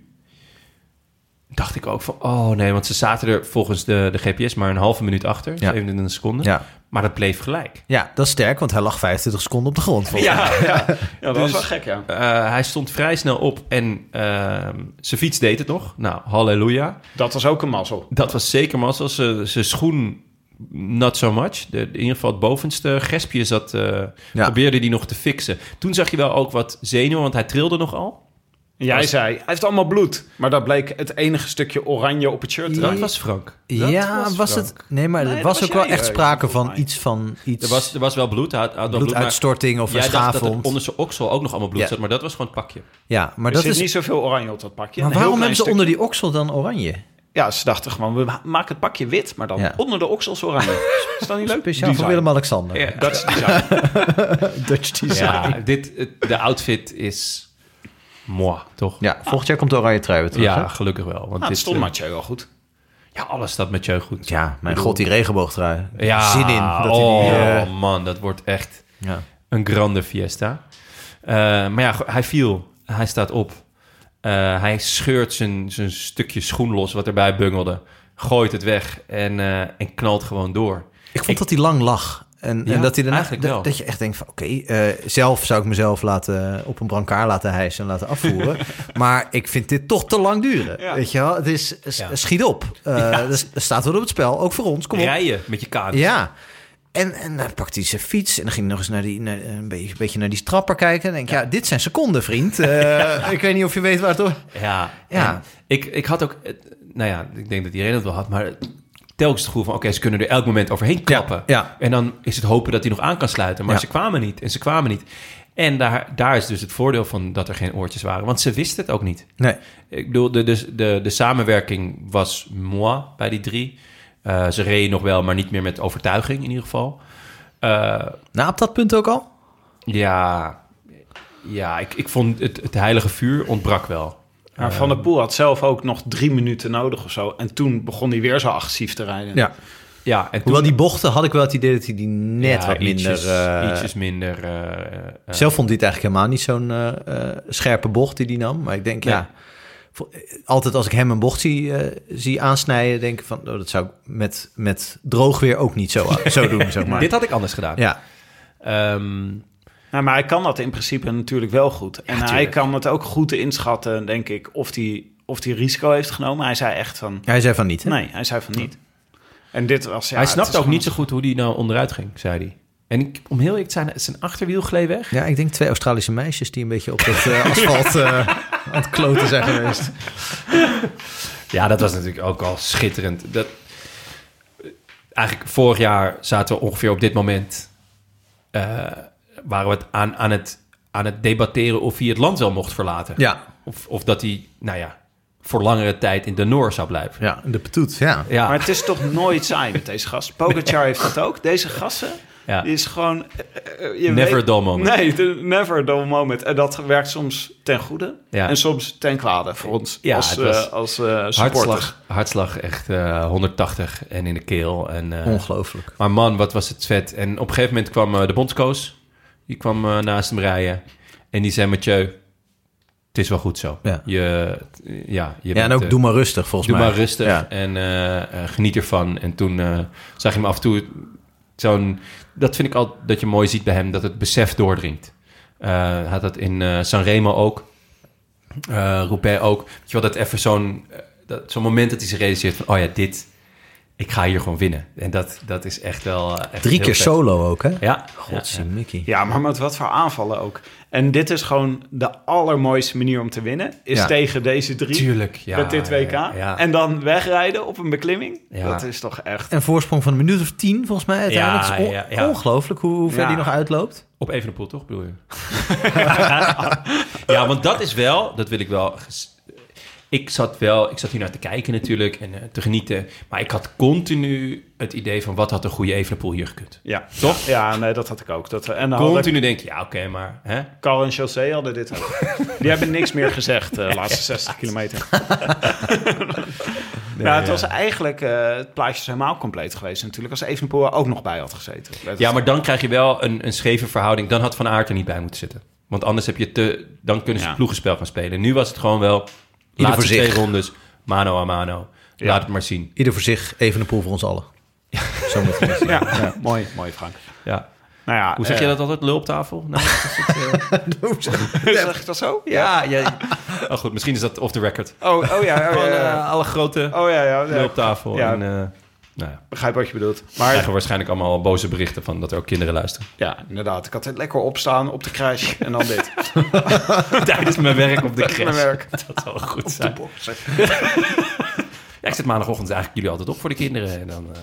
Speaker 1: dacht ik ook van, oh nee, want ze zaten er volgens de, de GPS maar een halve minuut achter.
Speaker 2: Ja.
Speaker 1: 27 seconden.
Speaker 2: Ja.
Speaker 1: Maar dat bleef gelijk.
Speaker 2: Ja, dat is sterk, want hij lag 25 seconden op de grond. volgens mij.
Speaker 8: Ja, dat was wel gek, ja.
Speaker 1: Eh, hij stond vrij snel op en ehm, zijn fiets deed het nog. Nou, halleluja.
Speaker 8: Dat was ook een mazzel.
Speaker 1: Dat was zeker mazzel. Zijn eh, zijn schoen, not so much. De, in ieder geval het bovenste gespje zat, eh,
Speaker 2: Ja.
Speaker 1: probeerde hij nog te fixen. Toen zag je wel ook wat zenuwen, want hij trilde nogal.
Speaker 8: En jij zei, hij heeft allemaal bloed. Maar dat bleek het enige stukje oranje op het shirt. te
Speaker 2: Dat
Speaker 8: zijn.
Speaker 2: was
Speaker 1: Frank.
Speaker 2: ja, was, het... Nee, maar
Speaker 8: Nee,
Speaker 2: er
Speaker 8: dat
Speaker 2: was
Speaker 8: was
Speaker 2: ook wel
Speaker 8: jij,
Speaker 2: echt
Speaker 8: eh,
Speaker 2: sprake van iets van... Iets...
Speaker 1: Er was, er was wel bloed. Hij had, hij had wel bloed, maar
Speaker 2: Bloeduitstorting of een
Speaker 1: jij dacht dat
Speaker 2: schaafwond.
Speaker 1: het onder zijn oksel ook nog allemaal bloed
Speaker 2: Ja.
Speaker 1: zat, maar dat was gewoon het pakje.
Speaker 2: ja, maar
Speaker 8: er
Speaker 2: dat
Speaker 8: zit
Speaker 2: is...
Speaker 8: niet zoveel oranje op dat pakje.
Speaker 2: maar
Speaker 8: Een heel
Speaker 2: waarom hebben
Speaker 8: klein
Speaker 2: ze onder die oksel dan oranje?
Speaker 8: stukje. Ja, ze dachten gewoon, we ma- maken het pakje wit, maar dan
Speaker 2: Ja.
Speaker 8: onder de oksels oranje. is dat niet leuk?
Speaker 2: Speciaal voor
Speaker 8: Design.
Speaker 2: Willem-Alexander.
Speaker 8: Ja, dat is design.
Speaker 2: Dutch design.
Speaker 1: Ja,
Speaker 2: Ja,
Speaker 1: dit, het- de outfit is moi, toch?
Speaker 2: volgend jaar komt de oranje trui weer terug.
Speaker 1: Ja,
Speaker 2: hè?
Speaker 1: gelukkig wel. Want
Speaker 8: Nou, het
Speaker 1: dit,
Speaker 8: stond
Speaker 1: eh,
Speaker 8: Mathieu wel goed.
Speaker 1: Ja, alles staat met jou goed.
Speaker 2: ja mijn god, die regenboogtrui.
Speaker 1: Ja,
Speaker 2: Zin in. Dat hij
Speaker 1: oh
Speaker 2: die, eh,
Speaker 1: man, dat wordt echt
Speaker 2: ja.
Speaker 1: een grande fiesta. Eh, maar ja, go- hij viel. Hij staat op. Eh, hij scheurt zijn, zijn stukje schoen los wat erbij bungelde. Gooit het weg en, eh, en knalt gewoon door.
Speaker 2: Ik vond dat hij lang lag. En,
Speaker 1: Ja,
Speaker 2: en dat hij daarna...
Speaker 1: eigenlijk wel.
Speaker 2: Dat, dat je echt denkt van, oké, eh, zelf zou ik mezelf laten, eh, op een brancard laten hijsen en laten afvoeren. maar ik vind dit toch te lang duren. Weet je wel? Het is, s-
Speaker 1: Ja.
Speaker 2: schiet op. Eh, Er s- er staat wat op het spel, ook voor ons. Kom op.
Speaker 1: Rijden met je kaart.
Speaker 2: Ja. En, en dan pakte hij zijn fiets en dan ging hij nog eens naar die, naar, eh, een, beetje, een beetje naar die strapper kijken. En denk ik, ja, dit zijn seconden, vriend. Eh, Ik weet niet of je weet waar het door...
Speaker 1: Ja,
Speaker 2: Ja.
Speaker 1: en Ik, ik had ook, eh, nou ja, ik denk dat iedereen het wel had, maar telkens het gevoel van, oké, ze kunnen er elk moment overheen klappen.
Speaker 2: ja.
Speaker 1: En dan is het hopen dat hij nog aan kan sluiten, maar
Speaker 2: Ja.
Speaker 1: ze kwamen niet en ze kwamen niet. En daar, daar is dus het voordeel van dat er geen oortjes waren, want ze wisten het ook niet.
Speaker 2: Nee.
Speaker 1: Ik bedoel, de, dus de, de samenwerking was moi bij die drie. Eh, ze reden nog wel, maar niet meer met overtuiging in ieder geval. Eh,
Speaker 2: Nou, op dat punt ook al?
Speaker 1: ja, ja ik, ik vond het, het heilige vuur ontbrak wel.
Speaker 8: Maar Van der Poel had zelf ook nog drie minuten nodig of zo. En toen begon hij weer zo agressief te rijden.
Speaker 1: Ja, en toen,
Speaker 2: Hoewel die bochten had ik wel het idee dat hij die net
Speaker 1: Ja,
Speaker 2: wat minder...
Speaker 1: Ietsjes,
Speaker 2: eh,
Speaker 1: ietsjes minder. eh, eh, eh.
Speaker 2: Zelf vond hij het eigenlijk helemaal niet zo'n eh, eh, scherpe bocht die hij nam. Maar ik denk,
Speaker 1: Nee.
Speaker 2: ja, vo- altijd als ik hem een bocht zie, eh, zie aansnijden, denk ik van, oh, dat zou ik met, met droog weer ook niet zo, eh, zo doen, zeg maar.
Speaker 1: Dit had ik anders gedaan.
Speaker 2: Ja,
Speaker 1: eh, Ehm,
Speaker 8: Nou, maar hij kan dat in principe natuurlijk wel goed. En hij
Speaker 1: tuurlijk.
Speaker 8: kan het ook goed inschatten, denk ik, of hij of hij risico heeft genomen. Hij zei echt van,
Speaker 2: hij zei van niet, hè?
Speaker 8: nee, hij zei van niet. En dit was, ja,
Speaker 1: hij
Speaker 8: het
Speaker 1: snapte
Speaker 8: is
Speaker 1: ook niet zo
Speaker 8: gewoon-
Speaker 1: goed hoe die nou onderuit ging, zei hij. En ik, om heel eerlijk te zijn, zijn achterwiel gleed weg.
Speaker 2: Ja, ik denk twee Australische meisjes die een beetje op dat eh, asfalt eh, aan het kloten zijn geweest.
Speaker 1: Ja, dat was natuurlijk ook al schitterend. Dat, eigenlijk vorig jaar zaten we ongeveer op dit moment... eh, waren we het aan, aan, het, aan het debatteren of hij het land wel mocht verlaten.
Speaker 2: Ja,
Speaker 1: Of, of dat hij, nou ja, voor langere tijd in de Noor zou blijven.
Speaker 2: ja, de petoet, ja.
Speaker 1: Ja,
Speaker 8: Maar het is toch nooit saai met deze gast. Pogacar heeft dat ook. Deze gassen,
Speaker 1: Ja.
Speaker 8: die is gewoon... eh, eh, je
Speaker 1: Never a dull moment.
Speaker 8: Nee, de never a dull moment. En dat werkt soms ten goede
Speaker 1: Ja.
Speaker 8: en soms ten kwade voor ons
Speaker 1: Ja,
Speaker 8: als,
Speaker 1: het was
Speaker 8: eh, als eh, supporter.
Speaker 1: hartslag, hartslag echt eh, 180 en in de keel. En, eh,
Speaker 2: Ongelooflijk.
Speaker 1: Maar man, wat was het vet. En op een gegeven moment kwam eh, de bondscoach. Die kwam eh, naast hem rijden. En die zei, Mathieu, het is wel goed zo.
Speaker 2: Ja.
Speaker 1: Je, ja, je
Speaker 2: Ja, en
Speaker 1: bent,
Speaker 2: ook
Speaker 1: eh,
Speaker 2: doe maar rustig, volgens
Speaker 1: doe
Speaker 2: mij.
Speaker 1: maar rustig
Speaker 2: Ja.
Speaker 1: en eh, eh, geniet ervan. En toen eh, zag je hem af en toe zo'n... Dat vind ik al dat je mooi ziet bij hem, dat het besef doordringt. Eh, Hij had dat in eh Sanremo ook. eh Roubaix ook. Weet je wel, dat even zo'n... eh, dat- zo'n moment dat hij zich realiseert van... Oh ja, dit... Ik ga hier gewoon winnen. En dat, dat is echt wel... eh, echt
Speaker 2: Drie
Speaker 1: heel
Speaker 2: keer
Speaker 1: vet.
Speaker 2: solo ook, hè?
Speaker 1: Ja.
Speaker 2: Godzie
Speaker 1: Ja, ja.
Speaker 2: Mickey.
Speaker 8: Ja, maar met wat voor aanvallen ook. En dit is gewoon de allermooiste manier om te winnen. Is
Speaker 2: Ja.
Speaker 8: tegen deze drie.
Speaker 1: Tuurlijk, ja,
Speaker 8: Met dit WK.
Speaker 1: ja, ja.
Speaker 8: En dan wegrijden op een beklimming.
Speaker 1: Ja.
Speaker 8: Dat is toch echt...
Speaker 2: Een voorsprong van een minuut of tien, volgens mij. Uiteindelijk.
Speaker 1: Ja,
Speaker 2: Het is on-
Speaker 1: ja, ja.
Speaker 2: Ongelooflijk hoe, hoe ver
Speaker 8: Ja.
Speaker 2: die nog uitloopt.
Speaker 1: Op Evenepoel, toch bedoel je? ja, want dat is wel, dat wil ik wel. ges- Ik zat wel, ik zat hier naar te kijken natuurlijk en eh, te genieten. Maar ik had continu het idee van wat had een goede Evenepoel hier gekund.
Speaker 8: Ja.
Speaker 1: Toch?
Speaker 8: Ja, nee, dat had ik ook. Dat, en dan hadden
Speaker 1: Continu denk je, ja oké, maar hè?
Speaker 8: Carl en José hadden dit ook. Die hebben niks meer gezegd eh, de laatste 60 kilometer. nou,
Speaker 1: ja.
Speaker 8: het was eigenlijk... eh, het plaatje is helemaal compleet geweest natuurlijk. Als Evenepoel er ook nog bij had gezeten. Dat
Speaker 1: Ja, maar dan krijg je wel een, een scheve verhouding. Dan had Van Aert er niet bij moeten zitten. Want anders heb je te, dan kunnen ze
Speaker 8: Ja.
Speaker 1: ploegenspel gaan spelen. Nu was het gewoon wel, laatste
Speaker 2: voor zich.
Speaker 1: twee rondes, mano a mano. Laat het maar zien.
Speaker 2: Ieder voor zich, even een pool voor ons allen. Zo moet het zijn.
Speaker 8: Ja, mooi, mooi Frank.
Speaker 1: Ja.
Speaker 8: Nou ja,
Speaker 1: Hoe zeg je
Speaker 8: eh,
Speaker 1: dat altijd? Lul op tafel? Nou,
Speaker 8: Zeg ik dat zo?
Speaker 1: Ja, ja. Oh, goed, misschien is dat off the record.
Speaker 8: Oh, oh ja. Oh, ja, ja.
Speaker 1: Eh, alle grote
Speaker 8: Oh ja, ja. ja.
Speaker 1: op tafel.
Speaker 8: Ja.
Speaker 1: En, eh, Nou ja.
Speaker 8: Begrijp wat je bedoelt.
Speaker 1: Maar...
Speaker 8: Maar
Speaker 1: Krijgen we waarschijnlijk allemaal boze berichten van dat er ook kinderen luisteren.
Speaker 8: ja, inderdaad. Ik had het lekker opstaan op de crash en dan dit.
Speaker 1: Tijdens mijn werk op de
Speaker 8: Tijdens mijn
Speaker 1: crash.
Speaker 8: werk.
Speaker 1: Dat zal wel goed
Speaker 8: De
Speaker 1: zijn.
Speaker 8: boxen.
Speaker 1: Ja, ik zet maandagochtend eigenlijk jullie altijd op voor de kinderen. En dan, eh,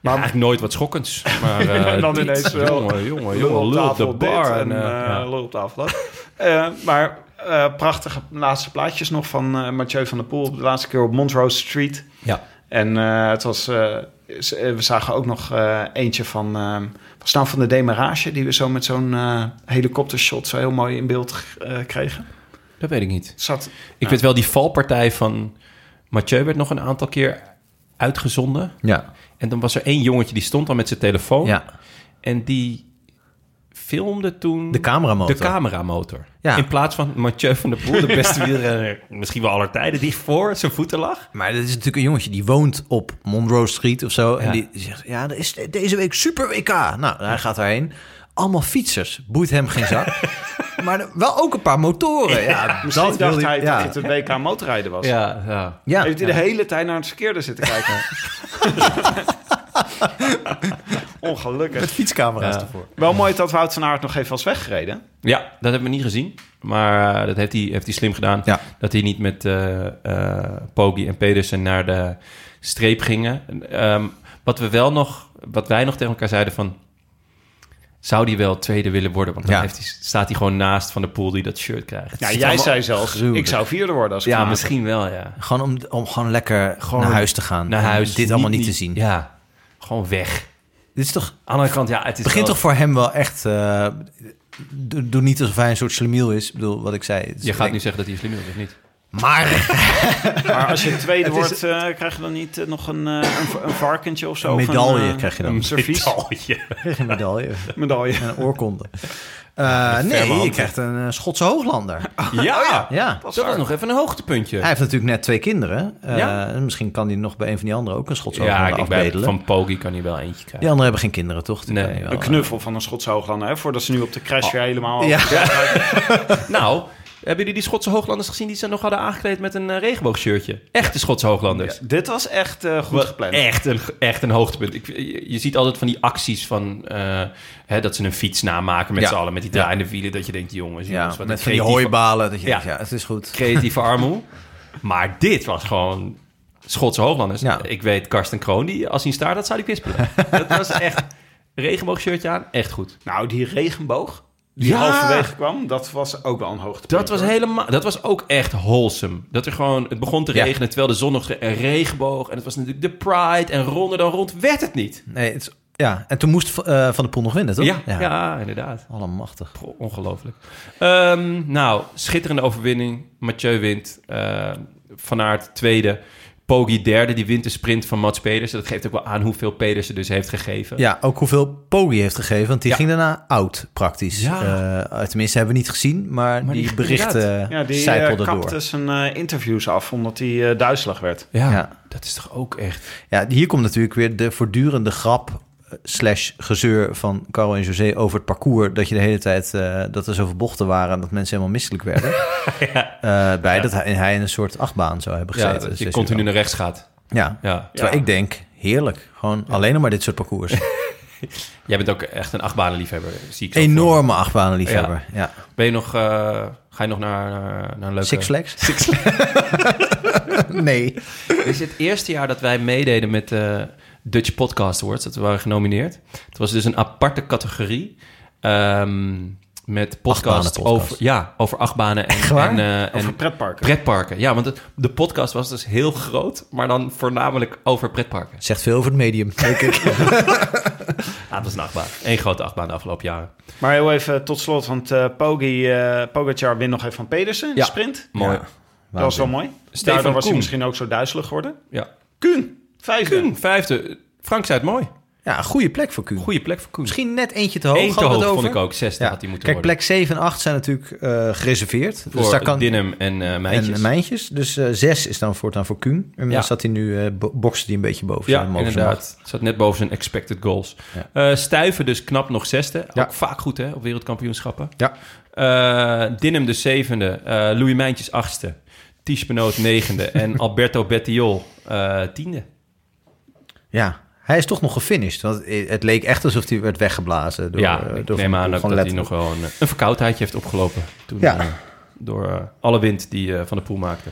Speaker 8: Maar-
Speaker 1: ja, eigenlijk nooit wat schokkends. Maar, eh,
Speaker 8: en dan
Speaker 1: dit,
Speaker 8: ineens wel.
Speaker 1: Jongen, jongen, jongen, lul op de
Speaker 8: dit
Speaker 1: bar.
Speaker 8: en,
Speaker 1: En, eh,
Speaker 8: eh,
Speaker 1: ja.
Speaker 8: lul op tafel dat. Eh, maar eh, prachtige laatste plaatjes nog van eh, Mathieu van der Poel. De laatste keer op Montrose Street.
Speaker 1: Ja.
Speaker 8: En eh, het was, eh, ze- eh, we zagen ook nog eh, eentje van, ehm was nou van de demarage... die we zo met zo'n eh, helikoptershot zo heel mooi in beeld eh, kregen.
Speaker 1: Dat weet ik niet.
Speaker 8: Zat,
Speaker 1: Ik weet wel, die valpartij van Mathieu werd nog een aantal keer uitgezonden.
Speaker 9: Ja,
Speaker 1: En dan was er één jongetje die stond al met zijn telefoon.
Speaker 9: ja.
Speaker 1: En die filmde toen
Speaker 9: De cameramotor.
Speaker 1: de cameramotor.
Speaker 9: Ja.
Speaker 1: In plaats van Mathieu van der Poel, de beste wielrenner... misschien wel aller tijden, die voor zijn voeten lag.
Speaker 9: Maar dat is natuurlijk een jongetje die woont op Monroe Street of zo.
Speaker 1: Ja.
Speaker 9: En die zegt, ja, er is de- deze week super WK. Nou, hij gaat daarheen. Allemaal fietsers. Boeit hem geen zak. maar er- wel ook een paar motoren. Ja,
Speaker 8: misschien
Speaker 9: dat wil
Speaker 8: dacht
Speaker 9: hij-
Speaker 8: hij
Speaker 9: ja.
Speaker 8: dat het een WK motorrijden was.
Speaker 1: Ja, ja.
Speaker 9: Ja,
Speaker 8: Heeft hij de hele tijd naar het verkeerde zitten kijken. Ongelukkig.
Speaker 9: fietscamera's
Speaker 1: Ja.
Speaker 9: ervoor.
Speaker 8: Wel mooi dat Wout van Aert nog even was weggereden.
Speaker 1: Ja, dat hebben we niet gezien. Maar eh, dat heeft hij, heeft hij slim gedaan.
Speaker 9: Ja.
Speaker 1: Dat hij niet met eh eh, Poggi en Pedersen naar de streep gingen. En, ehm, wat we wel nog, wat wij nog tegen elkaar zeiden van... Zou die wel tweede willen worden? Want dan
Speaker 9: Ja.
Speaker 1: heeft hij, staat hij gewoon naast van de pool die dat shirt krijgt.
Speaker 8: Ja, jij zei zelfs,
Speaker 9: gruwelijk.
Speaker 8: ik zou vierde worden als ik
Speaker 1: ja
Speaker 8: vanavond-
Speaker 1: misschien wel, ja.
Speaker 9: Gewoon om, om gewoon lekker
Speaker 1: Gewoon
Speaker 9: naar huis te gaan.
Speaker 1: Naar
Speaker 9: En
Speaker 1: huis.
Speaker 9: Dit allemaal niet, te zien.
Speaker 1: Ja, gewoon weg.
Speaker 9: Dit is toch...
Speaker 1: Aan de andere kant, ja, het is
Speaker 9: Het begint
Speaker 1: wel-
Speaker 9: toch voor hem wel echt... eh, doe, doe niet alsof hij een soort slemiel is. Ik bedoel, wat ik zei. het is-
Speaker 1: Je gaat nu zeggen dat hij slim is, of niet?
Speaker 9: Maar
Speaker 8: Maar als je tweede
Speaker 9: Het is-
Speaker 8: wordt, eh, krijg je dan niet eh, nog een, eh, een, v- een varkentje of zo?
Speaker 9: een
Speaker 8: Of een,
Speaker 9: medaille
Speaker 8: eh,
Speaker 9: krijg je dan. Oh,
Speaker 8: Een servies?
Speaker 9: Een medaille.
Speaker 8: Medaille.
Speaker 9: Een oorkonde. Eh, nee, je krijgt een eh, Schotse hooglander.
Speaker 1: Ja,
Speaker 9: Ja.
Speaker 1: dat was nog even een hoogtepuntje.
Speaker 9: Hij heeft natuurlijk net twee kinderen. Eh,
Speaker 1: Ja.
Speaker 9: Misschien kan hij nog bij een van die anderen ook een Schotse
Speaker 1: ja,
Speaker 9: hooglander
Speaker 1: ik ben,
Speaker 9: afbedelen.
Speaker 1: van Poggi kan hij wel eentje krijgen.
Speaker 9: Die anderen hebben geen kinderen, toch? Die
Speaker 1: Nee,
Speaker 9: kan hij wel,
Speaker 8: Een
Speaker 9: eh,
Speaker 8: knuffel van een Schotse hooglander, hè? Voordat ze nu op de crash weer helemaal...
Speaker 9: Oh. Ja.
Speaker 1: Nou, hebben jullie die Schotse hooglanders gezien die ze nog hadden aangekleed met een eh, regenboogshirtje? Echte Schotse hooglanders.
Speaker 8: Dit was echt eh, goed
Speaker 1: Wat
Speaker 8: gepland.
Speaker 1: Echt een, echt een hoogtepunt. Ik, je, je ziet altijd van die acties van eh, hè, dat ze een fiets namaken met
Speaker 9: Ja.
Speaker 1: z'n allen met die draaiende wielen. Dat je denkt, jongens,
Speaker 9: Ja,
Speaker 1: jongens, wat
Speaker 9: met
Speaker 1: een
Speaker 9: van die
Speaker 1: creatieve-
Speaker 9: hooibalen. Dat je
Speaker 1: Ja.
Speaker 9: denkt, ja, het is goed.
Speaker 1: creatieve armoe. Maar dit was gewoon Schotse hooglanders.
Speaker 9: Ja.
Speaker 1: Ik weet, Karsten Kroon, die, als hij een staart had, zou die kwispelen. dat was echt regenboogshirtje aan, echt goed.
Speaker 8: Nou, die regenboog die
Speaker 1: Ja.
Speaker 8: halverwege kwam, dat was ook wel een hoogtepunt.
Speaker 1: Dat was
Speaker 8: hoor.
Speaker 1: helemaal, dat was ook echt wholesome. Dat er gewoon, het begon te
Speaker 9: Ja.
Speaker 1: regenen terwijl de zon nog een regenboog en het was natuurlijk de Pride en ronder dan rond werd het niet.
Speaker 9: Nee, het is- ja, en toen moest eh, Van der Poel nog winnen, toch?
Speaker 1: Ja, ja. inderdaad.
Speaker 9: Allemachtig.
Speaker 1: Goh, Ongelooflijk. Ehm, nou, schitterende overwinning. Mathieu wint. eh, van Aert tweede. Poggi derde. Die wint de sprint van Mats Pedersen. Dat geeft ook wel aan hoeveel Pedersen dus heeft gegeven.
Speaker 9: Ja, ook hoeveel Poggi heeft gegeven. Want die
Speaker 1: Ja.
Speaker 9: ging daarna oud, praktisch.
Speaker 1: Ja.
Speaker 9: Eh, tenminste, hebben we niet gezien. Maar,
Speaker 1: Maar
Speaker 9: die,
Speaker 1: die-
Speaker 9: berichten
Speaker 1: inderdaad.
Speaker 8: Ja, die eh,
Speaker 9: zijpelden door.
Speaker 8: kapte zijn eh, interviews af, omdat hij eh, duizelig werd.
Speaker 1: Ja,
Speaker 9: Ja.
Speaker 1: dat is toch ook echt...
Speaker 9: Ja, hier komt natuurlijk weer de voortdurende grap eh, slash gezeur van Caro en José over het parcours. Dat je de hele tijd, eh, dat er zoveel bochten waren en dat mensen helemaal misselijk werden. Eh, bij dat hij, hij in een soort achtbaan zou hebben
Speaker 1: Ja,
Speaker 9: gezeten.
Speaker 1: dat
Speaker 9: zes
Speaker 1: je
Speaker 9: uur
Speaker 1: continu
Speaker 9: lang.
Speaker 1: naar rechts gaat.
Speaker 9: Ja.
Speaker 1: Ja.
Speaker 9: Terwijl ik denk, heerlijk. Gewoon alleen nog maar dit soort parcours.
Speaker 1: Jij bent ook echt een achtbanenliefhebber, zie ik zo.
Speaker 9: Enorme achtbanenliefhebber. Ja.
Speaker 1: Ben je nog, eh, ga je nog naar, naar, naar een leuke...
Speaker 9: Six Flags? nee.
Speaker 1: Dit is het eerste jaar dat wij meededen met de Dutch Podcast Awards. Dat we waren genomineerd. Het was dus een aparte categorie. ehm, met podcasts
Speaker 9: Achtbanenpodcast.
Speaker 1: over, ja, over achtbanen en,
Speaker 9: waar?
Speaker 1: en, eh, en
Speaker 8: Over pretparken.
Speaker 1: pretparken. Ja, want het- de podcast was dus heel groot, maar dan voornamelijk over pretparken.
Speaker 9: Zegt veel over het medium, denk ik.
Speaker 1: Ja, dat was een achtbaan. Eén grote achtbaan de afgelopen jaren.
Speaker 8: Maar heel even tot slot, want eh Pogi, eh Pogacar wint nog even van Pedersen in
Speaker 1: Ja.
Speaker 8: de sprint.
Speaker 1: Mooi.
Speaker 9: Ja.
Speaker 8: Dat was wel mooi.
Speaker 1: Stefan
Speaker 8: Daardoor was hij
Speaker 1: Koen.
Speaker 8: misschien ook zo duizelig geworden.
Speaker 1: Ja.
Speaker 8: Kuhn, vijfde.
Speaker 1: Koen, vijfde. Frank zei het mooi.
Speaker 9: Ja, een goede plek voor Kuhn.
Speaker 1: Goede plek voor Koen.
Speaker 9: Misschien net eentje te hoog.
Speaker 1: Eén te
Speaker 9: hadden we het
Speaker 1: hoog vond
Speaker 9: over.
Speaker 1: ik ook. Zesde had hij moeten
Speaker 9: Kijk,
Speaker 1: worden.
Speaker 9: plek 7 en 8 zijn natuurlijk eh, gereserveerd. dus
Speaker 1: voor
Speaker 9: daar kan
Speaker 1: Dinnem en eh Meijtjes.
Speaker 9: En mijntjes. Dus eh 6 is dan voortaan voor Kuhn. En
Speaker 1: Ja.
Speaker 9: dan zat hij nu, eh, bo- bokste hij een beetje boven
Speaker 1: Ja,
Speaker 9: zijn boven zijn macht.
Speaker 1: inderdaad. Zat net boven zijn expected goals. Eh, Stuiven dus knap nog zesde.
Speaker 9: Ja.
Speaker 1: Ook vaak goed hè, op wereldkampioenschappen.
Speaker 9: Ja.
Speaker 1: Eh, Dinnem de zevende. eh Louis Mijntjes achtste. Ties Benoot negende. en Alberto Bettiol eh, tiende.
Speaker 2: Ja, hij is toch nog gefinished. Want het leek echt alsof hij werd weggeblazen. Door,
Speaker 1: ja,
Speaker 2: eh,
Speaker 1: ik
Speaker 2: door
Speaker 1: neem
Speaker 2: Van
Speaker 1: aan
Speaker 2: Poel.
Speaker 1: ook dat
Speaker 2: Gewoon
Speaker 1: hij nog
Speaker 2: letterlijk.
Speaker 1: wel een, een verkoudheidje heeft opgelopen. Toen,
Speaker 2: Ja.
Speaker 1: eh, door eh, alle wind die eh, Van de Poel maakte.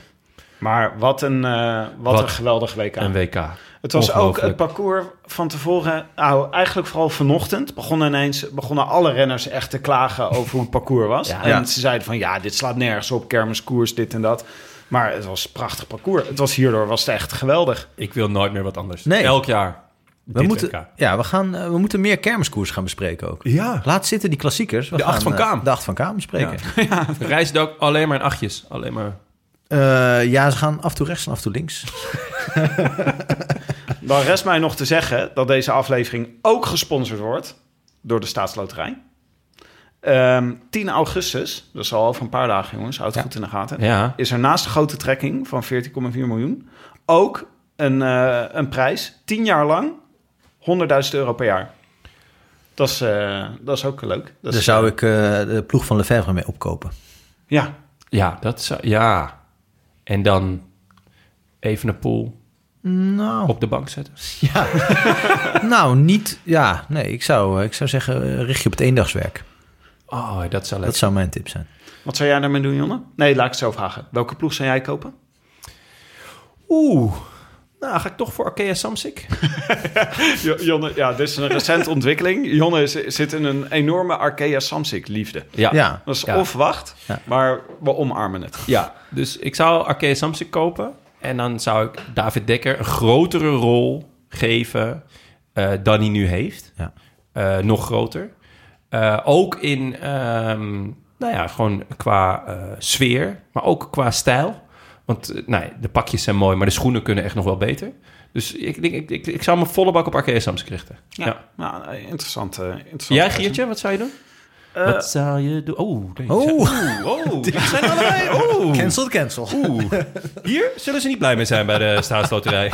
Speaker 8: Maar wat een, eh, wat
Speaker 1: Wat
Speaker 8: een geweldig WK.
Speaker 1: Een WK.
Speaker 8: Het was ook het
Speaker 1: Ongelooflijk.
Speaker 8: parcours van tevoren. Nou, eigenlijk vooral vanochtend begonnen ineens begonnen alle renners echt te klagen over hoe het parcours was.
Speaker 1: Ja.
Speaker 8: en
Speaker 2: Ja.
Speaker 8: ze zeiden van ja, dit slaat nergens op, kermiskoers, dit en dat. Maar het was een prachtig parcours. Het was hierdoor was het echt geweldig.
Speaker 1: Ik wil nooit meer wat anders.
Speaker 2: Nee.
Speaker 1: Elk jaar.
Speaker 2: We moeten, ja, we, gaan, eh, we moeten meer kermiskoers gaan bespreken ook.
Speaker 1: Ja.
Speaker 2: Laat zitten die klassiekers. We
Speaker 1: De
Speaker 2: gaan,
Speaker 1: acht van
Speaker 2: eh,
Speaker 1: Kaam.
Speaker 2: De acht van Kaam bespreken. Ja.
Speaker 1: De reis ook alleen maar in achtjes. Alleen maar...
Speaker 2: Eh, ja, ze gaan af en toe rechts en af en toe links.
Speaker 8: Dan rest mij nog te zeggen dat deze aflevering ook gesponsord wordt door de Staatsloterij. Ehm, 10 augustus, dat is al over een paar dagen jongens, houd het goed in de gaten.
Speaker 1: Ja.
Speaker 8: Is er naast de grote trekking van 14,4 miljoen ook een, eh, een prijs, 10 jaar lang, 100.000 euro per jaar. Dat is, eh, dat is ook leuk. Dat
Speaker 2: Daar
Speaker 1: Dus-
Speaker 8: is-
Speaker 2: zou ik eh, de ploeg van Lefebvre mee opkopen.
Speaker 8: Ja,
Speaker 1: Ja, dat zou... Ja. En dan even een pool
Speaker 2: Nou,
Speaker 1: op de bank zetten.
Speaker 2: nou niet. Ja, nee, ik zou, eh, ik zou zeggen, eh, richt je op het eendagswerk.
Speaker 1: Oh, dat zou leuk
Speaker 2: Dat zou mijn tip zijn.
Speaker 8: wat zou jij daarmee doen, Jonne? Nee, laat ik het zo vragen. Welke ploeg zou jij kopen?
Speaker 1: Oeh. Nou, ga ik toch voor Arkea Samsic?
Speaker 8: Jo- Jonne, ja, dit is een recente ontwikkeling. Jonne is- zit in een enorme Arkea Samsic liefde.
Speaker 1: Ja.
Speaker 2: Ja.
Speaker 8: Dat is
Speaker 1: Ja.
Speaker 8: of wacht,
Speaker 2: Ja.
Speaker 8: maar we omarmen het.
Speaker 1: Ja, dus ik zou Arkea Samsic kopen. En dan zou ik David Dekker een grotere rol geven eh, dan hij nu heeft.
Speaker 2: Ja.
Speaker 1: Eh, nog groter. Eh, ook in, ehm, nou ja, gewoon qua eh, sfeer, maar ook qua stijl. Want eh, nou, ja, de pakjes zijn mooi, maar de schoenen kunnen echt nog wel beter. Dus ik, denk, ik, ik, ik zou mijn volle bak op Arkea Samsic richten. Ja.
Speaker 8: Nou, eh, interessant. eh, interessant
Speaker 1: Jij,
Speaker 8: keuze.
Speaker 1: Giertje, wat zou je doen? wat zou je doen? Oh, deze.
Speaker 2: Oh.
Speaker 1: oh, die zijn er allebei. Oh.
Speaker 2: Cancel, cancel.
Speaker 1: Oeh, hier zullen ze niet blij mee zijn bij de staatsloterij.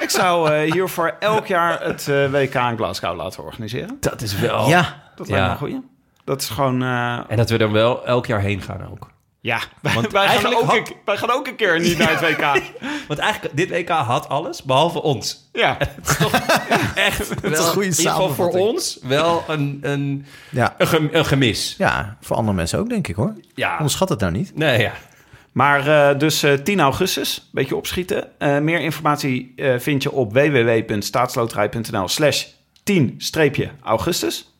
Speaker 8: Ik zou eh, hiervoor elk jaar het eh, WK in Glasgow laten organiseren.
Speaker 1: Dat is wel...
Speaker 2: Ja,
Speaker 8: Dat
Speaker 1: Ja.
Speaker 8: lijkt me een goeie. Dat is gewoon... eh,
Speaker 1: En dat we er wel elk jaar heen gaan ook.
Speaker 8: ja, wij, gaan
Speaker 1: eigenlijk
Speaker 8: ook
Speaker 1: had-
Speaker 8: een, wij gaan ook een keer niet naar het WK.
Speaker 1: Want eigenlijk, dit WK had alles, behalve ons.
Speaker 8: Ja,
Speaker 1: Echt. Het
Speaker 2: is een goede
Speaker 1: In ieder geval voor
Speaker 2: samenvatting.
Speaker 1: ons wel een, een,
Speaker 2: ja.
Speaker 1: een, gem- een gemis.
Speaker 2: ja, voor andere mensen ook, denk ik hoor.
Speaker 1: Ja.
Speaker 2: Onderschat het nou niet.
Speaker 1: Nee, ja.
Speaker 8: Maar eh, dus eh, 10 augustus, een beetje opschieten. Eh, meer informatie eh, vind je op www.staatsloterij.nl slash 10-augustus.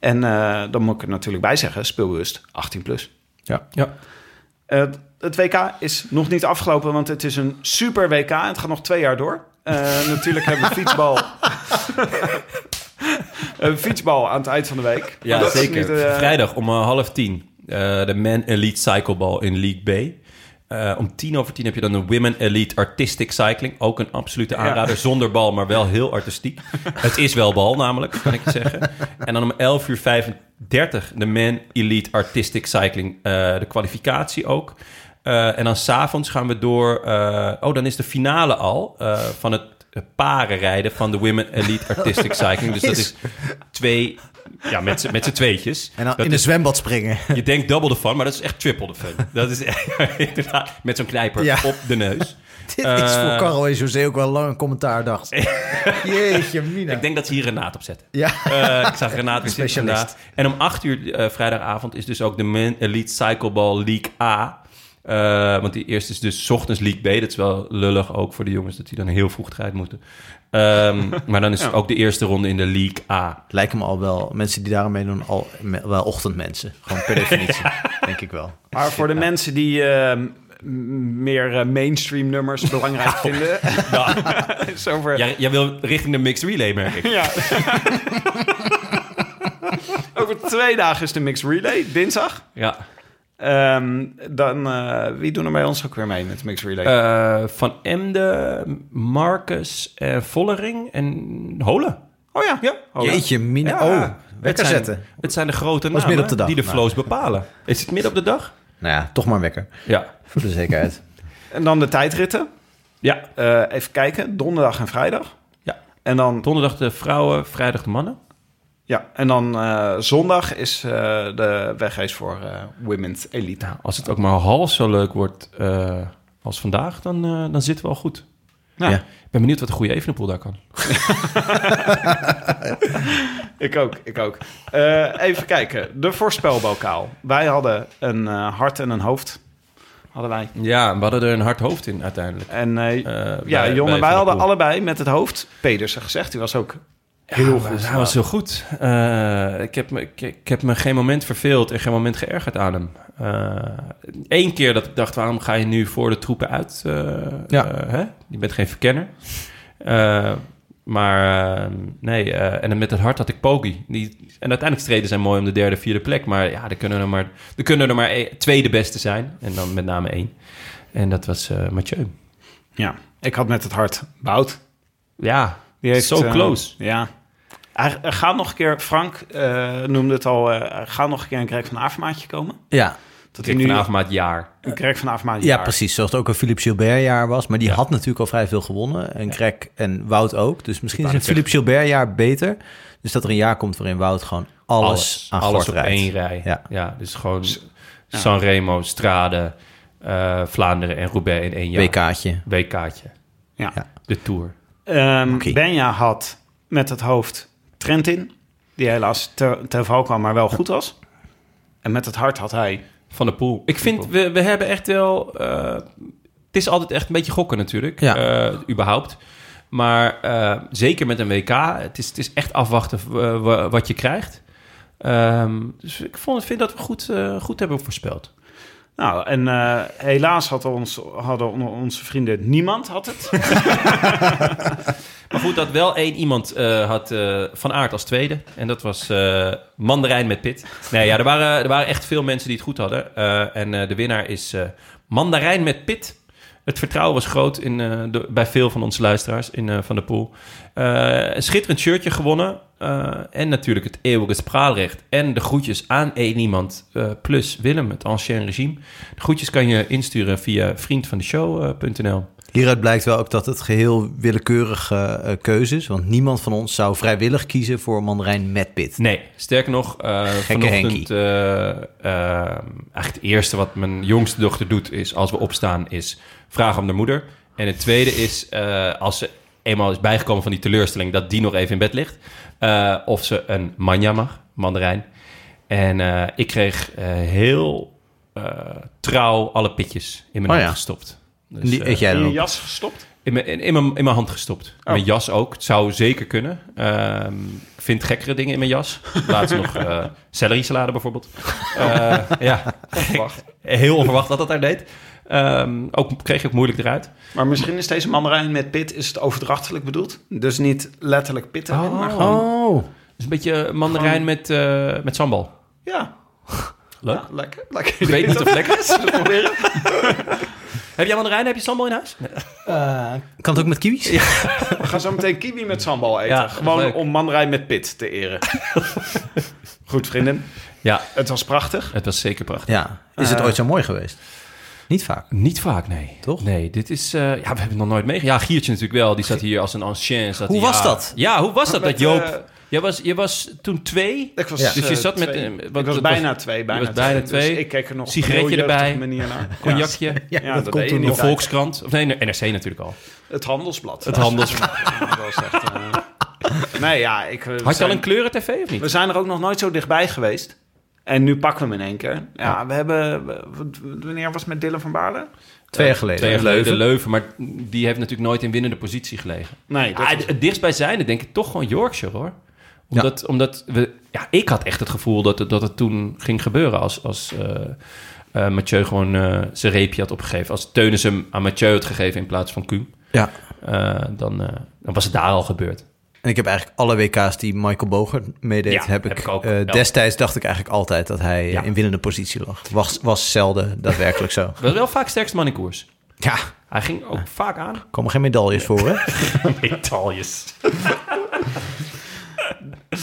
Speaker 8: En eh, dan moet ik er natuurlijk bij zeggen, speelbewust 18 plus.
Speaker 2: Ja.
Speaker 1: ja.
Speaker 8: Eh, het WK is nog niet afgelopen, want het is een super WK. En het gaat nog twee jaar door. Eh, natuurlijk hebben we fietsbal... een fietsbal aan het eind van de week. Maar dat is
Speaker 1: zeker.
Speaker 8: niet, eh,
Speaker 1: Vrijdag om eh, half tien. eh, de Men Elite Cycleball in League B. Eh, om tien over tien heb je dan de Women Elite Artistic Cycling. Ook een absolute aanrader. Zonder bal, maar wel heel artistiek. het is wel bal namelijk, kan ik je zeggen. En dan om 11 uur 35 de Men Elite Artistic Cycling. eh, de kwalificatie ook. Eh, en dan s'avonds gaan we door... eh, oh, dan is de finale al eh, van het eh, parenrijden van de Women Elite Artistic Cycling. Dus dat is twee... Ja, met z'n- met z'n tweetjes.
Speaker 2: En dan
Speaker 1: Dat
Speaker 2: in een
Speaker 1: is-
Speaker 2: zwembad springen.
Speaker 1: je denkt double de fun, maar dat is echt triple de fun. Dat is echt, inderdaad, met zo'n knijper
Speaker 2: Ja.
Speaker 1: op de neus.
Speaker 2: Dit is voor Carl en José ook wel lang een commentaar, dacht Jeetje, mina.
Speaker 1: Ik denk dat ze hier Renaat op zetten.
Speaker 2: Ja.
Speaker 1: Eh, ik zag Renaat in zitten
Speaker 2: Specialist.
Speaker 1: vandaag. En om 8 uur eh, vrijdagavond is dus ook de Men Elite Cycleball League A. Eh, want die eerste is dus 's ochtends League B. Dat is wel lullig ook voor de jongens dat die dan heel vroeg eruit moeten. Ehm, maar dan is ook de eerste ronde in de League A.
Speaker 2: Het lijken me al wel, mensen die daarmee doen, al me- wel ochtendmensen. Gewoon per definitie, denk ik wel.
Speaker 8: Maar voor de mensen die eh, m- meer eh, mainstream
Speaker 1: Nou.
Speaker 8: nummers belangrijk vinden. is over,
Speaker 1: Jij, jij wil richting de mixed relay, merk ik.
Speaker 8: Ja. over twee dagen is de Mixed Relay, dinsdag.
Speaker 1: Ja.
Speaker 8: Ehm, dan, eh, wie doen er bij ons ook weer mee met de Mixed Relay?
Speaker 1: Eh, van Emden, Marcus, eh, Vollering en Ah, Holen.
Speaker 8: oh ja, ja. Oh, ja.
Speaker 2: Jeetje, mina. oh,
Speaker 1: het
Speaker 2: wekker
Speaker 1: zijn,
Speaker 2: zetten.
Speaker 1: Het zijn de grote
Speaker 2: midden
Speaker 1: namen
Speaker 2: op de dag.
Speaker 1: die de
Speaker 2: Nou.
Speaker 1: flows bepalen. Is het midden op de dag?
Speaker 2: Nou ja, toch maar wekker.
Speaker 1: Ja.
Speaker 2: Voor de zekerheid.
Speaker 8: En dan de tijdritten.
Speaker 1: Ja.
Speaker 8: Eh, even kijken, donderdag en vrijdag.
Speaker 1: Ja.
Speaker 8: En dan,
Speaker 1: Donderdag de vrouwen, vrijdag de mannen.
Speaker 8: ja, en dan eh, zondag is eh, de wegreis voor eh, Women's Elite.
Speaker 1: Nou, Als het ook maar half zo leuk wordt eh, als vandaag, dan, eh, dan zitten we al goed. Nou, Ik ben benieuwd wat de goede Evenepoel daar kan.
Speaker 8: ik ook, ik ook. Eh, even kijken. De voorspelbokaal. Wij hadden een eh, hart en een hoofd. Hadden wij.
Speaker 1: Ja, we hadden er een hard hoofd in uiteindelijk. Eh,
Speaker 8: En eh, ja,
Speaker 1: bij- bij
Speaker 8: Jon en
Speaker 1: Van
Speaker 8: wij
Speaker 1: der
Speaker 8: hadden
Speaker 1: Poel.
Speaker 8: allebei met het hoofd Pedersen gezegd. Die was ook heel
Speaker 1: maar
Speaker 8: goed.
Speaker 1: Hij was heel goed. Eh, ik, heb me, ik, ik heb me geen moment verveeld en geen moment geërgerd aan hem. Eén keer dat ik dacht, waarom ga je nu voor de troepen uit? eh,
Speaker 2: Ja.
Speaker 1: eh, hè? Je bent geen verkenner. Eh, maar eh, nee, eh, en dan met het hart had ik Pogi. Die, en uiteindelijk streden zijn mooi om de derde, vierde plek. Maar ja, er kunnen er maar, er kunnen er maar e- twee de beste zijn. En dan met name één. En dat was eh, Mathieu.
Speaker 8: Ja, ik had met het hart Bout.
Speaker 1: Ja,
Speaker 8: Die heeft,
Speaker 1: so
Speaker 8: eh,
Speaker 1: close.
Speaker 8: Ja. Hij- er gaat nog een keer, Frank eh, noemde het al, eh, er gaat nog een keer een Greg van Avermaatje komen.
Speaker 2: Ja.
Speaker 8: Dat hij
Speaker 1: Ik
Speaker 8: nu
Speaker 1: vanavond maar het jaar.
Speaker 8: een Greg van Avermaatje
Speaker 2: Ja,
Speaker 8: jaar.
Speaker 2: precies. Zoals het ook een Philippe Gilbert jaar was. Maar die had natuurlijk al vrij veel gewonnen. En Craig en Wout ook. Dus misschien
Speaker 1: wou
Speaker 2: is een
Speaker 1: net
Speaker 2: Philippe Gilbert jaar beter. Dus dat er een jaar komt waarin Wout gewoon alles, aan
Speaker 1: alles
Speaker 2: gort
Speaker 1: op
Speaker 2: rijdt.
Speaker 1: één rij.
Speaker 2: Ja.
Speaker 1: Ja. dus gewoon Sanremo, Strade, eh, Vlaanderen en Roubaix in één jaar.
Speaker 2: WK'tje.
Speaker 1: WK'tje.
Speaker 8: Ja.
Speaker 1: De Tour.
Speaker 8: Ehm,
Speaker 2: Oké.
Speaker 8: Benja had met het hoofd Trentin, die helaas te, ten val kwam, maar wel goed was. En met het hart had hij...
Speaker 1: Van de Poel. Ik vind, we, we hebben echt wel... eh, het is altijd echt een beetje gokken natuurlijk.
Speaker 2: Ja.
Speaker 1: eh, überhaupt. Maar eh, zeker met een WK. Het is, het is echt afwachten eh, wa- wat je krijgt. Ehm, dus ik vond, vind dat we goed, eh, goed hebben voorspeld.
Speaker 8: Nou, en eh, helaas had ons, hadden on- onze vrienden niemand had het.
Speaker 1: Maar goed, dat wel één iemand eh, had eh, Van Aert als tweede. En dat was eh, Mandarijn met Pit. Nee, ja, er waren, er waren echt veel mensen die het goed hadden. Eh, en eh, de winnaar is eh, Mandarijn met Pit. Het vertrouwen was groot in, eh, de- bij veel van onze luisteraars in eh, Van der Poel. Eh, een schitterend shirtje gewonnen. Eh, en natuurlijk het eeuwige spraalrecht. En de groetjes aan één iemand. eh, plus Willem, het ancien regime. De groetjes kan je insturen via eh, vriendvandeshow.nl.
Speaker 2: Hieruit blijkt wel ook dat het geheel willekeurige eh, keuze is. Want niemand van ons zou vrijwillig kiezen voor Mandarijn met Pit.
Speaker 1: Nee, sterker nog, eh vanochtend...
Speaker 2: Henkie.
Speaker 1: eh, eh, eigenlijk het eerste wat mijn jongste dochter doet is... als we opstaan, is vragen om haar moeder. En het tweede is, eh, als ze eenmaal is bijgekomen van die teleurstelling... dat die nog even in bed ligt. eh, of ze een manja mag, mandarijn. En eh, ik kreeg eh, heel eh, trouw alle pitjes in mijn
Speaker 2: Oh
Speaker 1: hand
Speaker 2: ja.
Speaker 1: gestopt. Dus,
Speaker 2: En die
Speaker 1: eh,
Speaker 2: eet jij
Speaker 8: In
Speaker 2: dan
Speaker 8: je
Speaker 2: op.
Speaker 8: jas gestopt.
Speaker 1: in mijn, in, in mijn, in mijn hand gestopt. Mijn jas ook. Het zou zeker kunnen. Ehm, ik vind gekkere dingen in mijn jas. Laatst nog eh celery salade bijvoorbeeld. Eh, ja, heel onverwacht dat dat daar deed. Ehm, ook kreeg ik ook moeilijk eruit.
Speaker 8: Maar misschien is deze mandarijn met pit is het overdrachtelijk bedoeld. Dus niet letterlijk pitten, maar gewoon...
Speaker 1: Oh. Dus een beetje mandarijn met, eh, met sambal.
Speaker 8: Ja.
Speaker 1: Leuk.
Speaker 8: Ja, lekker, lekker.
Speaker 1: Ik weet niet of het lekker is.
Speaker 8: Zullen we het proberen?
Speaker 1: heb jij mandarijn? Heb je sambal in huis?
Speaker 2: Kan het ook met kiwis?
Speaker 8: We gaan zo meteen kiwi met sambal eten.
Speaker 1: Ja, dat is
Speaker 8: Gewoon
Speaker 1: leuk.
Speaker 8: om mandarijn met pit te eren. Goed, vrienden.
Speaker 1: Ja,
Speaker 8: Het was prachtig.
Speaker 1: het was zeker prachtig.
Speaker 2: Ja. Is
Speaker 1: Eh.
Speaker 2: het ooit zo mooi geweest? Niet vaak.
Speaker 1: Niet vaak, nee.
Speaker 2: Toch?
Speaker 1: Nee, dit is... eh, ja, we hebben het nog nooit meegemaakt. Ja, Giertje natuurlijk wel. Die zat hier als een ancien. Zat
Speaker 2: Hoe
Speaker 1: hij-
Speaker 2: was
Speaker 1: ja.
Speaker 2: dat?
Speaker 1: Ja, hoe was dat,
Speaker 8: Met,
Speaker 1: dat Joop...
Speaker 8: eh,
Speaker 1: jij, was, jij was toen twee.
Speaker 8: Ik was,
Speaker 2: Ja.
Speaker 1: Dus je
Speaker 8: eh,
Speaker 1: zat met,
Speaker 8: twee.
Speaker 1: eh, wat-
Speaker 8: Ik
Speaker 1: dat
Speaker 8: was
Speaker 1: was-
Speaker 8: bijna twee. Bijna
Speaker 1: was bijna
Speaker 8: twee.
Speaker 1: twee.
Speaker 8: Dus ik keek er nog op een
Speaker 1: Sigaretje
Speaker 8: heel jeugdige
Speaker 1: erbij.
Speaker 8: manier naar.
Speaker 1: Cognacje.
Speaker 8: Ja, dat,
Speaker 2: komt
Speaker 8: deed je
Speaker 2: toen
Speaker 8: niet
Speaker 1: De
Speaker 2: nog.
Speaker 8: altijd.
Speaker 1: Volkskrant. Of nee, NRC natuurlijk al.
Speaker 8: Het handelsblad.
Speaker 1: Het handels...
Speaker 8: Dat was echt, eh, nee, ja. Ik, eh, we
Speaker 1: Had je
Speaker 8: zijn-
Speaker 1: al een kleuren tv of
Speaker 8: We
Speaker 1: niet?
Speaker 8: zijn er ook nog nooit zo dichtbij geweest. En nu pakken we hem in één keer. Ja, we hebben... we- we- Wanneer was het met Dylan van Baarle?
Speaker 2: Twee jaar geleden.
Speaker 1: Twee jaar geleden Leuven. Maar die heeft natuurlijk nooit in winnende positie gelegen.
Speaker 8: Nee, dat
Speaker 1: Ah,
Speaker 8: was-
Speaker 1: het dichtstbijzijnde denk ik toch gewoon Yorkshire hoor. Omdat, omdat we, ja, ik had echt het gevoel dat het, dat het toen ging gebeuren als, als eh, eh, Mathieu gewoon eh, zijn reepje had opgegeven. Als Teunis hem aan Mathieu had gegeven in plaats van Kuhn,
Speaker 2: Ja.
Speaker 1: eh, dan, eh, dan was het daar al gebeurd.
Speaker 2: En ik heb eigenlijk alle WK's die Michael Boger meedeed,
Speaker 1: Ja,
Speaker 2: heb ik,
Speaker 1: heb ik ook.
Speaker 2: eh,
Speaker 1: Ja.
Speaker 2: destijds dacht ik eigenlijk altijd dat hij eh,
Speaker 1: Ja.
Speaker 2: in winnende positie lag. Was, was zelden daadwerkelijk zo.
Speaker 1: Dat was wel vaak sterkste man in koers.
Speaker 2: Ja,
Speaker 1: Hij ging ook vaak aan.
Speaker 2: komen geen medailles voor, hè?
Speaker 1: Metaljes.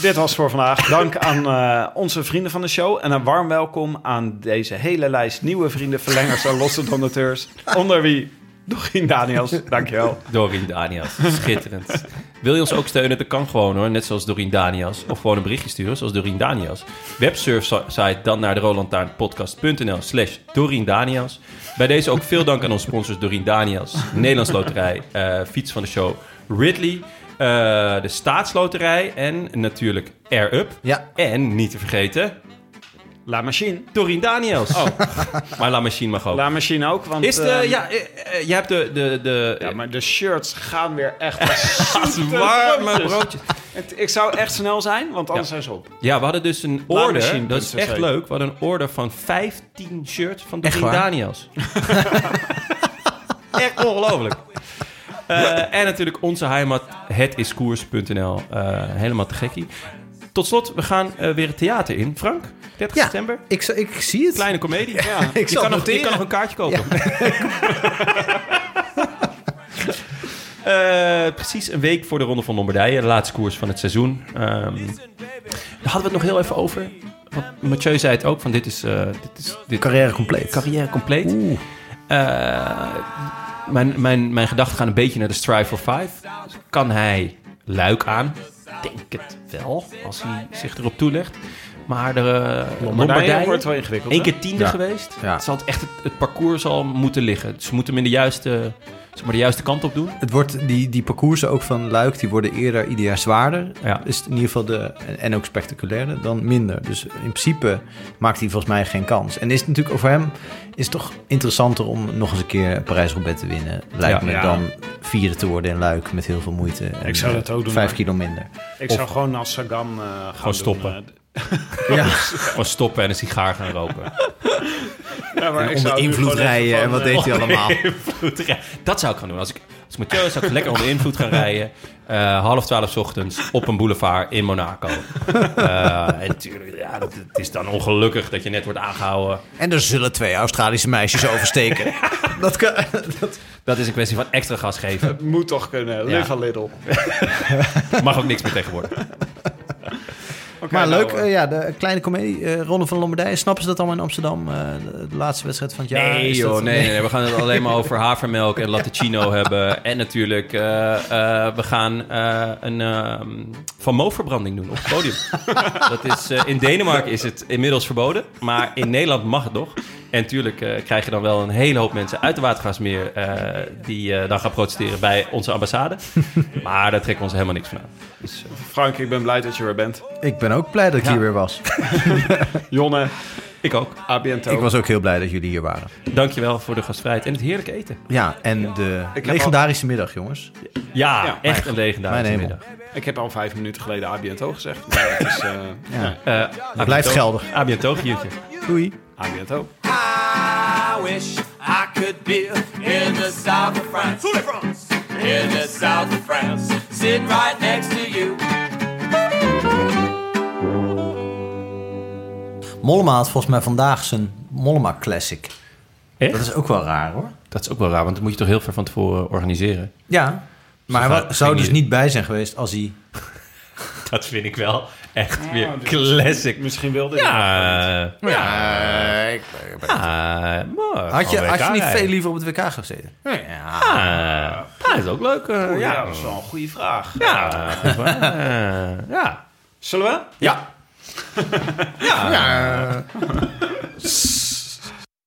Speaker 8: Dit was voor vandaag. Dank aan eh, onze vrienden van de show. En een warm welkom aan deze hele lijst nieuwe vrienden, verlengers en losse donateurs. Onder wie Dorien Daniels. Dankjewel.
Speaker 1: Dorien Daniels, schitterend. Wil je ons ook steunen? Dat kan gewoon hoor. Net zoals Dorien Danias. Of gewoon een berichtje sturen, zoals Dorien Danias. Websurfsite dan naar de rolandtaarnpodcast.nl slash Dorien Danias. Bij deze ook veel dank aan onze sponsors Dorien Danias, Nederlands Loterij, eh, Fiets van de Show, Ridley, eh, de Staatsloterij en natuurlijk Air Up.
Speaker 9: Ja.
Speaker 1: En niet te vergeten...
Speaker 8: La Machine.
Speaker 1: Dorien Daniels. maar La Machine mag ook.
Speaker 8: Oh. La Machine ook, want...
Speaker 1: Is de,
Speaker 8: eh,
Speaker 1: ja, eh, eh, je hebt de, de, de
Speaker 8: ja, maar de shirts gaan weer echt als zoete
Speaker 1: warme
Speaker 8: broodjes.
Speaker 1: broodjes.
Speaker 8: Het- Ik zou echt snel zijn, want anders zijn ze op.
Speaker 1: Ja, we hadden dus een order.
Speaker 8: Laadmachine.nl.
Speaker 1: Dat is echt leuk. We hadden een order van 15 shirts van
Speaker 10: Echt
Speaker 1: Dorien
Speaker 10: waar?
Speaker 1: Daniels. echt ongelooflijk. Eh, en natuurlijk onze heimat, hetiskoers.nl. Eh, helemaal te gekkie. Tot slot, we gaan eh, weer het theater in. Frank, 30
Speaker 9: Ja,
Speaker 1: september.
Speaker 9: ik, z- ik zie het.
Speaker 1: Kleine komedie.
Speaker 9: Ik
Speaker 1: je,
Speaker 9: zal
Speaker 1: kan nog, je
Speaker 9: noteren.
Speaker 1: kan nog een kaartje kopen. Eh, precies een week voor de Ronde van Lombardije. De laatste koers van het seizoen. Ehm, daar hadden we het nog heel even over. Want Mathieu zei het ook. Van dit is... eh, dit is dit,
Speaker 9: Carrière compleet.
Speaker 1: carrière compleet. Eh, mijn, mijn, mijn gedachten gaan een beetje naar de Strive for Five. Kan hij luik aan? Ik denk het wel, als hij zich erop toelegt. Maar de eh, Lombardije
Speaker 8: wordt wel ingewikkeld,
Speaker 1: Eén
Speaker 8: hè?
Speaker 1: keer tiende
Speaker 9: Ja.
Speaker 1: geweest.
Speaker 9: Ja.
Speaker 1: Het, zal het echt het, het parcours zal moeten liggen. Ze moeten hem in de juiste, zeg maar, de juiste kant op doen.
Speaker 9: Het wordt, die, die parcoursen ook van Luik, die worden eerder ieder jaar zwaarder.
Speaker 1: Ja.
Speaker 9: Is het in ieder geval de, en ook spectaculairder dan minder. Dus in principe maakt hij volgens mij geen kans. En is het natuurlijk voor hem is het toch interessanter om nog eens een keer Parijs-Roubaix te winnen. Lijkt
Speaker 1: Ja.
Speaker 9: me
Speaker 8: Ja.
Speaker 9: dan vierde te worden in Luik met heel veel moeite. En,
Speaker 8: Ik zou dat
Speaker 9: eh,
Speaker 8: ook doen,
Speaker 9: Vijf
Speaker 8: maar-
Speaker 9: kilo minder.
Speaker 8: Ik
Speaker 9: Of-
Speaker 8: zou gewoon als Sagan eh, gaan doen,
Speaker 1: stoppen.
Speaker 8: eh,
Speaker 9: Ja.
Speaker 1: Gewoon stoppen en een sigaar gaan roken.
Speaker 8: Ja, maar ik
Speaker 9: Onder
Speaker 8: zou nu
Speaker 9: invloed
Speaker 8: gewoon even
Speaker 9: rijden
Speaker 8: van,
Speaker 9: en wat
Speaker 8: eh,
Speaker 9: deed hij allemaal.
Speaker 1: Goed, ja, dat zou ik gaan doen. Als ik, als ik Mathieu was, zou ik lekker onder invloed gaan rijden. Eh, half twaalf 's ochtends op een boulevard in Monaco. Eh, en natuurlijk, ja, dat, het is dan ongelukkig dat je net wordt aangehouden.
Speaker 9: En er zullen twee Australische meisjes oversteken. dat kan, dat,
Speaker 1: Dat is een kwestie van extra gas geven.
Speaker 8: Moet toch kunnen, live
Speaker 1: Ja.
Speaker 8: a little.
Speaker 1: Mag ook niks meer tegenwoordig.
Speaker 9: maar
Speaker 8: nou,
Speaker 9: leuk,
Speaker 8: eh,
Speaker 9: eh, ja, de kleine komedie, eh, Ronde van Lombardije. Snappen ze dat allemaal in Amsterdam? eh, de, de laatste wedstrijd van het jaar?
Speaker 1: nee,
Speaker 9: Is
Speaker 1: joh,
Speaker 9: dat-
Speaker 1: nee, nee, nee. We gaan het alleen maar over havermelk en latticino hebben. En natuurlijk, eh, eh, we gaan eh, een ehm, Van Mo-verbranding doen op het podium. dat is, eh, in Denemarken is het inmiddels verboden, maar in Nederland mag het nog. En natuurlijk eh, krijg je dan wel een hele hoop mensen uit de Watergaasmeer... eh, die eh, dan gaan protesteren bij onze ambassade. maar daar trekken we ons helemaal niks van aan. Dus, eh,
Speaker 8: Frank, ik ben blij dat je er bent.
Speaker 9: Ik ben ook blij dat ik
Speaker 1: Ja.
Speaker 9: hier weer was.
Speaker 8: Jonne,
Speaker 1: ik ook.
Speaker 8: a biento.
Speaker 9: Ik was ook heel blij dat jullie hier waren.
Speaker 1: Dankjewel voor de gastvrijheid en het heerlijke eten.
Speaker 9: Ja, en de
Speaker 8: Ik heb
Speaker 9: legendarische middag, jongens.
Speaker 1: Ja,
Speaker 8: Ja,
Speaker 1: echt een
Speaker 2: Ah,
Speaker 9: mijn
Speaker 1: legendarische
Speaker 9: hemel.
Speaker 1: middag.
Speaker 8: Ik heb al vijf minuten geleden a biento gezegd. Maar het is eh
Speaker 9: Ja.
Speaker 1: Eh, à
Speaker 9: blijft
Speaker 1: bientôt.
Speaker 9: geldig.
Speaker 1: À bientôt, Giertje.
Speaker 9: Doei.
Speaker 8: a biento.
Speaker 11: I wish I could be in the south of France. In the south of France. Sit right next to you.
Speaker 9: Mollema had volgens mij vandaag zijn Mollema Classic.
Speaker 1: Echt?
Speaker 9: Dat is ook wel raar, hoor.
Speaker 1: Dat is ook wel raar, want dat moet je toch heel ver van tevoren organiseren.
Speaker 9: Ja, maar hij
Speaker 1: Ze
Speaker 9: wa-
Speaker 1: gaan-
Speaker 9: zou
Speaker 1: ging
Speaker 9: dus
Speaker 1: niet-
Speaker 9: niet bij zijn geweest als hij...
Speaker 1: Dat vind ik wel echt weer classic.
Speaker 8: Misschien wilde je.
Speaker 1: Ja, ja.
Speaker 9: Nee,
Speaker 1: Ah, maar
Speaker 9: had je,
Speaker 1: gewoon
Speaker 9: had je niet
Speaker 1: WK
Speaker 9: veel
Speaker 1: rijden.
Speaker 9: liever op het WK gezeten? Ja.
Speaker 1: Ah, ja, dat is ook leuk. eh,
Speaker 8: Ja,
Speaker 1: ja,
Speaker 8: dat is wel een goede vraag.
Speaker 1: ja. eh, ja.
Speaker 8: Zullen we?
Speaker 9: Ja. ja.